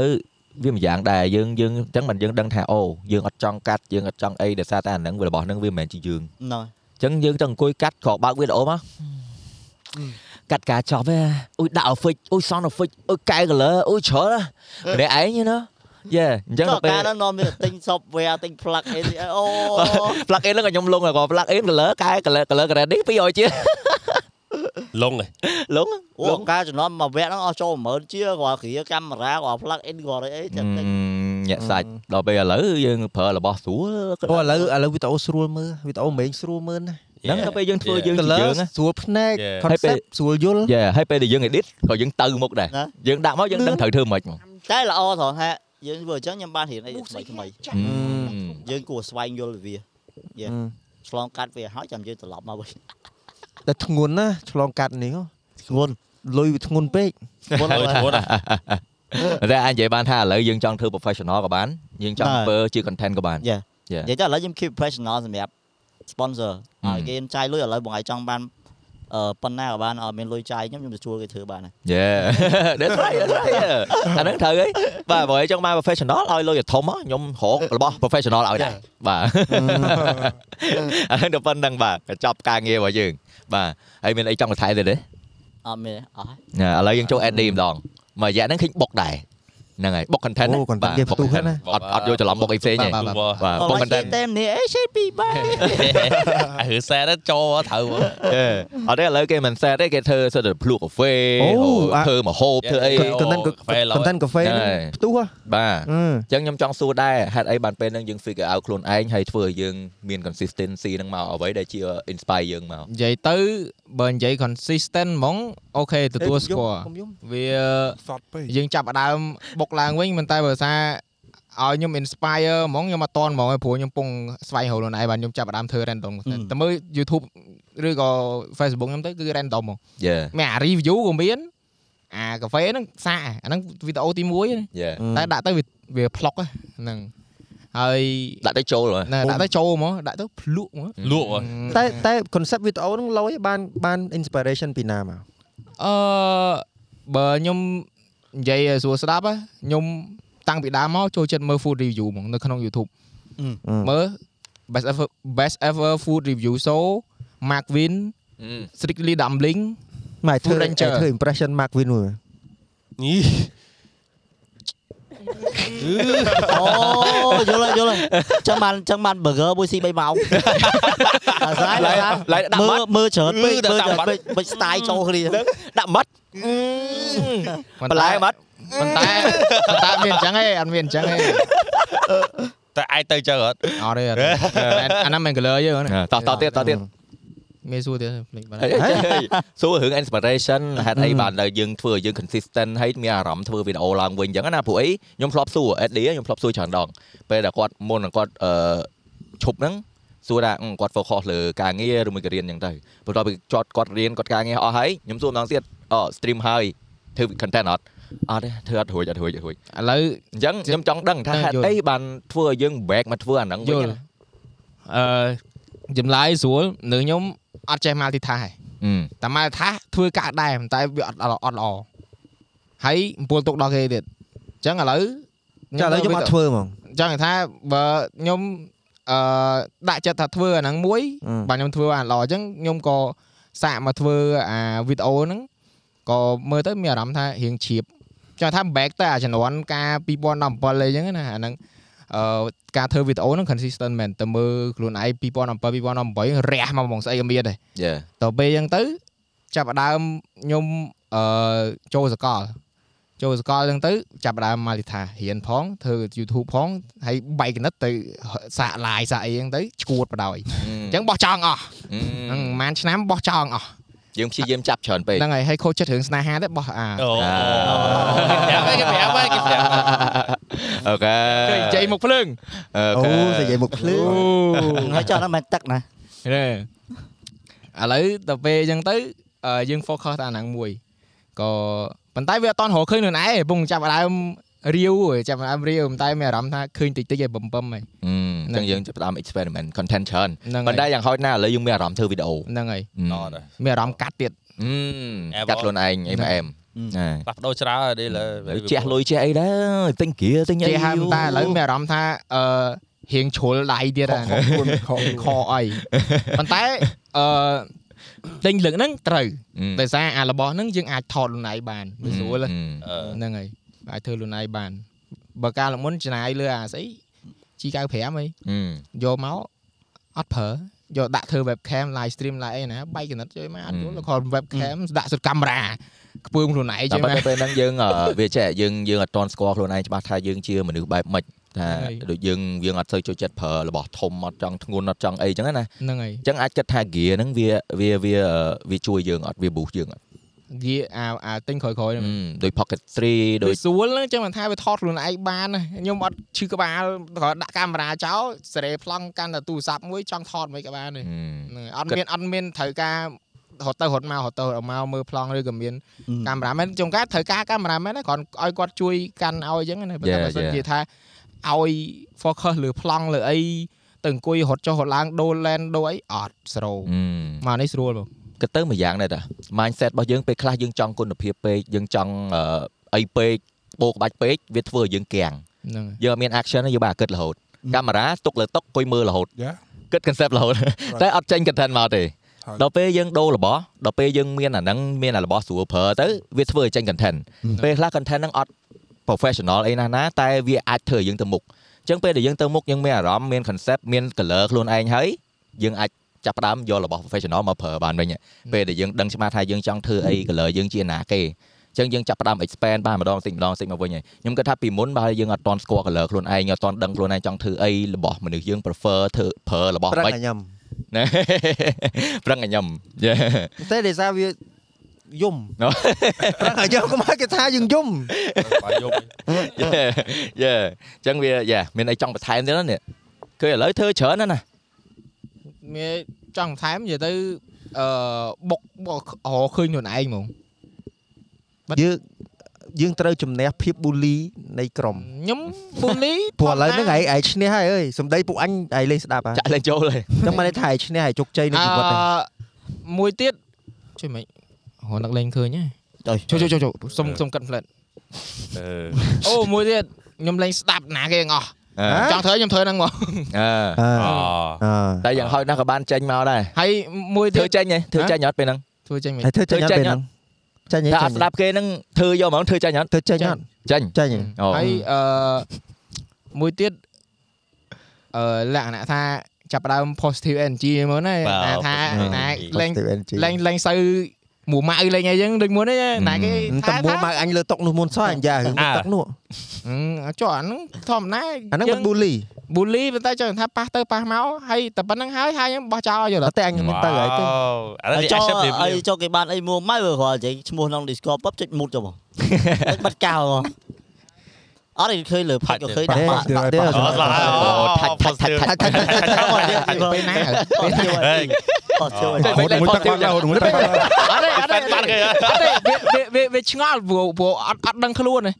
វាម្យ៉ាងដែរយើងយើងអញ្ចឹងមិនយើងដឹងថាអូយើងអត់ចង់កាត់យើងអត់ចង់អីដោយសារតែអាហ្នឹងវារបស់ហ្នឹងវាមិនមែនជាយើង ណ៎ អញ្ចឹងយើងទៅអង្គុយកាត់ក៏បើកវីដេអូមកកាត់ការចប់ហ៎អ៊ុយដាក់ effect អ៊ុយ sound effect អ៊ុយកែ color អ៊ុយច្រើនហ៎ម្នាក់ឯងយេណាយេអញ្ចឹងដចុះល់ពេល កាលហ្នឹងនាំវាទិញ software ទិញ plug អីទេអូ plug in ហ្នឹងឲ្យខ្ញុំលងហើយក៏ plug in color កែ color color grade នេះ200ជាង លងឯង លង អូកាលចំនួនមួយវគ្គហ្នឹងអស់ចូល10000ជាគាត់គ្រាកាមេរ៉ាគាត់ plug in គាត់អី Ừ. ចឹងទិញ ញាក់សាច់ដល់ពេលឥឡូវយើងប្រើរបស់ស្រួល អូឥឡូវឥឡូវវីដេអូស្រួលមើលវីដេអូមេងស្រួលមើលណាស់ ហ្នឹងដល់ពេលយើង Dạ. ធ្វើយើងជាយើ color ងណា ស្រួលភ្នែក Yeah. concept ស្រួលយល់ យេហើយពេលដែលយើង edit ក៏យើងទៅមុខដែរ ណា យើងដាក់មកយើងដឹងត្រូវធ្វើម៉េចមក តែល្អត្រង់ថាយើងធ្វើអញ្ចឹងខ្ញុំបានរៀនអីថ្មីថ្មី Ừ. យើងគួរស្វែងយល់វា ហឹម ឆ្លងកាត់វាហើយចាំយើងត្រឡប់មកវិញ តែធ្ងន់ណាស់ឆ្លងកាត់នេះហ៎ ធ្ងន់ លុយវាធ្ងន់ពេក ធ្ងន់ ហើយធ្ង ន់ណា តែអាចនិយាយបានថាឥឡូវយើងចង់ធ្វើ professional ក៏បានយើងចង់ធ្វើជា content ក៏បាន និយាយទៅឥឡូវខ្ញុំ keep professional សម្រាប់ sponsor ហឹម ឲ្យគេចាយលុយឥឡូវបងឯងចង់បានអឺប៉ុណ្ណាក៏បានឲ្យមានលុយចាយខ្ញុំខ្ញុំទៅជួយគេធ្វើបានហើយ យេ that's right that's right អាហ្នឹងត្រូវហើយបាទបើឲ្យចង់បាន professional ឲ្យលុយឲ្យធំមកខ្ញុំរករបស់ professional ឲ្យដែរបាទ អាហ្នឹងទៅប៉ុណ្្នឹងបាទក៏ចប់ការងាររបស់យើងបាទហើយមានអីចង់បន្ថែមទៀតទេ អត់មានទេអស់ហើយ ណាឥឡូវយើងចូល ad នេះម្ដងមួយរយៈហ្នឹងឃើញបុកដែរ ហ្នឹងហើយបុក content អូ ណា content បាទ គេ បុក ផ្ទុះហ្នឹង content អត់អត់យកច្រឡំបុកអីផ្សេងទេ បាទ បាទបុក content តែម្នាក់អីឆេពីបា ហឺសែតចូលត្រូវអត់ទេឥឡូវគេមិនសែតទេគេធ្វើសិតតែភ្លក់កាហ្វេ អូអា ធ្វើមកហូបធ្វើអី កន្តែនកន្តែនកាហ្វេ ហ្នឹងហើយ ផ្ទុះហ៎ បាទ អឺ អញ្ចឹងខ្ញុំចង់សួរដែរហេតុអីបានពេលហ្នឹងយើង figure out ខ្លួនឯងហើយធ្វើឲ្យយើងមាន consistency ហ្នឹងមកអ្វីដែលជា inspire យើងមក និយាយទៅបើនិយាយ consistent ហ្មងអូខេទទួលស្គាល់វា សតពេក យើងចាប់ផ្ដើមបុកឡើងវិញមិនតែបើថាឲ្យខ្ញុំ inspire ហ្មងខ្ញុំអត់តន់ហ្មងឯងព្រោះខ្ញុំពងស្វែងរកខ្លួនឯងបាទខ្ញុំចាប់ផ្ដើមធ្វើ random ម តែមើល YouTube ឬក៏ Facebook ខ្ញុំទៅគឺ random ហ្មង យេ មានអា review ក៏មានអាកាហ្វេហ្នឹងសាកអាហ្នឹងវីដេអូទី1ហ្នឹង យេ តែដាក់ទៅវាវាផ្លុកហ្នឹងហើយ ដាក់ទៅចូលហ៎ ណាដាក់ទៅចូលហ្មងដាក់ទៅភ្លក់ហ្មង លក់ហ៎ តែតែ concept វីដេអូហ្នឹងលយបានបាន inspiration ពីណាមក អឺបើខ្ញុំនិយាយឲ្យស្រួលស្ដាប់ហ៎ខ្ញុំតាំងពីដើមមកចូលចិត្តមើល food review ហ្មងនៅក្នុង YouTube មើល best ever best ever food review show Mark Win Strictly Dumpling មកធ្វើ Food Ranger ធ្វើ impression Mark Win មួយ នេះ អូយល់ហើយយល់ហើយចឹងបានចឹងបាន burger មួយស៊ី3ម៉ោងអាស្រ័យអាស្រ័យ ឡាយដាក់ មើ បា ល ត់ មើលច្រើនពេឺកមើល ដាក់ ច្រើន បាត់ ពេកមិន style ចូលគ្នា ដាក់មាត់ ប៉ុ បន្លែមាត់ ប៉ុន្តែប៉ុន្តែអត់មានអញ្ចឹងទេអតត់មានអញ្ចឹងទេែឯងទៅចឹងអត់ អត់ទេអត់ទេអាហ្នឹងមិន color យើងហ្នឹង តោះតោះទៀតតោះទៀត មានសួរទៀតភ្លេចបាត់ សួររឿង inspiration ហេតុអីបានដល់យើងធ្វើឲ្យយើង consistent ហើយមានអារម្មណ៍ធ្វើវីដេអូឡើងវិញអញ្ចឹងណាព្រោះអីខ្ញុំធ្លាប់សួរ AD ខ្ញុំធ្លាប់សួរច្រើនដងពេលដែលគាត់មុននឹងគាត់អឺឈប់ហ្នឹងសួរថាអឺគាត់ focus លើការងារឬមួយក៏រៀនអញ្ចឹងទៅបន្ទាប់ពីគាត់គាត់រៀនគាត់ការងារអស់ហើយខ្ញុំសួរម្ដងទៀតអូ stream ហើយធ្វើ content អត់អត់ទេធ្វើអត់រួចអត់រួចអត់រួច ឥឡូវ អញ្ចឹងខ្ញុំចង់ដឹងថាហេតុអីបានធ្វើឲ្យយើង break មកធ្វើអាហ្នឹង យ វិញ ល់អឺចម្លើយស្រួលនឹងខ្ញុំអត់ចេះ multitask ទេ ហ៎ តែ multitask ធ្វើកាក់ដែរប៉ុន្តែវាអត់អត់ល្អហើយអំពូលទុកដល់គេទៀតអញ្ចឹងឥឡូវ ចាឥឡូវខ្ញុំអត់ធ្វើហ្មង អញ្ចឹងថាបើខ្ញុំអឺដាក់ចិត្តថាធ្វើអាហ្នឹងមួយ អឺ បាទខ្ញុំធ្វើអាល្អអញ្ចឹងខ្ញុំក៏សាកមកធ្វើអាវីដេអូហ្នឹងក៏មើលទៅមានអារម្មណ៍ថារៀងជ្រាបចាំថា back ទៅអាជំនាន់កាល2017អីចឹងណាអាហ្នឹង អឺការធ្វើវីដេអូហ្នឹង consistent មែនតែមើលខ្លួនឯង2007 2018រះមកហ្មងស្អីក៏មានដែរ Yeah តទៅពេលអញ្ចឹងទៅចាប់ផ្ដើមខ្ញុំអឺចូលសកលចូលសកលអញ្ចឹងទៅចាប់ផ្ដើម Malita រៀនផងធ្វើ YouTube ផងហើយបែកកណិតទៅសាក live សាកអីអញ្ចឹងទៅឈួតបដ ாய் អញ្ចឹងបោះចោលអស់ ហឹ ហ្នឹង ម ប្រហែលឆ្នាំបោះចោលអស់ យើងព្យាយាមចាប់ច្រើនពេក ហ្នឹងហើយហើយខូចចិត្តរឿងស្នេហាទៅបោះអា អូ អូ គេប្រាប់ហើយគេប្រាប់ហើយ អូខេ និយាយមកភ្លើង អូ អូ ខេ និយាយមកភ្លើង ហើយចោះហ្នឹងមិនទឹកណា ហេឥឡូវទៅពេលអញ្ចឹងទៅអឺយើង focus តែអាហ្នឹងមួយក៏ប៉ុន្តែវាអត់តន់រកឃើញខ្លួនឯងទេពងចាប់ផ្ដើមរាវទេចាប់ផ្ដើមរាវប៉ុន្តែមានអារម្មណ៍ថាឃើញតិចតិចឯងបំពឹមឯង អញ្ចឹងយើងចាប់ផ្ដើម experiment content ច្រើន ហ្នឹង ប៉ុ ហើ ន្តែ យ យ៉ាងហោចណាស់ឥឡូវយើងមានអារម្មណ៍ធ្វើវីដេអូ ហ្នឹងហើយ ណោះ មានអារម្មណ៍កាត់ទៀត ហឹមកាត់ខ្លួនឯងអីផ្អែមណា ផ្លាស់ប្ដូរច្រើនហើយឥនេះឥឡូ ឡូ វ វជះលុយជះអីដែរទិញគ្រាទិញអី ចេះហើយប៉ុន្តែឥឡូវមានអារម្មណ៍ថាអឺរៀងជ្រុលដៃទៀតអាហ្នឹង ខ្លួន ខំ ខអីប៉ុន្តែអឺទិញលឹកហ្នឹងត្រូវ តែ ដោយសារអារបស់ហ្នឹងយើងអាចថតលុណៃបានវាស្រួល អឺ ហ្នឹងហើយអាចធ្វើលុណៃបានបើកាលមុនច្នៃលើអាស្អី G95 អីយកមកអត់ប្រើយកដាក់ធ្វើ webcam live stream ឡាយអីណាបែកកណិតជួយមកអត់យល់គាត់ webcam ដាក់សុតកាមេរ៉ាខ្ពើមខ្លួនឯង តែ ជួយ ប៉ុ មក ន្តែពេលហ្នឹងយើងអឺវាចេះយើងយើងអត់តន់ស្គាល់ខ្លួនឯងច្បាស់ថាយើងជាមនុស្សបែបម៉េចថា ហើយ ដូចយើងយើងអត់សូវចូលចិត្តប្រើរបស់ធំអត់ចង់ធ្ងន់អត់ចង់អីចឹងណា ហ្នឹងហើយ អញ្ចឹងអាចគិតថាហ្គាហ្នឹងវាវាវាវាជួយយើងអត់វាប៊ូសយើងអត់ វាអាអាទិញក្រោយក្រោយ ហឹមដូច pocket 3 ដូ ដូច យស្រួលហ្នឹងចឹងមិនថាវាថតខ្លួនឯងបានណាខ្ញុំអត់ឈឺក្បាលគ្រាន់ដាក់កាមេរ៉ាចោលសេរីប្លង់កាន់តែទូរស័ព្ទមួយចង់ថតមិនក៏បានទេ ហឹម ហ្នឹងហើយអត់ គិត មានអត់មានត្រូវការរត់ទៅរត់មករត់ទៅរត់មកមើលប្លង់ឬក៏មានកាមេរ៉ាមែនចុងការត្រូវការកាមេរ៉ាមែនណាគ្រាន់ឲ្យគាត់ជួយកាន់ឲ្យចឹងណាបើតែ Yeah, បើសិន yeah. ជាថាឲ្យ focus លើប្លង់លើអីទៅអង្គុយរត់ចុះរត់ឡើងដូរឡែនដូរអីអត់ស្រូវ ហឹម មកនេះស្រួលបង គិតទៅមួយយ៉ាងដែរតា mindset របស់យើងពេលខ្លះយើងចង់គុណភាពពេកយើងចង់អឺអីពេកបោកបាច់ពេកវាធ្វើឲ្យយើងគាំង ហ្នឹងហើយ យើងអត់មាន action ទេយើងបានតែគិតរហូតកាមេរ៉ាទុកលើតុកអង្គុយមើលរហូត យ៉ា គិត concept រហូតតែអត់ចេញ content មកទេ ហើយ ដល់ពេលយើងដូររបស់ដល់ពេលយើងមានអាហ្នឹងមានអារបស់ស្រួលប្រើទៅវាធ្វើឲ្យចេញ content ពេលខ្លះ content ហ្នឹងអត់ professional អីណាស់ណាតែវាអាចធ្វើឲ្យយើងទៅមុខអញ្ចឹងពេលដែលយើងទៅមុខយើងមានអារម្មណ៍មាន concept មាន color ខ្លួនឯងហើយយើងអាចចាប់ផ្ដើមយករបស់ professional មកប្រើបានវិញពេលដែលយើងដឹងច្បាស់ថាយើងចង់ធ្វើអី color យើងជាណាគេអញ្ចឹងយើងចាប់ផ្ដើម expand បានម្ដងតិចម្ដងតិចមកវិញហើយខ្ញុំគិតថាពីមុនបើយើងអត់តន់ស្គាល់ color ខ្លួនឯងអត់តន់ដឹងខ្លួនឯងចង់ធ្វើអីរបស់មនុស្សយើង prefer ធ្វើប្រើរបស់ ប្រឹង ម៉េច ឲ្យញ៉ាំ ណា ប្រឹងឲ្យខ្ញុំ Yeah. តែដោយសារវាយំប្រឹងឲ្យញ៉ាំកុំឲ្យគេថាយើងយំ បាយយប់ Yeah, yeah. អញ្ចឹងវា yeah មានអីចង់បន្ថែមទៀតណានេះគឺឥឡូវធ្វើច្រើនណាស់ណា មានចង់បន្ថែមនិយាយទៅអឺបុកបុករកឃើញខ្លួនឯងហ្មង យើងយើងត្រូវជំនះភាពប៊ូលីនៃក្រុម ខ្ញុំពូលី ព្រោះឥឡូវហ្នឹងឯងឯងឈ្នះហើយអើយសំដីពួកអញឯងលេងស្ដាប់ហ่ะ ចាក់លេងចូលហើយ តែមិនន័យថាឯងឈ្នះឯងជោគជ័យក្នុងជីវិតទេ អឺមួយទៀតជួយមិនហនដឹកលេងឃើញហ៎ អុយ ជួយជួយជួយជួយសុំសុំកាត់ផ្លិត អឺ អូមួយទៀតខ្ញុំលេងស្ដាប់ណាគេទាំងអស់ អឺ ចង់ធ្វើខ្ញុំធ្វើហ្នឹងមក អឺ អ អ ឺ តែយ៉ាងហោចណាស់ក៏បានចេញមកដែរ ហើយមួយទៀ ធ្វើ ត ចេញហ៎ធ្វើចេញអត់ពេលហ្នឹង ធ្វើចេញមិន ហើយធ្វើចេញអត់ពេលហ្នឹងចាញ់ តែអត់ស្ដាប់គេហ្នឹងធ្វើយកហ្មងធ្វើចេញអត់ ធ្វើចេញអត់ ចេញ ចាញ់ហ៎ អូ ហើយអឺមួយទៀតអឺលក្ខណៈថាចាប់ផ្ដើម positive energy ហ្មងណា បាទ ណាថា positive ណា energy លេង Positive energy លេងលេងសូវមួម៉ៅលេងអីចឹងដូចមុនហ្នឹងណាគេ តែ ថា មួ ថា មកអញលើតុកនោះមុនសោះអញយ៉ារឿង អើ តុកនោះ ហឹមចុះអាហ្នឹងធម្មតា អាហ្នឹង យើ មិន ង ប៊ូលី ប៊ូលីប៉ុន្តែចង់ថាប៉ះទៅប៉ះមកហើយតែប៉ុណ្្នឹងហើយហើយខ្ញុំបោះចោលយល់អត់ តែអញមិនទៅហើយទេ ឥឡូវ ចុះ reaction ព្រា អី ប ចុះគេបានអីមួម៉ៅគ្រាន់តែឈ្មោះក្នុង Discord ពុបចុចមុតចុះមកបាត់កៅមកអត់ឃើញលើផាច់ក៏ឃើញ បា ដាក់បា ក់ ក់ ទេបាក់ទេ អូស្លាប់ហើយអូថាច់ថាច់ថាច់ថាច់ ពេលណាហើយ អត់ជួយ ហេ អត់ជួយ ហូតមួយទឹកបាត់ដែរហូតមួយទឹកបាត់ដែរ អត់ទេអត់ទេអត់ទេអត់ទេវាវាវាឆ្ងល់ព្រោះព្រោះអត់អត់ដឹងខ្លួនទេ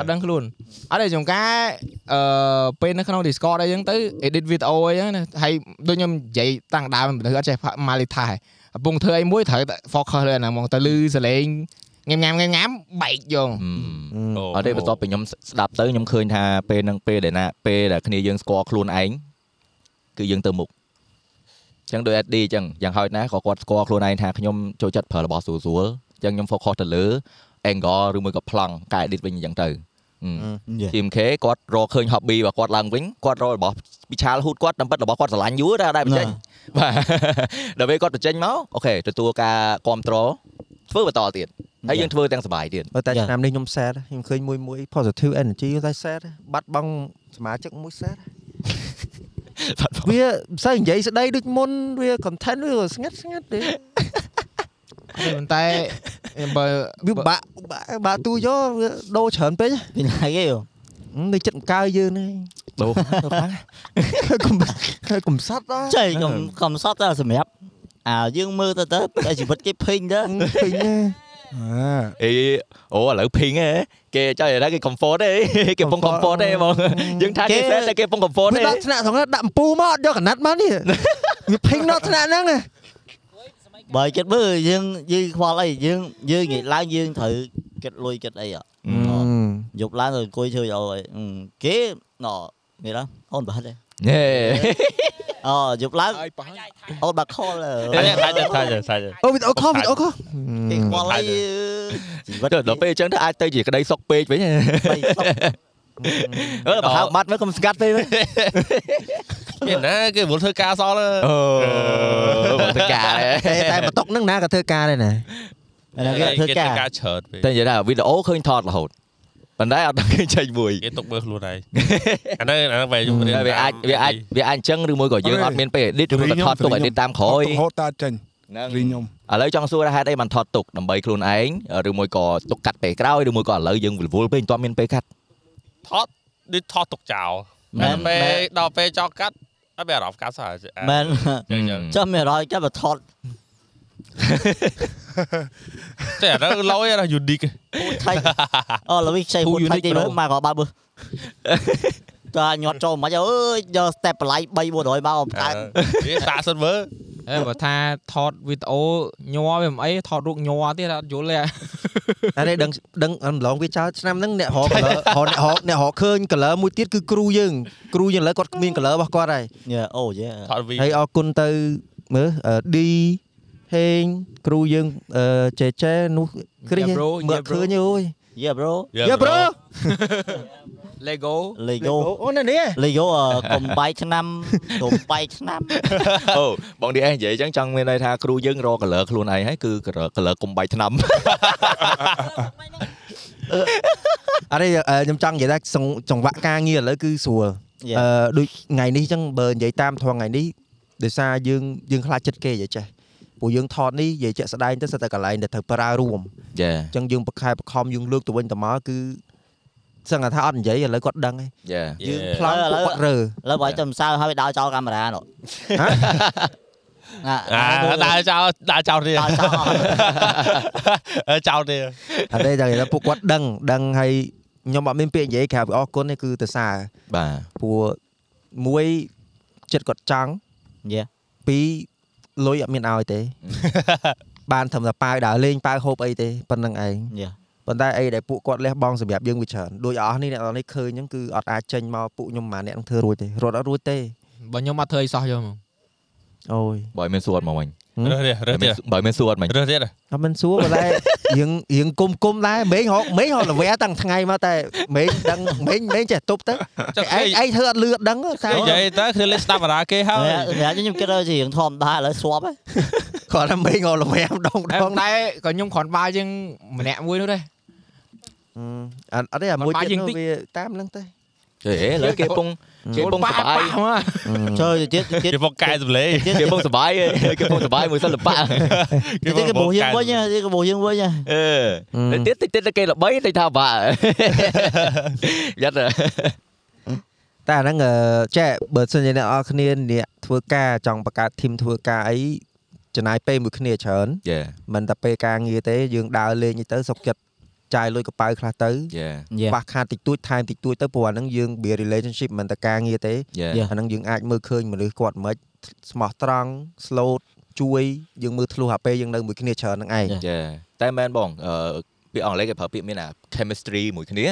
អត់ដឹងខ្លួនអត់ទេចំការអឺពេលនៅក្នុង Discord អីហ្នឹងទៅ edit video អីហ្នឹងណាហើយដូចខ្ញុំនិយាយតាំងដើមមនុស្សអត់ចេះម៉ាលីថាកំពុងធ្វើអីមួយត្រូវតែ focus លើអាហ្នឹងហ្មងទៅលឺសលេងញ៉ាំញ៉ាំញ៉ាំញ៉ាំបែកយក ហឹម អូ អត់ទេបន្ទាប់ពីខ្ញុំស្ដាប់ទៅខ្ញុំឃើញថាពេលហ្នឹងពេលដែលណាពេលដែលគ្នាយើងស្គាល់ខ្លួនឯងគឺយើងទៅមុខអញ្ចឹងដោយ AD អញ្ចឹងយ៉ាងហោចណាស់ក៏គាត់ស្គាល់ខ្លួនឯងថាខ្ញុំចូលចិត្តប្រើរបស់ស្រួលស្រួលអញ្ចឹងខ្ញុំ focus ទៅលើ angle ឬមួយក៏ plong កែ edit វិញអញ្ចឹងទៅហឹម Team K គាត់រកឃើញ hobby របស់គាត់ឡើងវិញគាត់រករបស់ពិឆាលហ៊ូតគាត់តាមពិតរបស់គាត់ស្រឡាញ់យូរតែអត់ដែរបញ្ចេញ បាទដល់ពេលគាត់បញ្ចេញមកអូខេទទួលការគ្រប់គ្រងធ្វើបន្តទៀតហើយយើងធ្វើទាំងសុបាយទៀត បើតែឆ្នាំនេះខ្ញុំ sad ខ្ញុំឃើញមួយមួយ positive energy តែ sad បាត់បង់សមាជិកមួយ sad វាមិនសូវនិយាយស្ដីដូចមុនវា content វាស្ងាត់ស្ងាត់ទេ ប៉ុន្តែបើ វា Vâng. បាក់បាក់បាក់ទូយកវាដូរច្រើនពេក ពីណាគេអូ ហឹមនៅចិត្តអង្កើយើងហ្នឹង ដូរ Ờ, ហើយកុំហើយកុំសត់ដល់ ចៃកុំកុំសត់តែសម្រាប់អាយើងមើលទៅទៅតែជីវិតគេពេញទៅ ពេញហ្នឹង អេអូឥឡូវភីងហ៎គេចៃឥឡូវគេ comfort ទេ គេពង comfort Comfort ទេហ្មងយើងថាគេ គេ set តែគេពង comfort វា ទេ ដាក់ថ្នាក់ហ្នឹងដាក់អំពូមកអត់យកកណាត់មកនេះ វាភេងដល់ថ្នាក់ហ្នឹងហ៎ បើគិតមើលយើងយើងខ្វល់អីយើងយើងនិយាយឡើងយើងត្រូវគិតលុយគិតអីអ្ហ៎យប់ឡើងទៅអង្គុយធ្វើយោអីអឺគេណ៎នេះដល់អូនបាត់ទេ ហេ អូយប់ឡើង ហើយប៉ះហើយ អូនបាក់ខល តែតែតែតែ អូវីដេអូខលវីដេអូខល គេខ្វល់អី ហើយ ជីវិត ដល់ពេលអញ្ចឹងទៅអាចទៅជាក្តីសុខពេ កវិញហ៎ បីសុខ អឺបើហៅបាត់មកកុំស្កាត់ពេកវិញ មានណាគេវល់ធ្វើការសល់ អូបើទៅការហ៎ តែតែបន្តុកហ្នឹងណាក៏ធ្វើការដែរណា អា Dạ, ហ្នឹងគេធ្វើការ ច្រើនពេក តែនិយាយថាវីដេអូឃើញថតរហូតប៉ុន្តែអត់ដឹងឃើញចេញមួយ គេទុកមើលខ្លួនឯងអានេះអានេះវាខ្ញុំ តែវាអាចវាអាចវាអាចអញ្ចឹងឬមួយក៏យើង អរេ អត់មានពេល edit ឬមួយក៏ថតទុក រីខ្ញុំ edit តាមក្រោយ ហូតតាចេញ ហ្នឹង រីខ្ញុំ ឥឡូវចង់សួរថាហេតុអីបានថតទុកដើម្បីខ្លួនឯងឬមួយក៏ទុកកាត់ពេលក្រោយឬមួយក៏ឥឡូវយើងវល់វល់ពេកមិនទាន់មានពេលកាត់ ថតដូចថតទុកចោល មែន ពេ មែ ល ន ដល់ពេលចោលកាត់អត់មានអារម្មណ៍កាត់សោះ មែន Ừ. ចឹងចឹង ចុះមានរយចាប់បថត តែអានេះឡយអានេះ unique ពូថៃអូលវិសខ្ចីពូថៃទីមើលមកក៏បើបើតាញាត់ចូលមិនអើយយក step បន្លៃ3 400មក Dạ. កើត វាសាកសិនមើល អេបើថាថតវីដេអូញ័រវាមិនអីថតរូបញ័រទៀតអត់យល់ទេ អានេះដឹងដឹងអំឡងវាចោលឆ្នាំហ្នឹងអ្នករក color រកអ្នករកអ្នករកឃើញ color មួយទៀតគឺគ្រូយើងគ្រូយើងឥឡូវគាត់មាន color របស់គាត់ហើយ Yeah, oh yeah. ថតវីដេអូ ហើយអរគុណទៅមើលអឺ D ហេងគ្រូយើងអឺចេចេនោះគ្រី Yeah, bro. មើល Yeah, bro. ឃើញអើយ Yeah, Dạ, bro. យ៉ាប្រូ Lego Lego អូនៅនេះ Lego ờ, កុំបែកឆ្នាំកុំបែកឆ្នាំ អូបងឌីអេនិយាយអញ្ចឹងចង់មានន័យថាគ្រូយើងរក color ខ្លួនឯងហើយគឺ color color កុំបាយឆ្នាំ អរិយខ្ញុំចង់និយាយថាសង្ចង្វាក់ការងារឥឡូវគឺស្រួលអឺដូចថ្ងៃនេះអញ្ចឹងបើនិយាយតាមធំថ្ងៃនេះដោយសារយើងយើងខ្លាចចិត្តគេនិយាយចេះព្រោះយើងថតនេះនិយាយជាក់ស្ដែងទៅសិតតែកន្លែងដែលត្រូវប្រើរួម ចា អញ្ចឹងយើងប្រខែប្រខំយើងលើកទៅវិញទៅមកគឺសឹងតែថាអត់និយាយឥឡូវគាត់ដឹងហើយ ចា យើងផ្លាំងពួកគាត់រើ លើបើទៅម្សៅហើយដល់ចោលកាមេរ៉ានោះ ហ៎ ណា អា Dạ, ដើរចោលដើរចោលរៀល ដល់ចោល អឺចោលរៀល អត់ទេតែគេថាពួកគាត់ដឹងដឹងហើយខ្ញុំអត់មានពាក្យនិយាយក្រៅពីអរគុណទេគឺទៅសារ បាទ ព្រោះមួយចិត្តគាត់ចង់ យេ ពីរលុយអត់មានឲ្យទេ បានធ្វើតែប៉ាវដើរលេងប៉ាវហូបអីទេប៉ុណ្្នឹងឯង Yeah. ប៉ុន្តែអីដែលពួកគាត់លះបង់សម្រាប់យើងវាច្រើនដូចអស់នេះអ្នកនរនេះឃើញអញ្ចឹងគឺអត់អាចចេញមកពួកខ្ញុំមកអ្នកនឹងធ្វើរួចទេរត់អត់រួចទេ បើខ្ញុំអត់ធ្វើអីសោះយកមក អូយ បើមានសួតមកវិញ Ừ. រើសរៀលរើសទៀត បើមានសួតមិញ រើសទៀត អត់មិនសួរប៉ុន្តែយើងយើងគុំគុំដែរមេងហកមេងហកល្វែតាំងថ្ងៃមកតែមេងដឹងមេងមេងចេះទប់ទៅ ចុះ ឯង គេ ឯងធ្វើអត់លឺអត់ដឹងតែ និយាយទៅគ្នាលេងស្ដាប់អារ៉ាគេហើយ តែខ្ញុំគិតថាជារឿងធម្មតាឥឡូវស្វប់ហើយ គាត់ថាមេងហកល្វែម្ដង តែ ម្ដង តែក៏ខ្ញុំគ្រាន់បាយជាងម្នាក់មួយនោះដែរ អត់អត់ទេអាមួយ បា ទៀ ក់ ត យើង នោះ តិច វាតាមហ្នឹងទៅ ហេឥឡូវគេពងគេពងសបាយ មក chơi thì chết chết គេមកកែសម្លេង chết គេ chết ពងសបាយគេពងសបាយមួយសិល្បៈ chết cái bộ dương với nha cái bộ dương với nha អឺតិចតិចតិចគេល្បីតិចថា បាក់យ៉ាត់ តែអាហ្នឹងអឺចេះបើសិនជាអ្នកនរគ្នាអ្នកធ្វើការចង់បង្កើតធីមធ្វើការអីចំណាយពេលមួយគ្នាច្រើន យ៉ា មិនតែពេលការងារទេយើងដើរលេងទៅសុកចិត្តចាយលុយកប៉ៅខ្លះទៅ យ៉ា ខ្វះខាតតិចតួចថែមតិចតួចទៅព្រោះអាហ្នឹងយើង be relationship មិនតែការងារទេ យ៉ា អាហ្នឹងយើងអាចមើលឃើញមនុស្សគាត់មិនស្មោះត្រង់ slot ជួយយើងមើលធ្លុះអាពេលយើងនៅមួយគ្នាច្រើនហ្នឹងឯង ចាតែមែនបងអឺពាក្យអង់គ្លេសគេប្រើពាក្យមានអា chemistry មួយគ្នា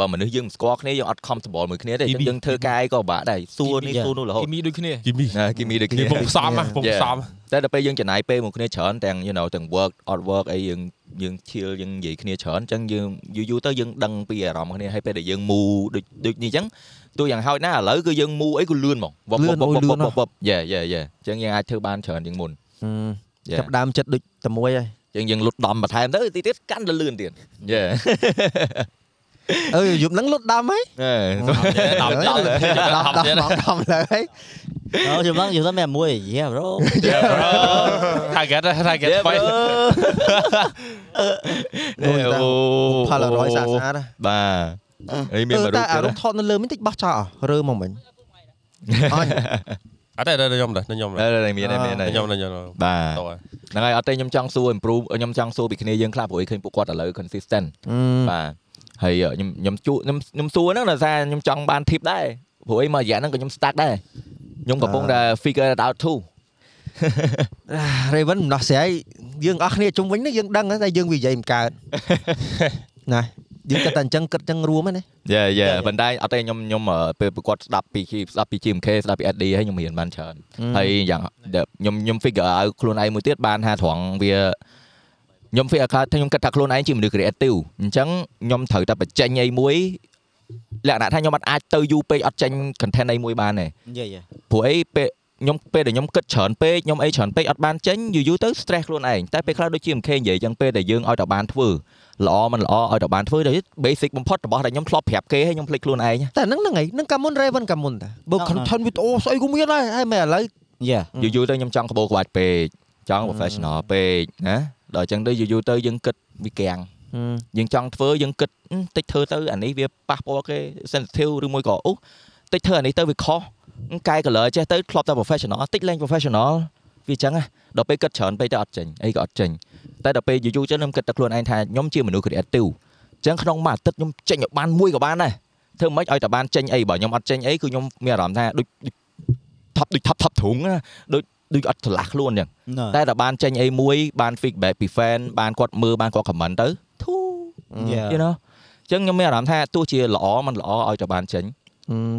បើមនុស្សយើងមិនស្គាល់គ្នាយើងអត់ comfortable មួយគ្នាទេអញ្ចឹងយើងធ្វើការអីក៏ពិបាកដែរសួរនេះ Yeah. សួរនោះរហូត គេមានដូចគ្នា គីមី ណាគេមានដូច គេ គ្នា ពង Dạ. ផ្សំណាពងផ្សំ តែដល់ពេលយើងចំណាយពេលមួយគ្នាច្រើនទាំង you know ទាំង work out work អីយើងយើង chill យើងនិយាយគ្នាច្រើនអញ្ចឹងយើងយូរយូរទៅយើងដឹងពីអារម្មណ៍គ្នាហើយពេលដែលយើងមូដូចដូចនេះអញ្ចឹងទោះយ៉ាងហោចណាឥឡូវគឺយើងមូអីក៏លឿនមកវ លឿនអូយលឿនណាស់ យេយេយេអញ្ចឹងយើងអាចធ្វើបានច្រើនជាងមុន Yeah. ចាប់ផ្ដើមចិត្តដូចតែមួយហើយ អញ្ចឹងយើងលុតដំបន្ថែមទៅទីទៀតកាន់តែលឿនទៀតយេ អើយយប់ហ្នឹងលុតដំហី អេដល់ ដល់ ដំដំដំដំលើហី đó chúng ta chúng ta mẹ muối yeah bro Yeah bro target target ទៅ Dạ, ស្វ័យ អូអូ ផលរយស្អាតស្អាត បាទអីមាន អឺ មួយរូ តែ ប អា ទៀត រម្មណ៍ថតនៅលើមានតិចបោះចោលអស់រើមកមិញអញ អត់ទេដល់ខ្ញុំដល់ខ្ញុំ អឺមានមាន ដល់ខ្ញុំដល់ខ្ញុំ បា Dạ. តោះ ទហ្នឹងហើយអត់ទេខ្ញុំចង់សួរ improve ខ្ញុំចង់សួរពីគ្នាយើងខ្លះព្រោះឃើញពួកគាត់ឥឡូវ consistent បាទហើយខ្ញុំខ្ញុំជួខ្ញុំខ្ញុំសួរហ្នឹងដោយសារខ្ញុំចង់បាន tip ដែរព្រោះអីមករយៈហ្នឹងក៏ខ្ញុំ stuck ដែរខ្ញុំកំពុងតែ figure it out too Raven ដំណោះស្រាយយើងអស់គ្នាជុំវិញនេះយើងដឹងតែយើងវានិយាយមិនកើតណាយើងគិតតែអញ្ចឹងគិតអញ្ចឹងរួមហ្នឹងណា យេយេបណ្ដាញអត់ទេខ្ញុំខ្ញុំអឺពេលប្រកួតស្ដាប់ពីស្ដាប់ពី GMK ស្ដាប់ពី SD ហើយខ្ញុំរៀនបានច្រើនហើយយ៉ាងខ្ញុំខ្ញុំ figure out ខ្លួនឯងមួយទៀតបានថាត្រង់វាខ្ញុំ figure out ថាខ្ញុំគិតថាខ្លួនឯងជាមនុស្ស creative អញ្ចឹងខ្ញុំត្រូវតែបញ្ចេញអីមួយលក្ខណៈថាខ្ញុំអត់អាចទៅយូរពេកអត់ចេញ content អីមួយបានទេ yeah yeah ព្រោះអីពេលខ្ញុំពេលដែលខ្ញុំគិតច្រើនពេកខ្ញុំអីច្រើនពេកអត់បានចេញយូរយូរទៅ stress ខ្លួនឯងតែពេលខ្លះដូចជា MK និយាយចឹងពេលដែលយើងឲ្យតែបានធ្វើល្អមិនល្អឲ្យតែបានធ្វើដូច basic បំផុតរបស់ដែលខ្ញុំធ្លាប់ប្រាប់គេហើយខ្ញុំភ្លេចខ្លួនឯង តែហ្នឹងហ្នឹងឯងហ្នឹងកាមុន Raven កាមុនតាបើ ហ្នឹង content video ស្អីក៏មានដែរហើយមែនឥឡូវ yeah យូអឺរយូរទៅខ្ញុំចង់ក្បោរក្បាច់ពេកចង់ professional ពេកណាដល់ចឹងទៅយូរយូរទៅយើងគិតវាកាំងយើងចង់ធ្វើយើងគិតហឹមតិចធ្វើទៅអានេះវាប៉ះពាល់គេ sensitive ឬមួយក៏អូតិចធ្វើអានេះទៅវាខុសហឹមកែ color ចេះទៅធ្លាប់តែ professional តិចឡើង professional វាចឹងហ៎ ដល់ពេលគិតច្រើនពេកទៅអត់ចេញអីក៏អត់ចេញតែដល់ពេលយូរយូរចឹងខ្ញុំគិតទៅខ្លួនឯងថាខ្ញុំជាមនុស្ស creative អញ្ចឹងក្នុងមួយអាទិត្យខ្ញុំចេញឲ្យបានមួយក៏បានដែរធ្វើមិនឲ្យតែបានចេញអីបើខ្ញុំអត់ចេញអីគឺខ្ញុំមានអារម្មណ៍ថាដូចដូចថប់ដូចថប់ថប់ធុងណាដូចដូចអត់ឆ្លាស់ខ្លួនអញ្ចឹង no តែតែបានចេញអីមួយបាន feedback ពី fan បានគាត់មើលបានគាត់ comment ទៅធូ yeah you know អញ្ចឹងខ្ញុំមានអារម្មណ៍ថាទោះជាល្អមិនល្អឲ្យតែបានចេញ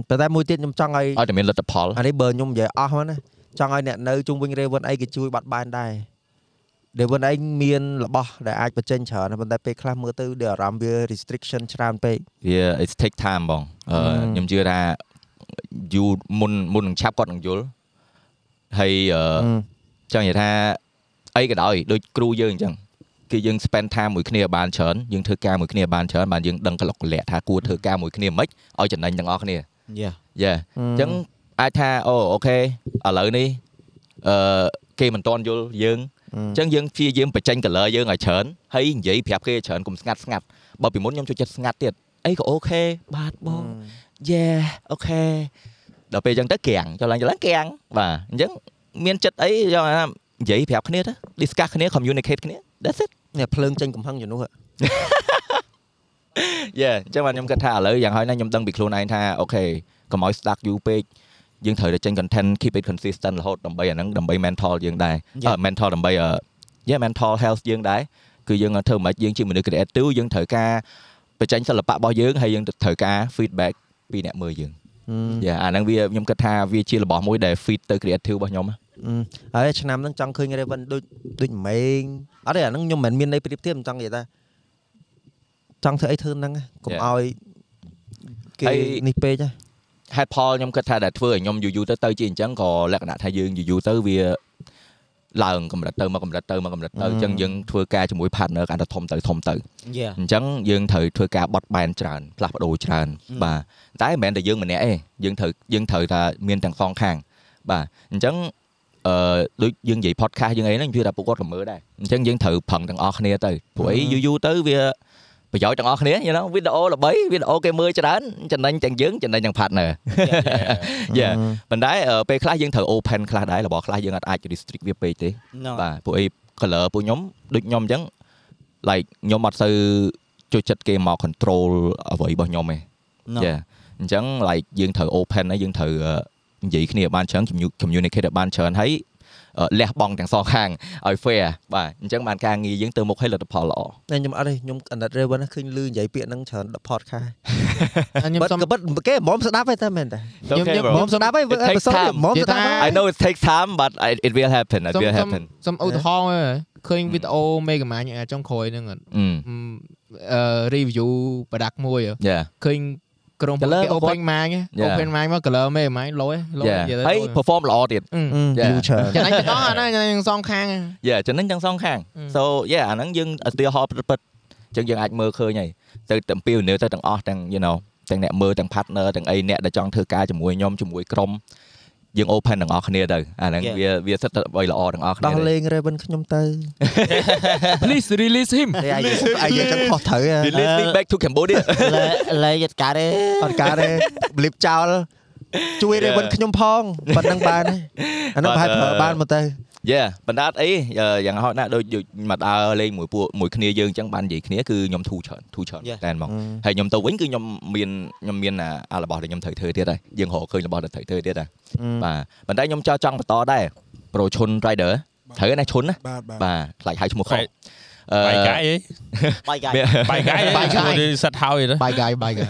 ប៉ុន្តែមួយទៀតខ្ញុំចង់ឲ្យ ឲ្យតែមានលទ្ធផល អានេះបើខ្ញុំនិយាយអស់ហ្នឹងណាចង់ឲ្យអ្នកនៅជុំវិញ Raven អីគេជួយបាត់បានដែរ ដែលខ្លួនឯងមានរបស់ដែលអាចបញ្ចេញច្រើនណាស់ប៉ុន្តែពេលខ្លះមើលទៅដូចអារម្មណ៍វា restriction ច្រើនពេក វា it's take time បងអឺ Mm. ខ្ញុំជឿថាយូរមុនមុននឹងឆាប់គាត់នឹងយល់ហើយអឺ ម ចង់និយាយថាអីក៏ដោយដូចគ្រូយើងអញ្ចឹងគឺយើង spend time មួយគ្នាបានច្រើនយើងធ្វើការមួយគ្នាបានច្រើនបានយើងដឹងកលុកកលៈថាគួរធ្វើការមួយគ្នាមិនឲ្យចំណេញទាំងអស់គ្នា Yeah. យ៉ា អ អ ញ្ ញ្ចឹងអាចថាអូអូខេឥឡូវនេះអឺគេមិនតន់យល់យើងអញ្ចឹងយើងព្យាយាមបញ្ចេញ color យើងឲ្យច្រើនហើយនិយាយប្រាប់គេឲ្យច្រើនកុំស្ងាត់ស្ងាត់បើពីមុនខ្ញុំចូលចិត្តស្ងាត់ទៀតអីក៏អូខេបាទបង yeah okay ដល់ពេលអញ្ចឹងទៅក្រាំងចូលឡើងចូលឡើងក្រាំងបាទអញ្ចឹងមានចិត្តអីយកថានិយាយប្រាប់គ្នាទៅ discuss គ្នា communicate គ្នា that's it នេះភ្លើងចេញកំហឹងជំនួស yeah អញ្ចឹងបាទខ្ញុំគិតថាឥឡូវយ៉ាងហោចណាស់ខ្ញុំដឹងពីខ្លួនឯងថា okay កុំឲ្យស្ដាប់យូរពេកយើងត្រូវតែចេញ content keep it consistent រហូតដើម្បីអាហ្នឹងដើម្បី mental យើងដែរអឺ mental ដើម្បីអឺ yeah mental health យើងដែរគឺយើងធ្វើមិនយើងជាមនុស្ស creative យើងត្រូវការបញ្ចេញសិល្បៈរបស់យើងហើយយើងត្រូវការ feedback ពីអ្នកមើលយើង យ៉ាអាហ្នឹងវាខ្ញុំគិតថាវាជារបស់មួយដែល feed ទៅ creative របស់ខ្ញុំហ៎ អឺហើយឆ្នាំហ្នឹងចង់ឃើញ Raven ដូចដូចម៉េងអត់ទេអាហ្នឹងខ្ញុំមិនមានន័យប្រៀបធៀបមិនចង់និយាយថាចង់ធ្វើអីធ្វើហ្នឹងកុំឲ្យគេនេះពេកហ៎ ហេតុផលខ្ញុំគិតថាដែលធ្វើឲ្យខ្ញុំយូរយូរទៅទៅជាអញ្ចឹងក៏លក្ខណៈថាយើងយូរយូរទៅវាឡើងកម្រិតទៅមកកម្រិតទៅមកកម្រិតទៅអញ្ចឹង Mm. យើងធ្វើការជាមួយ partner កាន់តែធំទៅធំទៅ Yeah. អញ្ចឹងយើងត្រូវធ្វើការបត់បែនច្រើនផ្លាស់ប្ដូរច្រើន Mm. បាទតែមិនមែនតែយើងម្នាក់ទេយើងត្រូវយើងត្រូវថាមានទាំងសងខាង បាទអញ្ចឹងអឺដូចយើងនិយាយ podcast យើងអីហ្នឹងខ្ញុំជឿថាពួកគាត់ក៏មើលដែរអញ្ចឹងយើងត្រូវប្រឹងទាំងអស់គ្នាទៅព្រោះអី Mm. យូរយូរទៅវាប្រយោជន៍ទាំងអស់គ្នាយល់វីដេអូល្បីវីដេអូគេមើលច្រើនចំណេញទាំងយើងចំណេញទាំង partner យ៉ាប៉ុន្តែអឺពេលខ្លះយើងត្រូវ open ខ្លះដែររបស់ខ្លះយើងអត់អាច restrict វាពេកទេ No. បាទពួកអី color ពួកខ្ញុំដូចខ្ញុំអញ្ចឹង like ខ្ញុំអត់សូវចូលចិត្តគេមក control អ្វីរបស់ខ្ញុំទេ No. ចាអញ្ចឹង like យើងត្រូវ open ហើយយើងត្រូវអឺនិយាយគ្នាឲ្យបានច្រើន commu- communicate ឲ្យបានច្រើនហើយអឺលះបង់ទាំងសងខាងឲ្យ fair បាទអញ្ចឹងបានការងារយើងទៅមុខឲ្យលទ្ធផលល្អ តែខ្ញុំអត់ទេខ្ញុំអាណិត Raven ណាឃើញលឺនិយាយពាក្យហ្នឹងច្រើនដល់ podcast ខ្ញុំ បិទ សុំ ក៏បិទគេមិនស្ដាប់ទេតែមែនតែ ខ្ញុំខ្ញុំ bro. មិនស្ដាប់ទេ It takes បើសិន time. មិនស្ដាប់ I know it takes time but I- it will happen it សុំ will សុំ happen សុំឧទាហរណ៍ឯងឃើញវីដេអូមេកាម៉ាញចុងក្រោយហ្នឹងអត់ អឺ អឺអឺ Ừ, ờ, review product មួយអ่ะ yeah ឃើញក្រុមហ៊ុន Colour គេ របស់ open mind ឯង Yeah. open mind មក color មេកាម៉ាញលយលយ yeah និយាយ ហើយ ទៅ perform ល្អទៀត Ừ. Yeah. view ច្រើន ចំណេញទាំងអស់ហ្នឹងចំណេញទាំងសងខាងឯង yeah ចំណេញទាំងសងខាង Mm. so yeah អាហ្នឹងយើងឧទាហរណ៍ពិតៗអញ្ចឹងយើងអាចមើលឃើញហើយទៅទាំងពីវនៅទៅទាំងអស់ទាំង you know ទាំងអ្នកមើលទាំង partner ទាំងអីអ្នកដែលចង់ធ្វើការជាមួយខ្ញុំជាមួយក្រុមយើង open ទាំងអស់គ្នាទៅអាហ្នឹង Yeah. វាវាសិតតែអ្វីល្អទាំងអស់គ្នា ដោះ ទេ លេង Raven ខ្ញុំទៅ please release him តែអាយអាយចឹងខុសត្រូវហ៎ release me back to Cambodia លេលេយត់ការទេ អត់ការទេបលីបចោលជួយ Yeah. Raven ខ្ញុំផងប៉ុណ្ណឹងបានហើយអានោះ But, ប្រហែលប្រើបានមកទៅ yeah បណ្ដាអត់អីអឺយ៉ាងហោចណាស់ដូចដូចមកដើរលេងមួយពួកមួយគ្នាយើងអញ្ចឹងបាននិយាយគ្នាគឺខ្ញុំធូរច្រើនធូរច្រើន Yeah. តែនហ្មង ហើយខ្ញុំទៅវិញគឺខ្ញុំមានខ្ញុំមានអាអារបស់ដែលខ្ញុំត្រូវធ្វើទៀតហើយយើងរកឃើញរបស់ដែលត្រូវធ្វើទៀតហើយបាទប៉ុន្តែខ្ញុំចង់ចង់បន្តដែរប្រូឈុន rider ត្រូវណាឈុនណា បាទបាទ បាទខ្លាចហៅឈ្មោះខុស Right. Ờ. បាយ កាយហី បាយកាយ បាយកាយហី បាយកាយ ឈ្មោះនេះសិតហើយណា បាយកាយបាយកាយ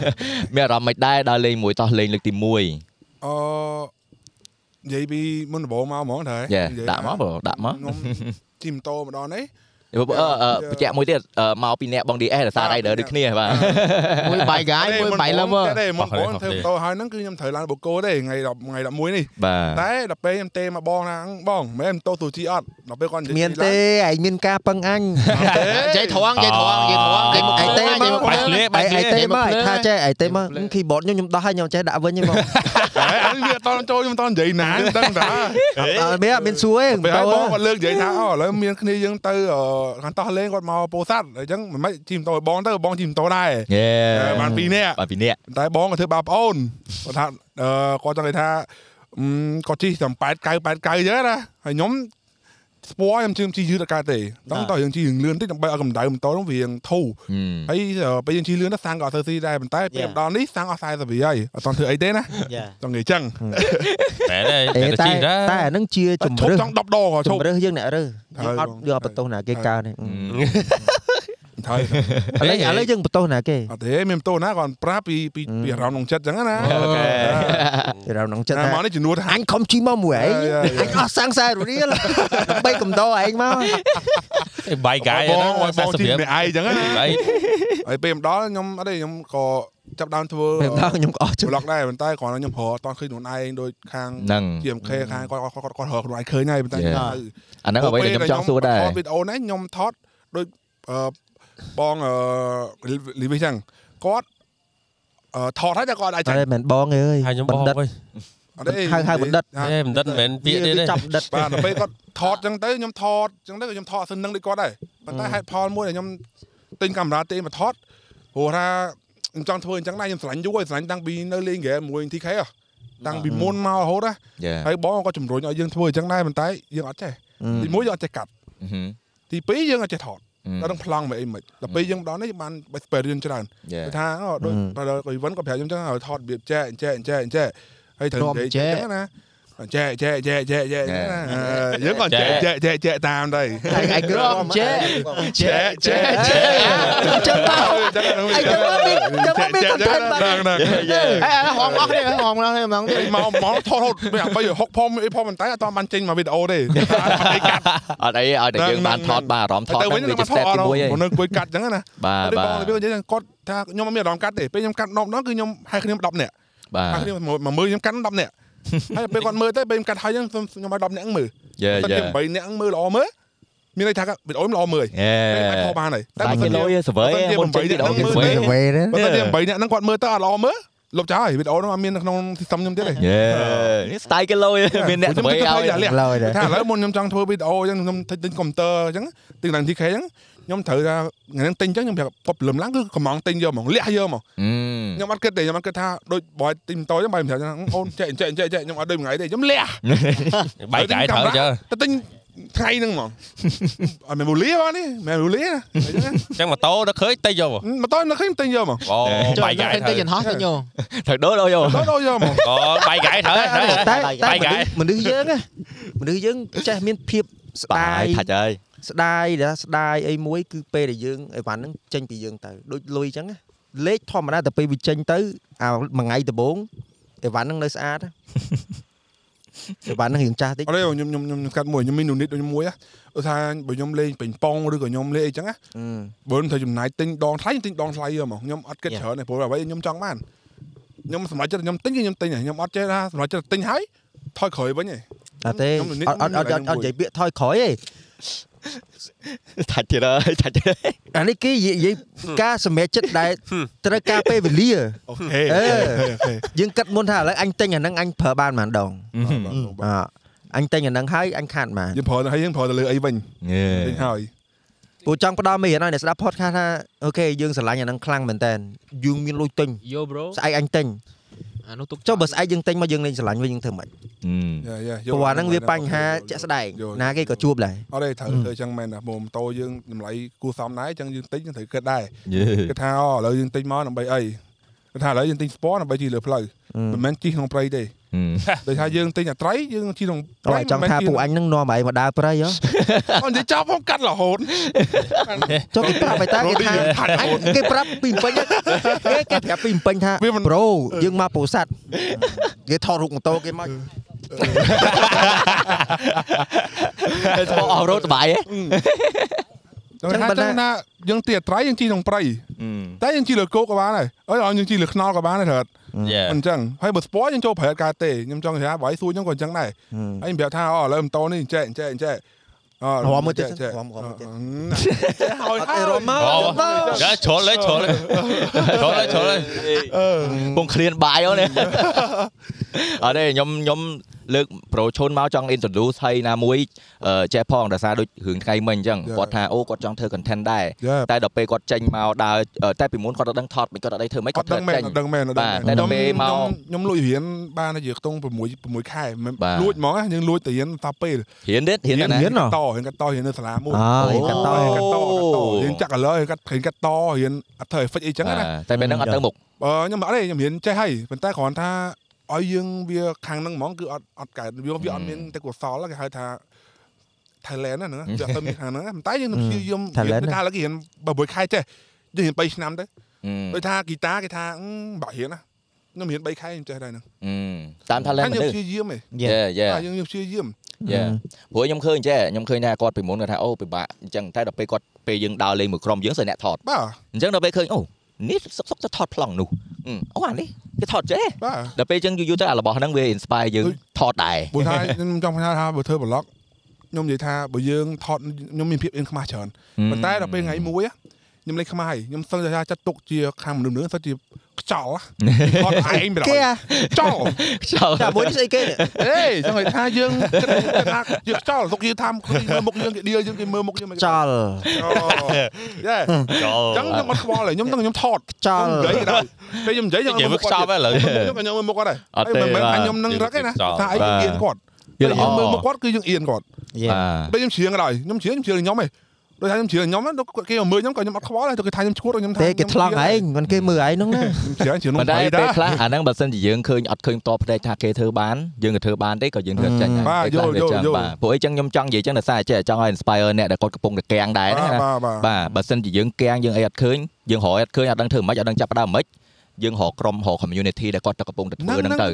មានអារម្មណ៍មិនដែរដល់លេងមួយតោះលេងលើកទី1 អឺនិយាយពីមុនដំបូងមកហ្មងដែរ យ៉ា និយា ដាក់មកបងដាក់មក ខ្ញុំជិះម៉ូតូម្ដងនេះ អឺអឺបញ្ជាក់មួយទៀតអឺមកពីអ្នកបង DS ដែលសារ rider ដូចគ្នាបាទ មួយបាយកាយមួយបាយ មុន lover ទេមុនបង ខុសគ្នា ធ្វើម៉ូតូហើយហ្នឹងគឺខ្ញុំត្រូវឡើងបូកគោទេថ្ងៃ10ថ្ងៃ11នេះ បាទ តែដល់ពេលខ្ញុំទេមកបងថាអឺបងមែនម៉ូតូទូជីអត់ដល់ពេលគាត់និយាយ មានទេឯងមានការពឹងអញ ចៃត្រង់ចៃត្រង់ចៃត្រង់អីគេមកឯ Ờ. ទេ ទេ ម មក ក បា បាយ ច់ ល លេ លេ បា បាច់លេទេមក បាច់លេច់លេ ថាចេះអីទេមក keyboard ខ្ញុំខ្ញុំដោះហើយខ្ញុំចេះដាក់វិញទេមក តែអានេះវាអត់តន់ចូលខ្ញុំអត់តន់និយាយណាខ្ញុំដឹងតា អត់មានអត់មានសួរទេ ពេល បើ ហើយ ប បង ងគាត់លើកនិយាយថាអូឥឡូវមានគ្នាយើងទៅអឺខាងតោះលេងគាត់មកពោធិ៍សាត់អញ្ចឹងមិនម៉េចជិះម៉ូតូឲ្យបងទៅបងជិះម៉ូតូដែរ yeah បានពីរនាក់ បានពីរនាក់ តែបងក៏ធ្វើបាបប្អូនគាត់ថាអឺគាត់ចង់និយាយថាអឺគាត់ជិះតែ8 9 8 9ទេណាហើយខ្ញុំស្ពាល់ខ្ញុំជឿមជិះយឺតអត់កើតទេតោះតោះយើងជិះរឿងលឿនតិចដើម្បីឲ្យកម្ដៅម៉ូតូហ្នឹងវាធូរ ហឹម ហើយអឺពេលយើងជិះលឿនទៅសាំងក៏អត់ធ្វើស៊ីដែរប៉ុន្តែពេល Yeah. ដល់នេះសាំងអស់40វិហើយអត់តន់ធ្វើអីទេណា Yeah. ចង់និយាយចឹង មែនហើយ អេ តែ តែ ជីដែរ តែអានឹងជាជំ ឈប់ រឹះ ចង់10ដងក៏ឈ ជំ ប់ រឹះយើងអ្នករើស ហើ យើង យ អត់ បង យកបន្ទោសណាគេ ហើយ កើតទេ ថើឥយឡូវឥឡូវយើងបន្ទោសណាគេ អត់ទេមានបន្ទោសណាគាត់ប្រាប់ពីពីពីអារម្មណ៍ក្នុងចិត្តអញ្ចឹងណាអូខេ គេរំ នឹងចិត្ត តែ ថា មកនេះជំនួសថា អញខំជីមកមួយឯង អើយអើយ អញអស់សាំងសែរៀលដើម្បីកំដរឯងមក បាយកាយ បងឲ្យបងជី រៀល ម្នាក់ឯងអញ្ចឹងណា ហើយ ហើយពេលមកដល់ខ្ញុំអត់ទេខ្ញុំក៏ចាប់ដើមធ្វើ ពេលដល់ខ្ញុំក៏អស់ចិត្ត block ដែរប៉ុន្តែគ្រាន់តែខ្ញុំរកអត់ឃើញខ្លួនឯងដូចខាង ហ្នឹង GMK ខាងគាត់គាត់គាត់គាត់រកខ្លួនឯងឃើញហើយប៉ុន្តែ Yeah. អាហ្នឹងអ្វីដែលខ្ញុំចង់សួរដែរ ថតវីដេអូហ្នឹងខ្ញុំថតដោយអឺបងអឺលីវីចឹងគាត់អឺថតហើយតែគាត់អាចចាញ់ តែមិនបងអើយ ហើយខ្ញុំប បណ្ឌិត ោកវិញ អត់ទេ ហៅហៅបណ្ឌិត Dạ. ហៅ ហេបណ្ឌិតមិនមែនពាក្យទេ វា ទេ ចាប់បណ្ឌិត បាទដល់ពេលគាត់ថតចឹងទៅខ្ញុំថតចឹងទៅខ្ញុំថតអត់សិននឹងដូចគាត់ដែរប៉ុន្តែហេតុផលមួយដែលខ្ញុំទិញកាមេរ៉ាទេមកថតព្រោះថាខ្ញុំចង់ធ្វើអញ្ចឹងដែរខ្ញុំស្រឡាញ់យូរហើយស្រឡាញ់តាំងពីនៅលេងហ្គេមមួយ TK ហ៎តាំងពីមុនមករហូតណា យ៉ា ហើយបងគាត់ជំរុញឲ្យយើងធ្វើអញ្ចឹងដែរប៉ុន្តែយើងអត់ចេះទីមួយយើងអត់ចេះកាត់ ហឹម ទីពីរយើងអត់ចេះថត ដល់នឹងប្លង់មកអីមិនដល់ពេលយើងម្ដងនេះបាន experience ច្រើន យ៉ា គាត់ថាអូដូច អឺ ដល់ event គាត់ប្រាប់ខ្ញុំចឹងឲ្យថតរបៀបចែកចែកចែកចែកហើយត្រូវ ធ្លាប់ និយាយ ចែក ចឹងណាចែកចែកចែកចែកចែកចឹងណាអឺយើងក៏ចែកចែកចែកចែកតាមដែរ ឯងក្រមចេះ ចែកចែកចែក ចឹងមក ចឹងឯណាងចឹងមកមានចឹងមកមាន content បាទ ដល់ហដល់េអាហងអស់នេះហងអស់នេះហ្មង ឯងមកមកថតរត់មិនអបីហុកផងអីផងប៉ុន្តែអត់បានចេញមកវីដេអូទេ អត់អីឲ្យតែយើងបានថតបានអារម្មណ៍ថត ទៅ ហ្នឹង វិញ វា ទៅ ជា step ទី1ឯង នៅគួយកាត់ចឹងណា បាទ ដូច បា បង ទ របៀបនិយាយចឹងគាត់ថាខ្ញុំអត់មានអារម្មណ៍កាត់ទេពេលខ្ញុំកាត់ម្ដងគឺខ្ញុំហៅគ្នា10នាក់ បា អស់ ទ គ្នាមកមើលខ្ញុំកាន់10នាក់ហើយពេលគាត់មើលទៅពេលខ្ញុំកាត់ហើយខ្ញុំខ្ញុំឲ្យ10នាក់មើល យ៉ា តែ យ៉ា ខ្ញុំ8នាក់មើលល្អមើលមានន័យថាវីដេអូខ្ញុំល្អមើល យ៉ា ហើយអាចខុសបានហើយតែ តែ បើសិ គេ ន លុ ជា យសវេមុនចេញវីដេអូគេសវេ វេណា Dạ. បើសិនជា8នាក់ហ្នឹងគាត់មើលទៅអត់ល្អមើលលុបចោលហើយវីដេអូហ្នឹងអត់មាននៅក្នុង system ខ្ញុំទៀតទេ យ៉ានេះ style គេលុយមានអ្នកសវេឲ្យ លះ ឡយដែរ ថាឥឡូវមុនខ្ញុំចង់ធ្វើវីដេអូអញ្ចឹងខ្ញុំទិញទិញកុំព្យូទ័រអញ្ចឹងទិញឡើង TK អញ្ចឹងខ្ញុំត្រូវថាថ្ងៃហ្នឹងទិញអញ្ចឹងខ្ញុំប្រាប់ problem ឡើងគឺកំងទិញយកហ្មងលះយកហ្មង Dạ. ខ្ញុំអត់គិតទេខ្ញុំអត់គិតថាដូចបើទិញតូចហ្នឹងបើខ្ញុំប្រាប់ថាអូនចែកចែកចែកចែកខ្ញុំអត់ដូចមួយថ្ងៃទេខ្ញុំលះ បាយកាយថើចើ តែទិញថ្ងៃហ្នឹងហ្មង អត់មែនមូលីបាននេះមែនមូលីណាអញ្ចឹងណា អញ្ចឹងម៉ូតូដល់ឃើញតិចយក មកតើនៅឃើញទិញយកហ្មង អូបាយកាយ Ờ. ទៅយន្តហោះទៅញោម ត្រូវដូរដល់យោ ដល់ដល់យកហ្មង អូបាយកាយថើថើ តែតែ បាយកាយ មនុស្សយើងណាមនុស្សយើងចេះមានភាពបាស្ដាយ យ Dạ. ថាច់ហើយ ស្ដាយដែរស្ដាយអីមួយគឺពេលដែលយើងអីវ៉ាន់ហ្នឹងចេញពីយើងទៅដូចលុយអញ្ចឹងណាលេខធម្មតាតែពេលវាចេញទៅអាមួយថ្ងៃដំបូងអីវ៉ាន់ហ្នឹងនៅស្អាតណា អីវ៉ាន់ហ្នឹងយើងចាស់តិច អត់ទេខ្ញុំខ្ញុំខ្ញុំខ្ញុំកាត់មួយខ្ញុំមាននូនីតខ្ញុំមួយណាឧស្សាហ៍បើខ្ញុំលេងពេញប៉ុងឬក៏ខ្ញុំលេងអីចឹងណាបើខ្ញុំត្រូវចំណាយទិញដងថ្លៃខ្ញុំទិញដងថ្លៃយកហ្មងខ្ញុំអត់គិតច្រើនទេព្រោះអ្វីខ្ញុំចង់បានខ្ញុំសម្រេចចិត្តខ្ញុំទិញគឺខ្ញុំទិញហើយខ្ញុំអត់ចេះថាសម្រេចចិត្តទិញហើយថយក្រោយវិញឯង អត់ទេ ខ្ញុំនិយាយ អត់អត់អត់ ខ្ញុំនិអយាយត់និយាយមួយពាក្យថយក្រោយទេ ថាច់ទៀត ហើយថាច់ទៀតហើយ អានេះគេនិយាយការសម្រេចចិត្តដែលត្រូវការពេលវេលា អូខេ អឺយើងគិតមុនថាឥឡូវអញទិញអាហ្នឹងអញប្រើបានប៉ុន្មានដង Ừ. អ่าអញទិញអាហ្នឹងហើយអញខាតប៉ុន្មាន យើងប្រើទៅហើយយើងប្រើទៅលើអីវិញ យ៉ា ទិញហើយ ពូចង់ផ្ដល់មេរៀនឲ្យអ្នកស្ដាប់ podcast ថាអូខេយើងស្រឡាញ់អាហ្នឹងខ្លាំងមែនតើយើងមានលុយទិញ យោ bro ស្អែកអញទិញ à, អានោះទុក ចុះបើស្អែកយើងទិញមកយើងលេងស្រឡាញ់វិញយើងធ្វើម៉េច យ៉ាយ៉ាយក ព្រោះអាហ្នឹង dạ, វាបញ្ហាជាក់ស្ដែង យល់ ណាគេក៏ជួបដែរ អត់ទេត្រូវធ្វើអញ្ចឹងមែនណាម៉ូម៉ូតូយើងតម្លៃគួរសមដែរអញ្ចឹងយើងទិញយើងត្រូវគិតដែរ យ៉ា គិតថាអូឥឡូវយើងទិញមកដើម្បីអីគាត់ថាឥឡូវយើងទិញ sport ដើម្បីជិះលើផ្លូវមិនមែនជិះក្នុងព្រៃទេដូចថាយើងទិញអត្រីយើងជិះក្នុង អូចង់ថាពូអញហ្នឹងនាំឲ្យមកដើរព្រៃ ហ៎ អូននិយាយចោលផងកាត់រហូត ចុះគេប្រាប់ឲ្យតើគេថា ផាត់រហូត គេប្រាប់ពីពេញគេគេប្រាប់ពីពេញថា វាមិន ប្រូយើងមកពោធិ៍សាត់ គេថតរូបម៉ូតូគេមក ធ្វើអស់រត់សបាយហ៎ អញ្ចឹងបើថាយើងទិញអត្រីយើងជិះក្នុងព្រៃតែយើងជិះលើគោកក៏បានដែរអើយយើងជិះលើខ្នល់ក៏បានដែរត្រូវ យ៉ា អញ្ចឹងហើយបើ sport យើងចូលប្រែកាទេខ្ញុំចង់និយាយថាបើឲ្យសួរខ្ញុំក៏អញ្ចឹងដែរ ហើយខ្ញុំប្រាប់ថាអូឥឡូវម៉ូតូនេះអញ្ចេះអញ្ចេះអញ្ចេះអូ រមមើលទៀត ចេះ រមរមមើលទៀត អូ អត់ ហើយ ឲ្យរមមក អូយ៉ាឈលលេឈលលេឈលលេឈលលេ ពងឃ្លានបាយអូននេះអត់ទេខ្ញុំខ្ញុំលើកប្រូឈុនមកចង់ introduce ហើយណាមួយអឺចេះផងដោយសារដូចរឿងថ្ងៃមិញអញ្ចឹងគាត់ថាអូគាត់ចង់ធ្វើ content ដែរ យ៉ា តែដល់ពេលគាត់ចេញមកដើរអឺតែពីមុនគាត់អត់ដឹងថតមិនគាត់អត់ដឹងធ្វើម៉េច អ គា ត់ ត់ ដឹង ត្រូវ មែន ចេញ អត់ដឹងមែនអត់ដឹង បាទតែដល់ពេលមក ខ្ញុំលួចរៀនបានតែជាខ្ទង់6 6ខែមិន បាទ លួចហ្មងណាយើងលួចទៅរៀនតាពេល ហ៊ានទេហ៊ានណាស់ រៀនហ៎ តរៀនកាត់តរៀននៅសាលាមួយ អើរៀនកាត់ត រៀនកាត់ត អូ រៀនចាក់ឥឡូវរៀនកាត់រៀនកាត់តរៀនអត់ធ្វើ effect អីចឹងណា តែពេលហ្នឹងអត់ទៅមុខ បើខ្ញុំអត់ទេខ្ញុំរៀនចេះហើយប៉ុន្តែគ្រាន់ថាឲ្យយើងវាខាងហ្នឹងហ្មងគឺអត់អត់កើតវាវាអត់មានតែកុសលគេហៅថា Thailand ណាហ្នឹងវាអត់ទៅមានខាងហ្នឹងណាប៉ុន្តែយើងនឹងព្យាយាម Thailand ដូចថាឡើយគេរៀនបើមួយខែចេះយើងរៀន3ឆ្នាំទៅ ម ដូចថាហ្គីតាគេថាអឺបាក់រៀនណាខ្ញុំរៀន3ខែខ្ញុំចេះដែរហ្នឹង អឺ តាមថាលែងមតែយើ នុ ង ស្ស ព្យាយាមឯង យេយេ តែយើងយើងព្យាយាយ៉ាព្រោះមខ្ញុំឃើញចេះខ្ញុំឃើញថាគាត់ពីមុនគាត់ថាអូពិបាកអញ្ចឹងតែដល់ពេលគាត់ពេលយើងដើរលេងមួយក្រុមយើងសើអ្នកថត បាទ អញ្ចឹងដល់ពេលឃើញអូនេះសុកសុកទៅថតប្លង់នោះអឺអូអានេះគេថតចេះ បាទ ដល់ពេលអញ្ចឹងយូរយូរទៅអារបស់ហ្នឹងវា inspire យើង ដូច ថតដែរ ព្រោះថាខ្ញុំចង់ផ្ញើថាបើធ្វើប្លុកខ្ញុំនិយាយថាបើយើងថតខ្ញុំមានភាពអៀនខ្មាស់ច្រើនប៉ុន្តែដល់ពេលថ្ងៃមួយហ៎ខ្ញុំលេងខ្មាស់ហើយខ្ញុំសឹងតែថាចាត់ទុកជាខាងមនុស្សនឹងសឹងជាខ្ចោល ហ៎ ថតឯងប្រ គេ ហែល អា ខ្ចោល ខ្យល់ តែមួយនេះស្អីគេនេះ អេចង់និយាយថាយើងគិតគិតថាយើងខ្ចោលទុកយើងថាខ្លួនមើលមុខយើងគេដៀលយើងគេមើលមុខយើងមិនគេ ចោល អូយេអញ្ចឹងខ្ញុំអត់ខ្វល់ទេខ្ញុំទាំងខ្ញុំថត ចោល ខ្ញុំនិយាយដល់និពេលខ្ញុំនិយាយយាយវាខ្យល់ហើយឥឡូវ ខ្ញុំខ្ញុំមើលមុខគាត់ដែរ អត់ទេ ហើយមិនបាទមែនថាខ្ញុំនឹងរឹកទេណាថាអី បាទ យើងអៀនយគាត់ពេល ល់ យើ អ ងមើលមុ បា ខគាត់គឺយើងអៀនគាត់ ទ ពេលខ្ញុំច្រៀងក៏ដោយខ្ញុំច្រៀងខ្ញុំច្រៀងខ្ញុំឯងដូចថាខ្ញុំច្រៀងខ្ញុំហ្នឹងគាត់គេមកមើលខ្ញុំក៏ខ្ញុំអត់ខ្វល់ដែរទៅគេថាខ្ញុំឈួតខ្ញុំថា ទេគេថ្លង់ឯងមិនគេមើលឯងហ្នឹងណាប៉ុខ្ញុំច្រៀងខ្ញុំ ន្តែ ច្រៀង ពេល នោះ ខ្លះអាហ្នឹងបើសិនជាយើងឃើញអត់ឃើញតបផ្នែកថាគេធ្វើបានយើងក៏ធ្វើបានទេក៏យើងធ្វើចាញ់ដែរបាទព្រោះអីចឹងខ្ញុំចង់និយាយចឹងដល់សារចេះចង់ឲ្យ inspire អ្នកដែលគាត់កំពុងតែកៀងដែរណា បាទបាទបាបាទទបើសិនជាយើងកៀងយើងអីអត់ឃើញយើងរកអីអត់ឃើញអត់ដឹងធ្វើម៉េចអត់ដឹងចាប់ផ្ដើមម៉េចយើងរកក្រុមរក community ដែលគាត់ទៅកំពុងតែធ្វើហ្នឹងទៅ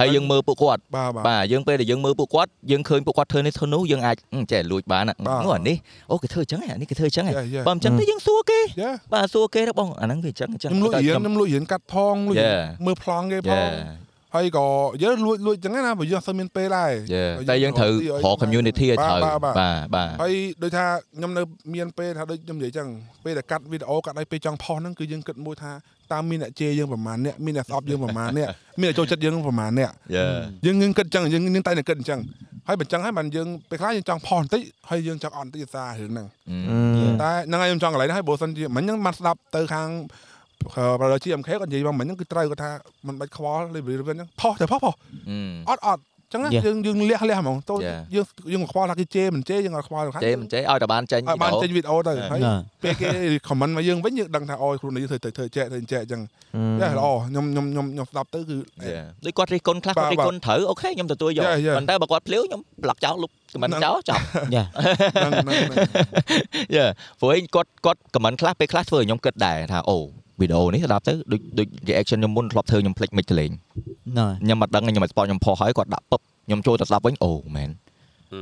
ហើយយើងមើលពួកគាត់ បាទបាទ បាទយើងពេលដែលយើងមើលពួកគាត់យើងឃើញពួកគាត់ធ្វើនេះធ្វើនោះយើងអាចអឺចេះលួចបានអ่ะ បាទ នោះអានេះអូគេធ្វើអញ្ចឹងហ៎អានេះគេធ្វើអញ្ចឹងហ៎ យេយេ បើមិនអញ្ចឹងទៅយើងសួរគេ យេ បាទសួរគេទៅបងអាហ្នឹងវាអញ្ចឹងអញ្ចឹង ខ្ញុំលួចរៀនខ្ញុំលួចរៀនកាត់ផងលួច យេ មើលប្លង់គេផ យេ ងហើយក៏យើលួចលួចចឹងណាបើយើងអត់សូវមានពេលដែរ យេតែយើងត្រូវរក community ឲ្យត្រូវ បាទបាទ បាទបាទ ហើយដូចថាខ្ញុំនៅមានពេលថាដូចខ្ញុំនិយាយចឹងពេលដែលកាត់វីដេអូកាត់ឲ្យពេលចង់ផុសហ្នឹងគឺយើងគិតមួយថាតើមានអ្នកជេរយើងប្រមាណអ្នកមានអ្នកស្អប់យើងប្រមាណអ្នកមានអ្នកចូលចិត្តយើងប្រមាណអ្នក យេ យើងងឹងគិតចឹងយើងនឹងតែតែគិតអញ្ចឹងហើយបើអញ្ចឹងហើយបានយើងពេលខ្លះយើងចង់ផុសបន្តិចហើយយើងចង់អត់បន្តិចសាររឿងហ្នឹងតែហ្នឹងហើយខ្ញុំចង់កន្លែងហ្នឹងហើយបើសិនជាមិញហ្នឹងបានស្ដាប់ទៅខាងប្រដជី MK គាត់និយាយថាមិញហ្នឹងគឺត្រូវគាត់ថាមិនបាច់ខ្វល់លេបរឿងហ្នឹងផុសតែផុសផុស អឺ អត់អត់អញ្ចឹងណា Yeah. យើងយើងលះលះហ្មងទៅ Yeah. យើងយើងមិនខ្វល់ថាគេជេរមិនជេរយើងអត់ខ្វល់ខាង ចេះមិនចេះឲ្យតែបានចេញ ឲ្យបានចេញវីដេអូទៅ Yeah. ហើយពេលគេ comment មកយើងវិញយើងដឹងថាអូយគ្រូនេះធ្វើទៅធ្វើចែកធ្វើចែកអញ្ចឹងតែល្អខ្ញុំខ្ញុំខ្ញុំខ្ញុំស្ដាប់ទៅគឺ ដូចគាត់រិះគន់ខ្លះ បាទ គាត់រិះ បាទ គន់ត្រូវអូខេខ្ញុំទទួលយក Yeah, yeah. ប៉ុន្តែបើគាត់ភ្លាវខ្ញុំប្លុកចោលលុបខមមិន ហ្នឹង ចោលចប់ ហ្នឹងហ្នឹងហ្នឹង យេព្រោះឯងគាត់គាត់ខមមិនខ្លះពេលខ្លះធ្វើឲ្យខ្ញុំគិតដែរថាអូវីដេអូនេះស្ដាប់ទៅដូចដូច reaction ខ្ញុំមុនធ្លាប់ធ្វើខ្ញុំភ្លេចមិចទៅលេង ណ៎ Dạ. ខ្ញុំមិនដឹងខ្ញុំមិនស្ពតខ្ញុំផុសហើយគាត់ដាក់ពឹបខ្ញុំចូលទៅស្ដាប់វិញអូមែន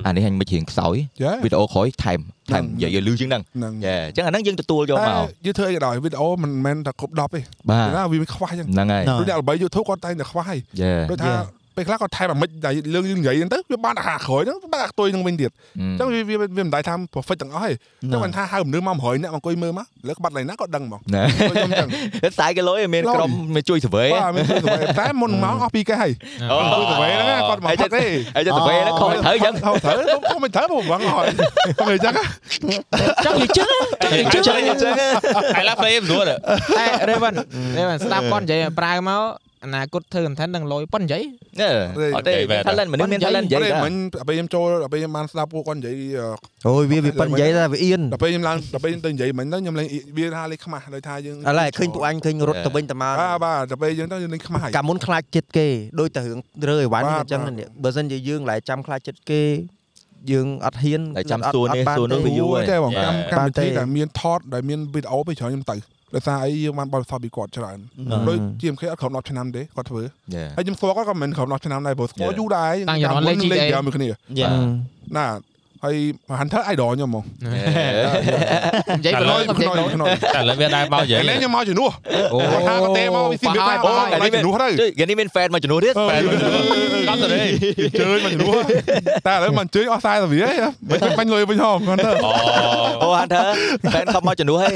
ហឹម អានេះហាញមិចរៀងខ្សោយ Yeah. វីដេអូក្រោយថែមថែម ហ្នឹង និយាយឲ្យលឺជាងហ្នឹង ហ្នឹង យេអញ្ចឹងអាហ្នឹងយើងទទួលយក តែ មក យើងធ្វើអីក៏ដោយវីដេអូមិនមែនតែគ្រប់10ទេ បា ព្រោះណាវាមានខ្វះចឹង ទហ្នឹងហើយ ណ៎ ដូចអ្នកល្បី YouTube គាត់តែងតែខ្វះហើយ យេ ដូចថាពេលខ្លះគាត់ថែមអាមិចតែរឿងយើងនិយាយហ្នឹងទៅវាបានអាហារក្រោយហ្នឹងបានអាខ្ទុយហ្នឹងវិញទៀត Ừ. អញ្ចឹងវាវាវាមិនដែរថា perfect ទាំងអស់ទេអញ្ចឹងមិនថាហៅមនុស្សមក100អ្នកមកអង្គុយមើលមកលើក្បាត់ឡើងណាគាត់ដឹងហ្មង ណា ដូចខ្ញុំអញ្ចឹង ខ្សែគីឡូឯងមាន ឡូវ ក្រុមមកជួយ survey បាទមានធ្វើទៅតែមុនមកអស់ពីគេហើយ អូ ធ្វើទៅវិញហ្នឹងណាគាត់មកផឹកទេ ហើយទៅ survey ហ្នឹងខំត្រូវអញ្ចឹង ខំត្រូវខ្ញុំមិនត្រូវបងអត់គាត់អញ្ចឹង ចង់និយាយចឹង អញ្ចឹងអញ្ចឹង ហើយឡាផ្លេមស្រួល តែ Raven Raven ស្ដាប់គាត់និយាយឲ្យប្រើមកអនាគតធ្វើ content នឹងលុយប៉ុននិយាយ អត់ទេ talent មនុស្សមាន talent និយាយ ព្រោះ ដែរ មិញពេលខ្ញុំចូលពេលខ្ញុំបានស្ដាប់ពួកគាត់និយាយអឺ អូយវាវាប៉ិននិយាយតែវាអៀន ដល់ពេលខ្ញុំឡើងដល់ពេលខ្ញុំទៅនិយាយមិញទៅខ្ញុំឡើងវាថាលេខខ្មាស់ដោយថាយើង ឥឡូវឃើញពួកអញឃើញរត់ទៅវិញទៅមក បាទបាទដល់ពេលយើងទៅយើងលេខខ្មាស់ហើយ កាលមុនខ្លាចចិត្តគេដូចតែរឿងរើអីវ៉ាន់ បាអទញ្ចឹង បាទ នេះបើមិនជាយើងឡែចាំខ្លាចចិត្តគេយើងអត់ហ៊ាន តែចាំ អត់ សួរ អត់ នេះ បាន សួរនោះ ទេ វាយូរហើយ តែបងកម្មកម្មវិធី បាទ ដែលមានថតដែលមានវីដេអូពេលច្រើនខ្ញុំទៅដោយសារអីយើងបានបទពិសោធន៍ពីគាត់ច្រើន Ừ. ណ៎ Dạ. ដូច GMK អត់ក្រុម10ឆ្នាំទេគាត់ធ្វើ យេ ហើយខ្ញុំស្គាល់គាត់ក៏មិនក្រុម10ឆ្នាំដែរព្រោះស្គាល់ Yeah. យូរដែរ តាំងពីរហូតលេខ លេខជាមួយគ្នា យេ ណាហើយហាន់ថើ idol ខ្ញុំហ្មង និយាយប៉ុនលុយ ខ្ញុំខ្ញុំខ្ញុំឥ តែឥឡូវវាដែរមកនិយាយ ឡូវខ្ញុំមកជំនួស Dạ. គាត់ថាគាត់ទេមកវាស៊ីវាថា បោះ អូ ហើយ តែជួយជំនួសទៅគេនេះមាន fan មកជំនួសទៀត អឺ fan មកជំនួស ដល់ទៅ ទេ ជើញមកជំនួសតែឥឡូវមកជើញអស់40វាហីមិនបាញ់លុយវិញហ៎គាត់ទៅ អូ អូ hunter fan ខំមកជំនួសហើយ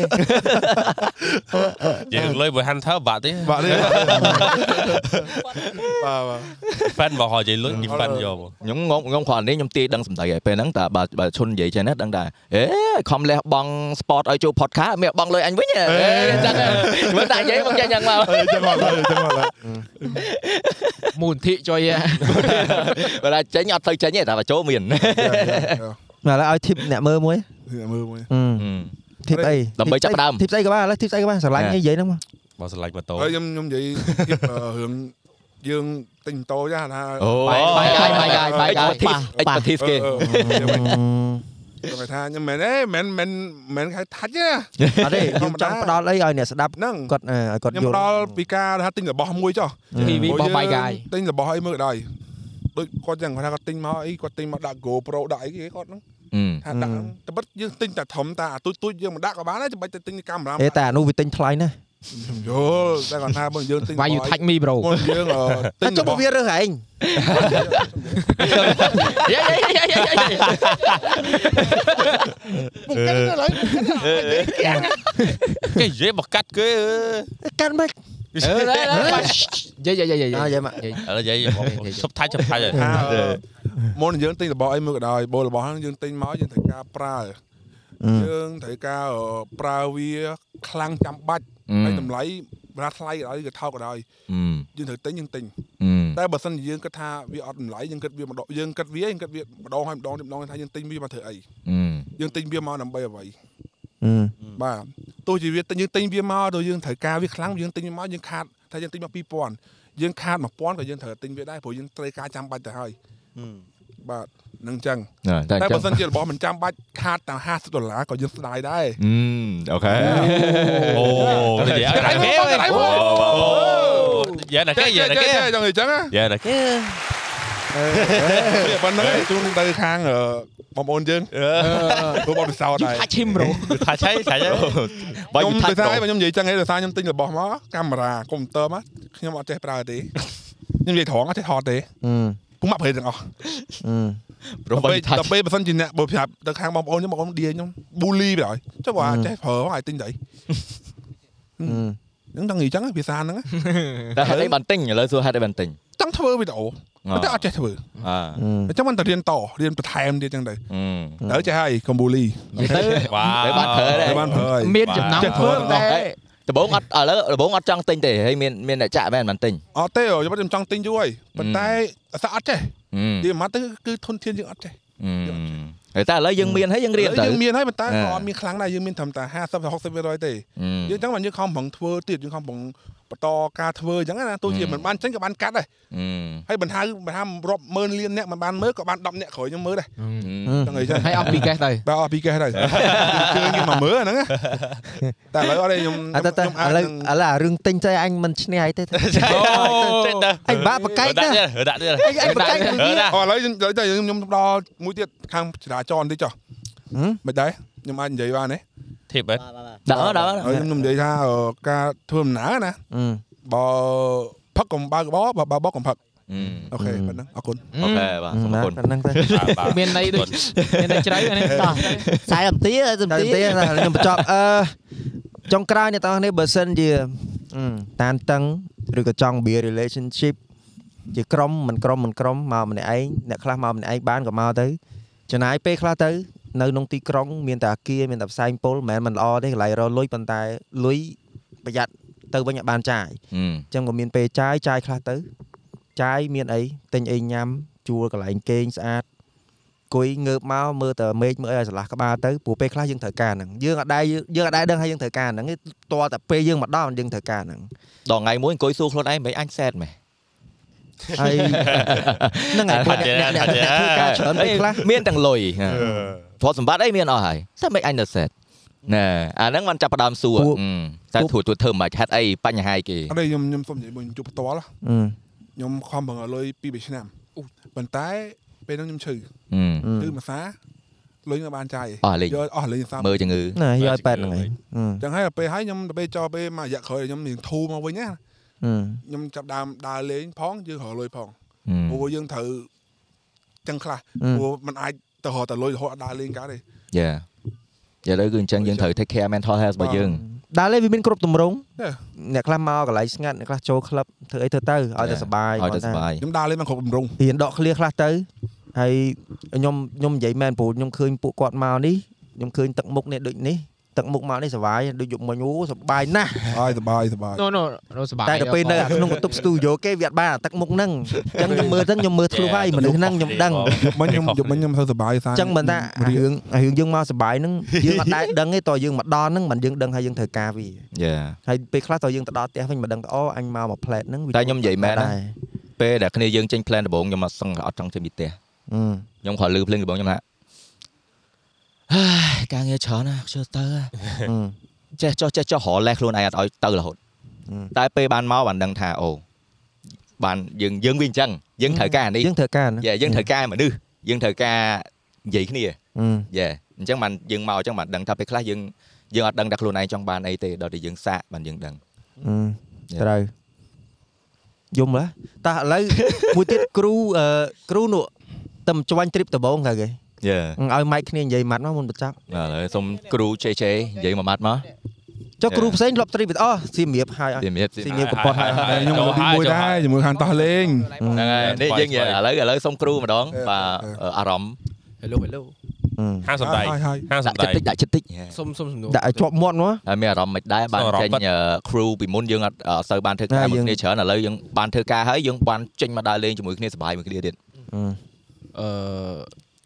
យើងលើយមួយ Hunter បាក់ទេ បាទនេះបាទបាទ fan មកហើយនិយាយលុយគេ fan យកមក ខ្ញុំងងខ្ញុំគ្រាន់នេះខ្ញុំទាយដឹងសម្ដីហើយពេលហ្នឹងតែបើបើឈុននិយាយចេះណាដឹងតែអេខំលះបង sport ឲ្យចូល podcast មានបងលុយអញវិញអេអញ្ចឹងហ៎មើលតែនិយាយមកចេះយ៉ាងមក អីចឹងមកហើយចឹងមកហើយ មូលនិធិជួយឯង បើថាចេញអត់ទៅចេញទេតែបើចូលមាន Dạ, ឥឡូវឲ្យធីបអ្នកមើលមួយ មើលមួយ ធីបអី ដើម្បីចាប់ផ្ដើម ធីបស្អីក៏បានឥឡូវធីបស្អីក៏បានស្រឡាញ់ ណែ អីនិយាយហ្នឹងមក មកស្លាញ់ម៉ូតូ ហើយខ្ញុំខ្ញុំ និយាយរឿងយើងទិញម៉ូតូចាថា អូ Dạ. បាយបាយបាយបាយបាយបាយ អេកប៉ាធីសគេ អឺ ចង់គេថាខ្ញុំមិនអេមិនមិនមិនគេថាច់ទេណា អត់ទេយើងចង់ផ្ដល់អីឲ្យអ្នកស្ដាប់ ហ្នឹង គាត់អឺឲ្យគាត់ ខ្ញុំ យល់ ផ្ដល់ពីការថាទិញរបស់មួយចុះ TV បោះបាយកាយ ទិញរបស់អីមើលក៏ដោយដូចគាត់ចឹងគាត់ថាគាត់ទិញមកអីគាត់ទិញមកដាក់ GoPro ដាក់អីគេគាត់ហ្នឹងថាដាក់ អឺ ហ្នឹងតែបិទយើងទិញតែធំតាអាទូចទូចយើងមិនដាក់ក៏បានដែរចាំបាច់តែទិញកាមេរ៉ា អេតែអានោះវាទិញថ្លៃណាស់ ខ្ញុំយល់តែគាត់ថាបើយើងទិញ Why you touch me bro មកយើងអឺ ទិ តែ ញ ចុះ របស់ វារើសឯង គេនិយាយមកកាត់គេ កាន់មិន អឺឥ យាយយាយយាយ អើយ៉ាមក ឡូវនិយាយមកសុបថាច់សុបថាច់ ថាមុនយើងទិញរបស់អីមួយក៏ដោយបូលរបស់ហ្នឹងយើងទិញមកយើងត្រូវការប្រើយើងត្រូវការអឺប្រើវាខ្លាំងចាំបាច់ហើយតម្លៃបើថាថ្លៃក៏ដោយក៏ថោកក៏ដោយយើងត្រូវទិញយើងទិញតែបើសិនជាយើងគិតថាវាអត់តម្លៃយើងគិតវាម្ដងយើងគិតវាយើងគិតវាម្ដងហើយម្ដងទៀតម្ដងទៀតថាយើងទិញវាមកធ្វើអីយើងទិញវាមកដើម្បីអ្វីបាទទោះជាវាទិញយើងទិញវាមកដល់យើងត្រូវការវាខ្លាំងយើងទិញវាមកយើងខាតថាយើងទិញមក2000យើងខាត1000ក៏យើងត្រូវទិញវាដែរព្រោះយើងត្រូវការចាំបាច់ទៅហើយបាទនឹងអញ្ចឹង តែ តែ អញ្ចឹ បើ ង សិនជារបស់មិនចាំបាច់ខាតតាំង50ដុល្លារក៏យើងស្ដាយដែរ អឺអូខេ អូនិយាយឲ្យគេអូយ៉ាណាគេយ៉ាណាគេ ចង់អីចឹងហ៎ យ៉ាណាគេ ប៉ុណ្ណឹងជូនទៅខាងអឺបងប្អូនយើងធ្វើបទពិសោធន៍ដែរ ថាឈីមប្រូ ថាឆៃឆៃ បាយ ខ្ញុំ ថា ទៅ ច់ ថាខ្ញុំនិយាយចឹងឯងដោយសារខ្ញុំទិញរបស់មកកាមេរ៉ាកុំព្យូទ័រមកខ្ញុំអត់ចេះប្រើទេខ្ញុំនិយាយត្រង់អត់ចេះថតទេពុំមកប្រេទាំងអស់ ប្រូ ដល់ពេល បាយថា ដល់ពេលបើសិនជាអ្នកបើប្រាប់ទៅខាងបងប្អូនខ្ញុំបងប្អូនដៀខ្ញុំប៊ូលីបើហើយចុះបើអត់ចេះប្រើហ្នឹងឲ្យទិញទៅហ្នឹងដល់និយាយចឹងភាសាហ្នឹង តែហេតុអីបានទិញឥឡូវសួរហេតុអីបានទិញ ចង់ធ្វើវីដេអូតែអត់ចេះធ្វើ អឺ Ờ. អញ្ចឹងមិនទៅរៀនតរៀនបន្ថែមទៀតអញ្ចឹងទៅត្រូវចេះហើយកុំប៊ូលី ទៅ វ៉ា ទៅបានប្រើដែរ ទៅបានប្រើហើយ មានចំណង ចេះធ្វើទាំងអស់ ដំបងអត់ឥឡូវដំបងអត់ចង់ទិញទេហើយមានមានអ្នកចាក់មែនបានទិញ អត់ទេអូខ្ញុំមិនចង់ទិញយូរហើយប៉ុន្តែអាសាអត់ចេះ អឺ និយាយមកទៅគឺធនធានយើងអត់ចេះ ហើយតែឥឡូវយើងមានហើយយើងរៀន ឥឡូវ ទៅ យើងមានហើយប៉ុន្តែ អឺ ក៏អត់មានខ្លាំងដែរយើងមានត្រឹមតែ50ទៅ60%ទេយើងអញ្ចឹងបានយើងខំប្រឹងធ្វើទៀតយើងខំប្រឹងបន្តការធ្វើអញ្ចឹងណាទោះជាមិនបានចេញក៏បានកាត់ដែរហើយបញ្ហាបញ្ហារាប់ម៉ឺនលានអ្នកមិនបានមើលក៏បាន10អ្នកក្រោយខ្ញុំមើលដែរចឹងអីចឹង ហើយអត់ពីកេះទៅ បើអស់ពីកេះទៅជឿគេមកមើលអាហ្នឹងណាតែឥឡូវអត់ទេខ្ញុំ អត់ទៅទៅ ខ្ឥញុំអាច ឡូវឥនឹងឡូវអារឿងទិញទៅឯងមិនឈ្នះអីទេទៅ ទៅទៅ ឯងបាក់បកែកណា ដាក់ទៀតដាក់ទៀត ឯងឯងបកែកមួយទៀត អឥឡូវខ្ញុំឥឡូវតែខ្ញុំខ្ញុំដល់មួយទៀតខាងចរាចរណ៍បន្តិចចុះ ហឹម មិនដែរខ្ញុំអាចនិយាយបានទេ ធៀបហ្នឹង ដល់ដល់ ហើយខ្ញុំខ្ញុំនិយាយថាអឺការធ្វើដំណើរណាបើផឹកកុំបើកបបើបើបកកុំផឹកអូខេប៉ុណ្ណឹងអរគុណ អូខេបាទ អឺ សូមអរគុណ បាទហ្នឹងទៅ មានន័យដូចមានន័យជ្រៅអានេះតោះ ខ្សែអំទាអំ តែ ទា ទេណាខ្ញុំបញ្ចប់អឺចុងក្រោយអ្នកទាំងអស់នេះបើសិនជាអឺតានតឹងឬក៏ចង់ be relationship ជាក្រុមមិនក្រុមមិនក្រុមមកម្នាក់ឯងអ្នកខ្លះមកម្នាក់ឯងបានក៏មកទៅចំណាយពេលខ្លះទៅនៅក្នុងទីក្រុង មានតែអាគារមានតែផ្សែងពុលមិនមែនមិនល្អទេកន្លែងរកលុយប៉ុន្តែលុយប្រយ័ត្នទៅវិញឲ្យបានចាយ អញ្ចឹងក៏មានពេលចាយចាយខ្លះទៅចាយមានអីទិញអីញ៉ាំជួលកន្លែងគេងស្អាតអង្គុយងើបមកមើលតែមេឃមើលអីឲ្យស្រឡះក្បាលទៅព្រោះពេលខ្លះយើងត្រូវការហ្នឹងយើងអត់ដែរយើងអត់ដែរដឹងថាយើងត្រូវការហ្នឹងទេតរតែពេលយើងមកដល់យើងត្រូវការហ្នឹង ដល់ថ្ងៃមួយអង្គុយសួរខ្លួនឯងមិនអញសែតមែន ហើយហ្នឹងហើយពួកអ្នកអ្នកអ្នកធ្វើការច្រើនពេលខ្លះ មានទាំងលុយព្រោះសម្បត្តិអីមានអស់ហើយតែមិនអញនៅសែតណែអាហ្នឹងមិនចាប់ផ្ដើមសួរតែធួទួធ្វើមិនហេតុអីបញ្ហាគេ អត់ទេខ្ញុំខ្ញុំសូមនិយាយមួយខ្ញុំជួបផ្ទាល់ខ្ញុំខំប្រឹងឲ្យលុយពីរបីឆ្នាំប៉ុន្តែពេលហ្នឹងខ្ញុំឈឺឈឺមួយសាលុយខ្ញុំបានចាយ អស់លេង យកអស់លេងសាម មើលជំងឺ ណាយកឲ្យប៉ែតហ្នឹងហើយ ចឹងហើយដល់ពេលហើយខ្ញុំទៅពេលចោលពេលមករយៈក្រោយខ្ញុំរៀងធូរមកវិញណាខ្ញុំចាប់ដើមដើរលេងផងយើងរកលុយផង ព្រោះយើងត្រូវចឹងខ្លះព្រោះมันអាចទៅរកតែលុយរហូតអត់ដើរលេងកើតទេ យ៉ាឥឡូវគឺអញ្ចឹងយើងត្រូវ take care mental health របស់យើង ដល់លេវាមានគ្រប់ទម្រង់អ្នកខ្លះមកកន្លែងស្ងាត់អ្នកខ្លះចូលក្លឹបធ្វើអីធ្វើទៅឲ្យតែសប្បាយ ឲ្យទៅ គាត់ ស ថា ប្បាយ ខ្ញុំដើរលេងបានគ្រប់បំរុង រៀនដកឃ្លាខ្លះទៅហើយខ្ញុំខ្ញុំនិយាយមែនព្រោះខ្ញុំឃើញពួកគាត់មកនេះខ្ញុំឃើញទឹកមុខនេះដូចនេះទឹកមុខមកនេះសុវ័យដូចយកមិញអូសុបាយណាស់ អើយសบายសบาย no no ờ, រស់សบาย តែដល់ពេលនៅអាក្នុងបន្ទប់ស្ទូឌីយោគេវាអត់បានអាទឹកមុខហ្នឹងអញ្ចឹងខ្ញុំមើលទៅខ្ញុំមើលធ្លុះហើយមនុស្សហ្នឹងខ្ញុំដឹង យកមិញខ្ញុំយកមិញខ្ញុំធ្វើសบายសារ អញ្ចឹងមិនថាអារឿងអារឿងយើងមកសុបាយហ្នឹងយើងអត់ដែរដឹងទេតើយើងមកដល់ហ្នឹងមិនយើងដឹងថាយើងត្រូវការវា យ៉ា ហើយពេលខ្លះតើយើងទៅដល់ផ្ទះវិញមិនដឹងថាអូអញមកមួយផ្លែតហ្នឹងវា តែខ្ញុំនិយាយមែនណា ដែរ ពេលដែលគ្នាយើងចេញ plan ដំបូងខ្ញុំអត់សឹងអត់ចង់ចេញពីផ្ទះ អឺ ខ្ញុំគ្រាន់ឮភ្លេងដំបងខ្ញុំថា ការងារច្រើនណាស់ខ្ជិលទៅ ណា ចេះចោះចេះចោះរកលេសខ្លួនឯងអត់ឲ្យទៅរហូត អឺ តែពេលបានមកបានដឹងថាអូបានយើងយើងវាអញ្ចឹងយើងត្រូវការអានេះ យើងធ្វើការណា យេយើងត្រូវការមនុស្សយើងត្រូវការនិយាយគ្នា អឺ យេអញ្ចឹងបានយើងមកអញ្ចឹងបានដឹងថាពេលខ្លះយើងយើងអត់ដឹងថាខ្លួនឯងចង់បានអីទេដល់តែយើងសាកបានយើងដឹង អឺ Yeah. ត្រូវយំឡាតោះឥឡូវ មួយទៀតគ្រូអឺគ្រូនោះតែមិនចាញ់ទ្រីបដំបងទៅយេគេឲ្យម៉ៃគ្នានិយាយម៉ាត់មកមុនបញ្ចប់ ឥឡូវសុំគ្រូជេជេនិយាយមួយម៉ាត់មក ចុះគ្រូផ្សេងធ្លាប់ទ្រីបអស់សៀមរាបហើយអស់ ជំរាបសួរ ស៊ី ហ មៀកំប៉ុនហើយ ហើយខ្ញុំលើកទី1ដែរជាមួយខាងតោះលេង ្នឹងហើយនេះយើងឥឡូវឥឡូវសុំគ្រូម្ដងបាទអារម្មណ៍ Hello hello ហាងសំដី ហើយហើយ ហាងសំ ដាក់ ដី ចិត្តតិចដាក់ចិត្តតិច សុំសុំសំណួរ ដាក់ឲ្យជាប់មាត់មក ហើយមានអារម្មណ៍មិនដែរបាន អារម្មណ៍ ចេញ ពិត អឺ ờ, crew ពីមុនយើងអត់អត់សូវបានធ្វើការ ណា មួយ យើង គ្នាច្រើនឥឡូវយើងបានធ្វើការហើយយើងបានចេញមកដើរលេងជាមួយគ្នាសប្បាយមួយគ្នាទៀត អឺ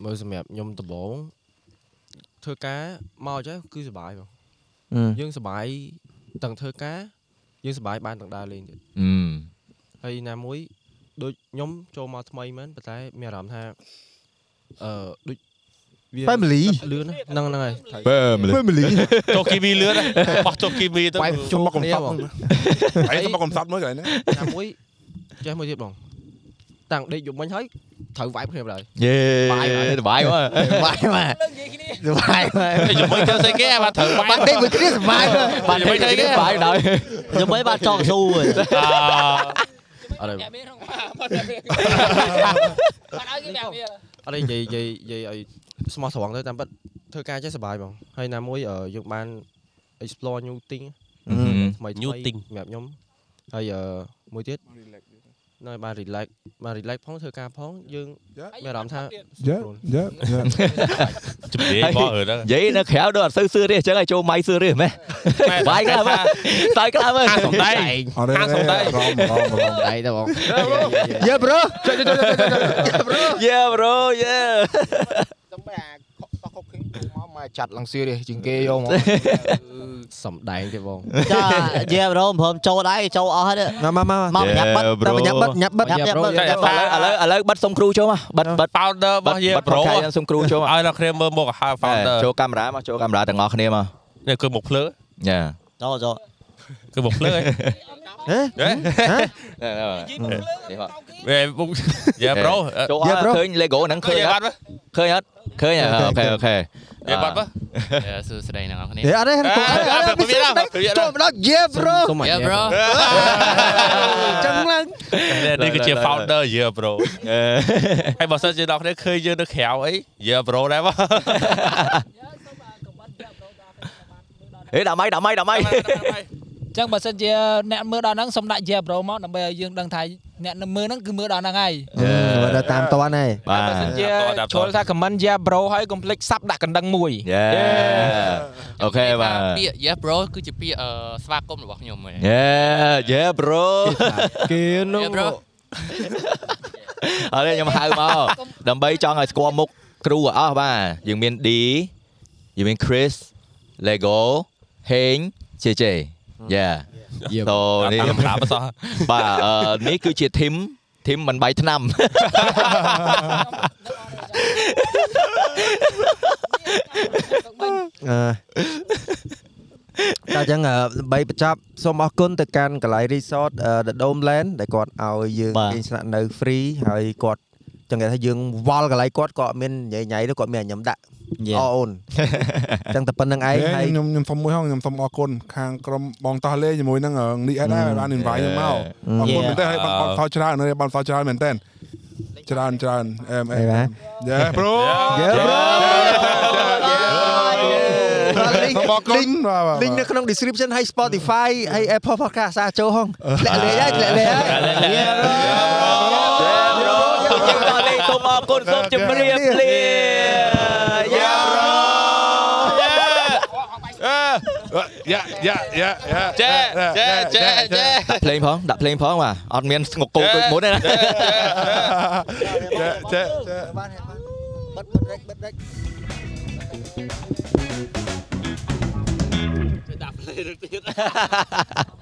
មើលសម្រាប់ខ្ញុំដំបងធ្វើការមកចេះគឺសុបាយបង អឺ យើងសុបាយទាំងធ្វើការយើងសុបាយបានទាំងដើរលេងទៀត អឺ ហើយណាមួយដូចខ្ញុំចូលមកថ្មីមែនប៉ុន្តែមានអារម្មណ៍ថាអឺដូច Family លឿនណាហ្នឹងហ្នឹងហើយ បើមលឹក family ចុះគីវីលឿនណាបោះចុះគីវីទៅ ខ្ញុំមកកំសត់ហើយខ្ញុំមកកំសត់មួយកន្លែងហ្នឹង ណាមួយចេះមួយទៀតបងតាំងដេកយប់មិញហើយត្រូវវាយគ្នាបណ្ដោយ យេ បាយ សប្បាយមក បាយមកសុបាយមក Ê, chụp mấy cái xe kia mà thử bay បាត់ដេកមួយគ្នាសុបាយមក បានធ្វើការគ្នាសប្បាយបណ្ដោយ ខ្ញុំមិនបានចង់ស៊ូទេ à, អ ត់ហើយ អ្នកមានក្នុងបាបាត់តែមានបាត់ឲ្យគេអ្នកអមានត់ហើយនិយាយនិយាយនិយាយឲ្យស្មោះត្រង់ទៅតាមពិតធ្វើការចេះសុបាយបងហើយណាមួយអឺយើងបាន explore new thing ថ្មីថ្មី New thing. សម្រាប់ខ្ញុំហើយអឺមួយទៀតនៅបាន relax បាន relax ផងធ្វើការផងយើង មានអារម្មណ៍ថា យើយើយើ chụp gì bỏ ở đó និយាយនៅក្រៅដូចអត់សូវសឿទេអញ្ចឹងឲ្យចូលម៉ៃសឿទេមែន Bay cái mà. តែខ្លាំងមើល hàng sòng tay អត់ទេរ ហាងសំដី ៉មរ៉មរ៉ម ដៃទៅ បង យេប្រូ Dạ, យេប្រូយេ តំបែអាខកតោះខុកឃើញមកមក ចាត់ឡើងស៊ឺនេះជាងគេយកមក សំដែងទេបង ចាយេប្រូមិនព្រមចូលដែរចូលអស់ហើយ ណាមកមក មកញ៉ាំបិទ តែញ៉ាំបិទញ៉ាំបិទ ញ៉ាំញ៉ាំបិទ ញ៉ាំបិទ ឥឡូវឥឡូវឥឡូវបិទសុំគ្រូចូលមកបិទបិទ powder បិទ របស់យើ បិទ ប្រូ ប្រកាយសុំគ្រូចូលមក ឲ្យដល់គ្នាមើលមុខហៅ founder ចូលកាមេរ៉ាមកចូលកាមេរ៉ាទាំងអស់គ្នាមក នេះគឺមុខភ្លើ យេ ចូលចូល គឺមុខភ្លើ ហេ ហ៎ Dạ, នេះមក វាមុខយើប្រូ ចូលអត់ឃើញ Lego ហ្នឹង ឃើ ឃើ ញ ញអ បា ត់ឃើញអត់ត់ឃើញអូខេអូខេ មើលបាត់មើល សួស្តីអ្នកនរគ្នា ហេអត់ទេចូលមកដល់យេប្រូ សុំអញ្ញា Yeah bro ចឹងឡើង នេះគឺជា founder យើប្រូ អឺ ហើយបើសិនជាដល់គ្នាឃើញយើងនៅក្រៅអីយើប្រូដែរមក ហេដាក់ម៉ៃដាក់ម៉ៃដាក់ម៉ៃ អញ្ចឹងបើសិនជាអ្នកមើលដល់ហ្នឹងសូមដាក់ Yeah bro មកដើម្បីឲ្យយើងដឹងថាអ្នកនៅមើលហ្នឹងគឺមើលដល់ហ្នឹងហើយ អឺដល់តាមតាន់ហើយ បាទបើសិនជា ជា ជុ ចូល ល ថា comment yeah bro ហើយកុំភ្លេច sub ដាក់កណ្ដឹងមួយ យេអូខេបាទ ពាក្យ Yes bro គឺជាពាក្យអឺស្វាគមន៍របស់ខ្ញុំហ៎ យេយេប្រូ គេនោះ Yeah bro អរេខ្ញុំហៅមកដើម្បីចង់ឲ្យស្គាល់មុខគ្រូឲ្យអស់បាទយើងមាន D យើងមាន Chris Lego Heng JJ យេតោនេះ តាមប្រាប់បសោះ បាទអឺនេះគឺជាធីមធីមមិនបាយឆ្នាំ អឺ តែចឹងដើម្បីបញ្ចប់សូមអរគុណទៅកាន់កន្លែង resort The Dome Land ដែលគាត់ឲ្យយើងគេស្នាក់នៅ free ហើយគាត់ចឹងគេថាយើងវល់កន្លែងគាត់គាត់អត់មានញ៉ៃញ៉ៃទេគាត់មានឲ្យខ្ញុំដាក់ Dạ. អរ អូនចឹងតែប៉ុណ្្នឹងឯងហើយ ខ្ញុំខ្ញុំសុំមួយហងខ្ញុំសុំអរគុណខាងក្រុមបងតោះលេជាមួយនឹងនេះអត់ដែរបាន invite ខ្ញុំមកអរគុណមែនទេហើយបានសោច្រើនហើយបានសោច្រើនមែនទេច្រើនច្រើនអេមអេយេប្រូ យើប្រលីង សុំអរគុណ លីងនៅក្នុង description ហើយ Spotify ហើយ Apple Podcast សារចូលហ ងធ្លាក់លេងហើយធ្លា ក់លេងហើយ សូមជម្រាបលេងសូមអរគុណសូមជម្រាបលាយ៉ាប្រូ យ៉ាយ៉ាយ៉ា ចេចេចេចេ ដាក់ភ្លេងផងដាក់ភ្លេងផងបាទអត់មានស្ងប់គោដូចមុនទេណា ចេ បិទបិទរេចបិទរេច ដាក់ភ្លេងទៅទៀត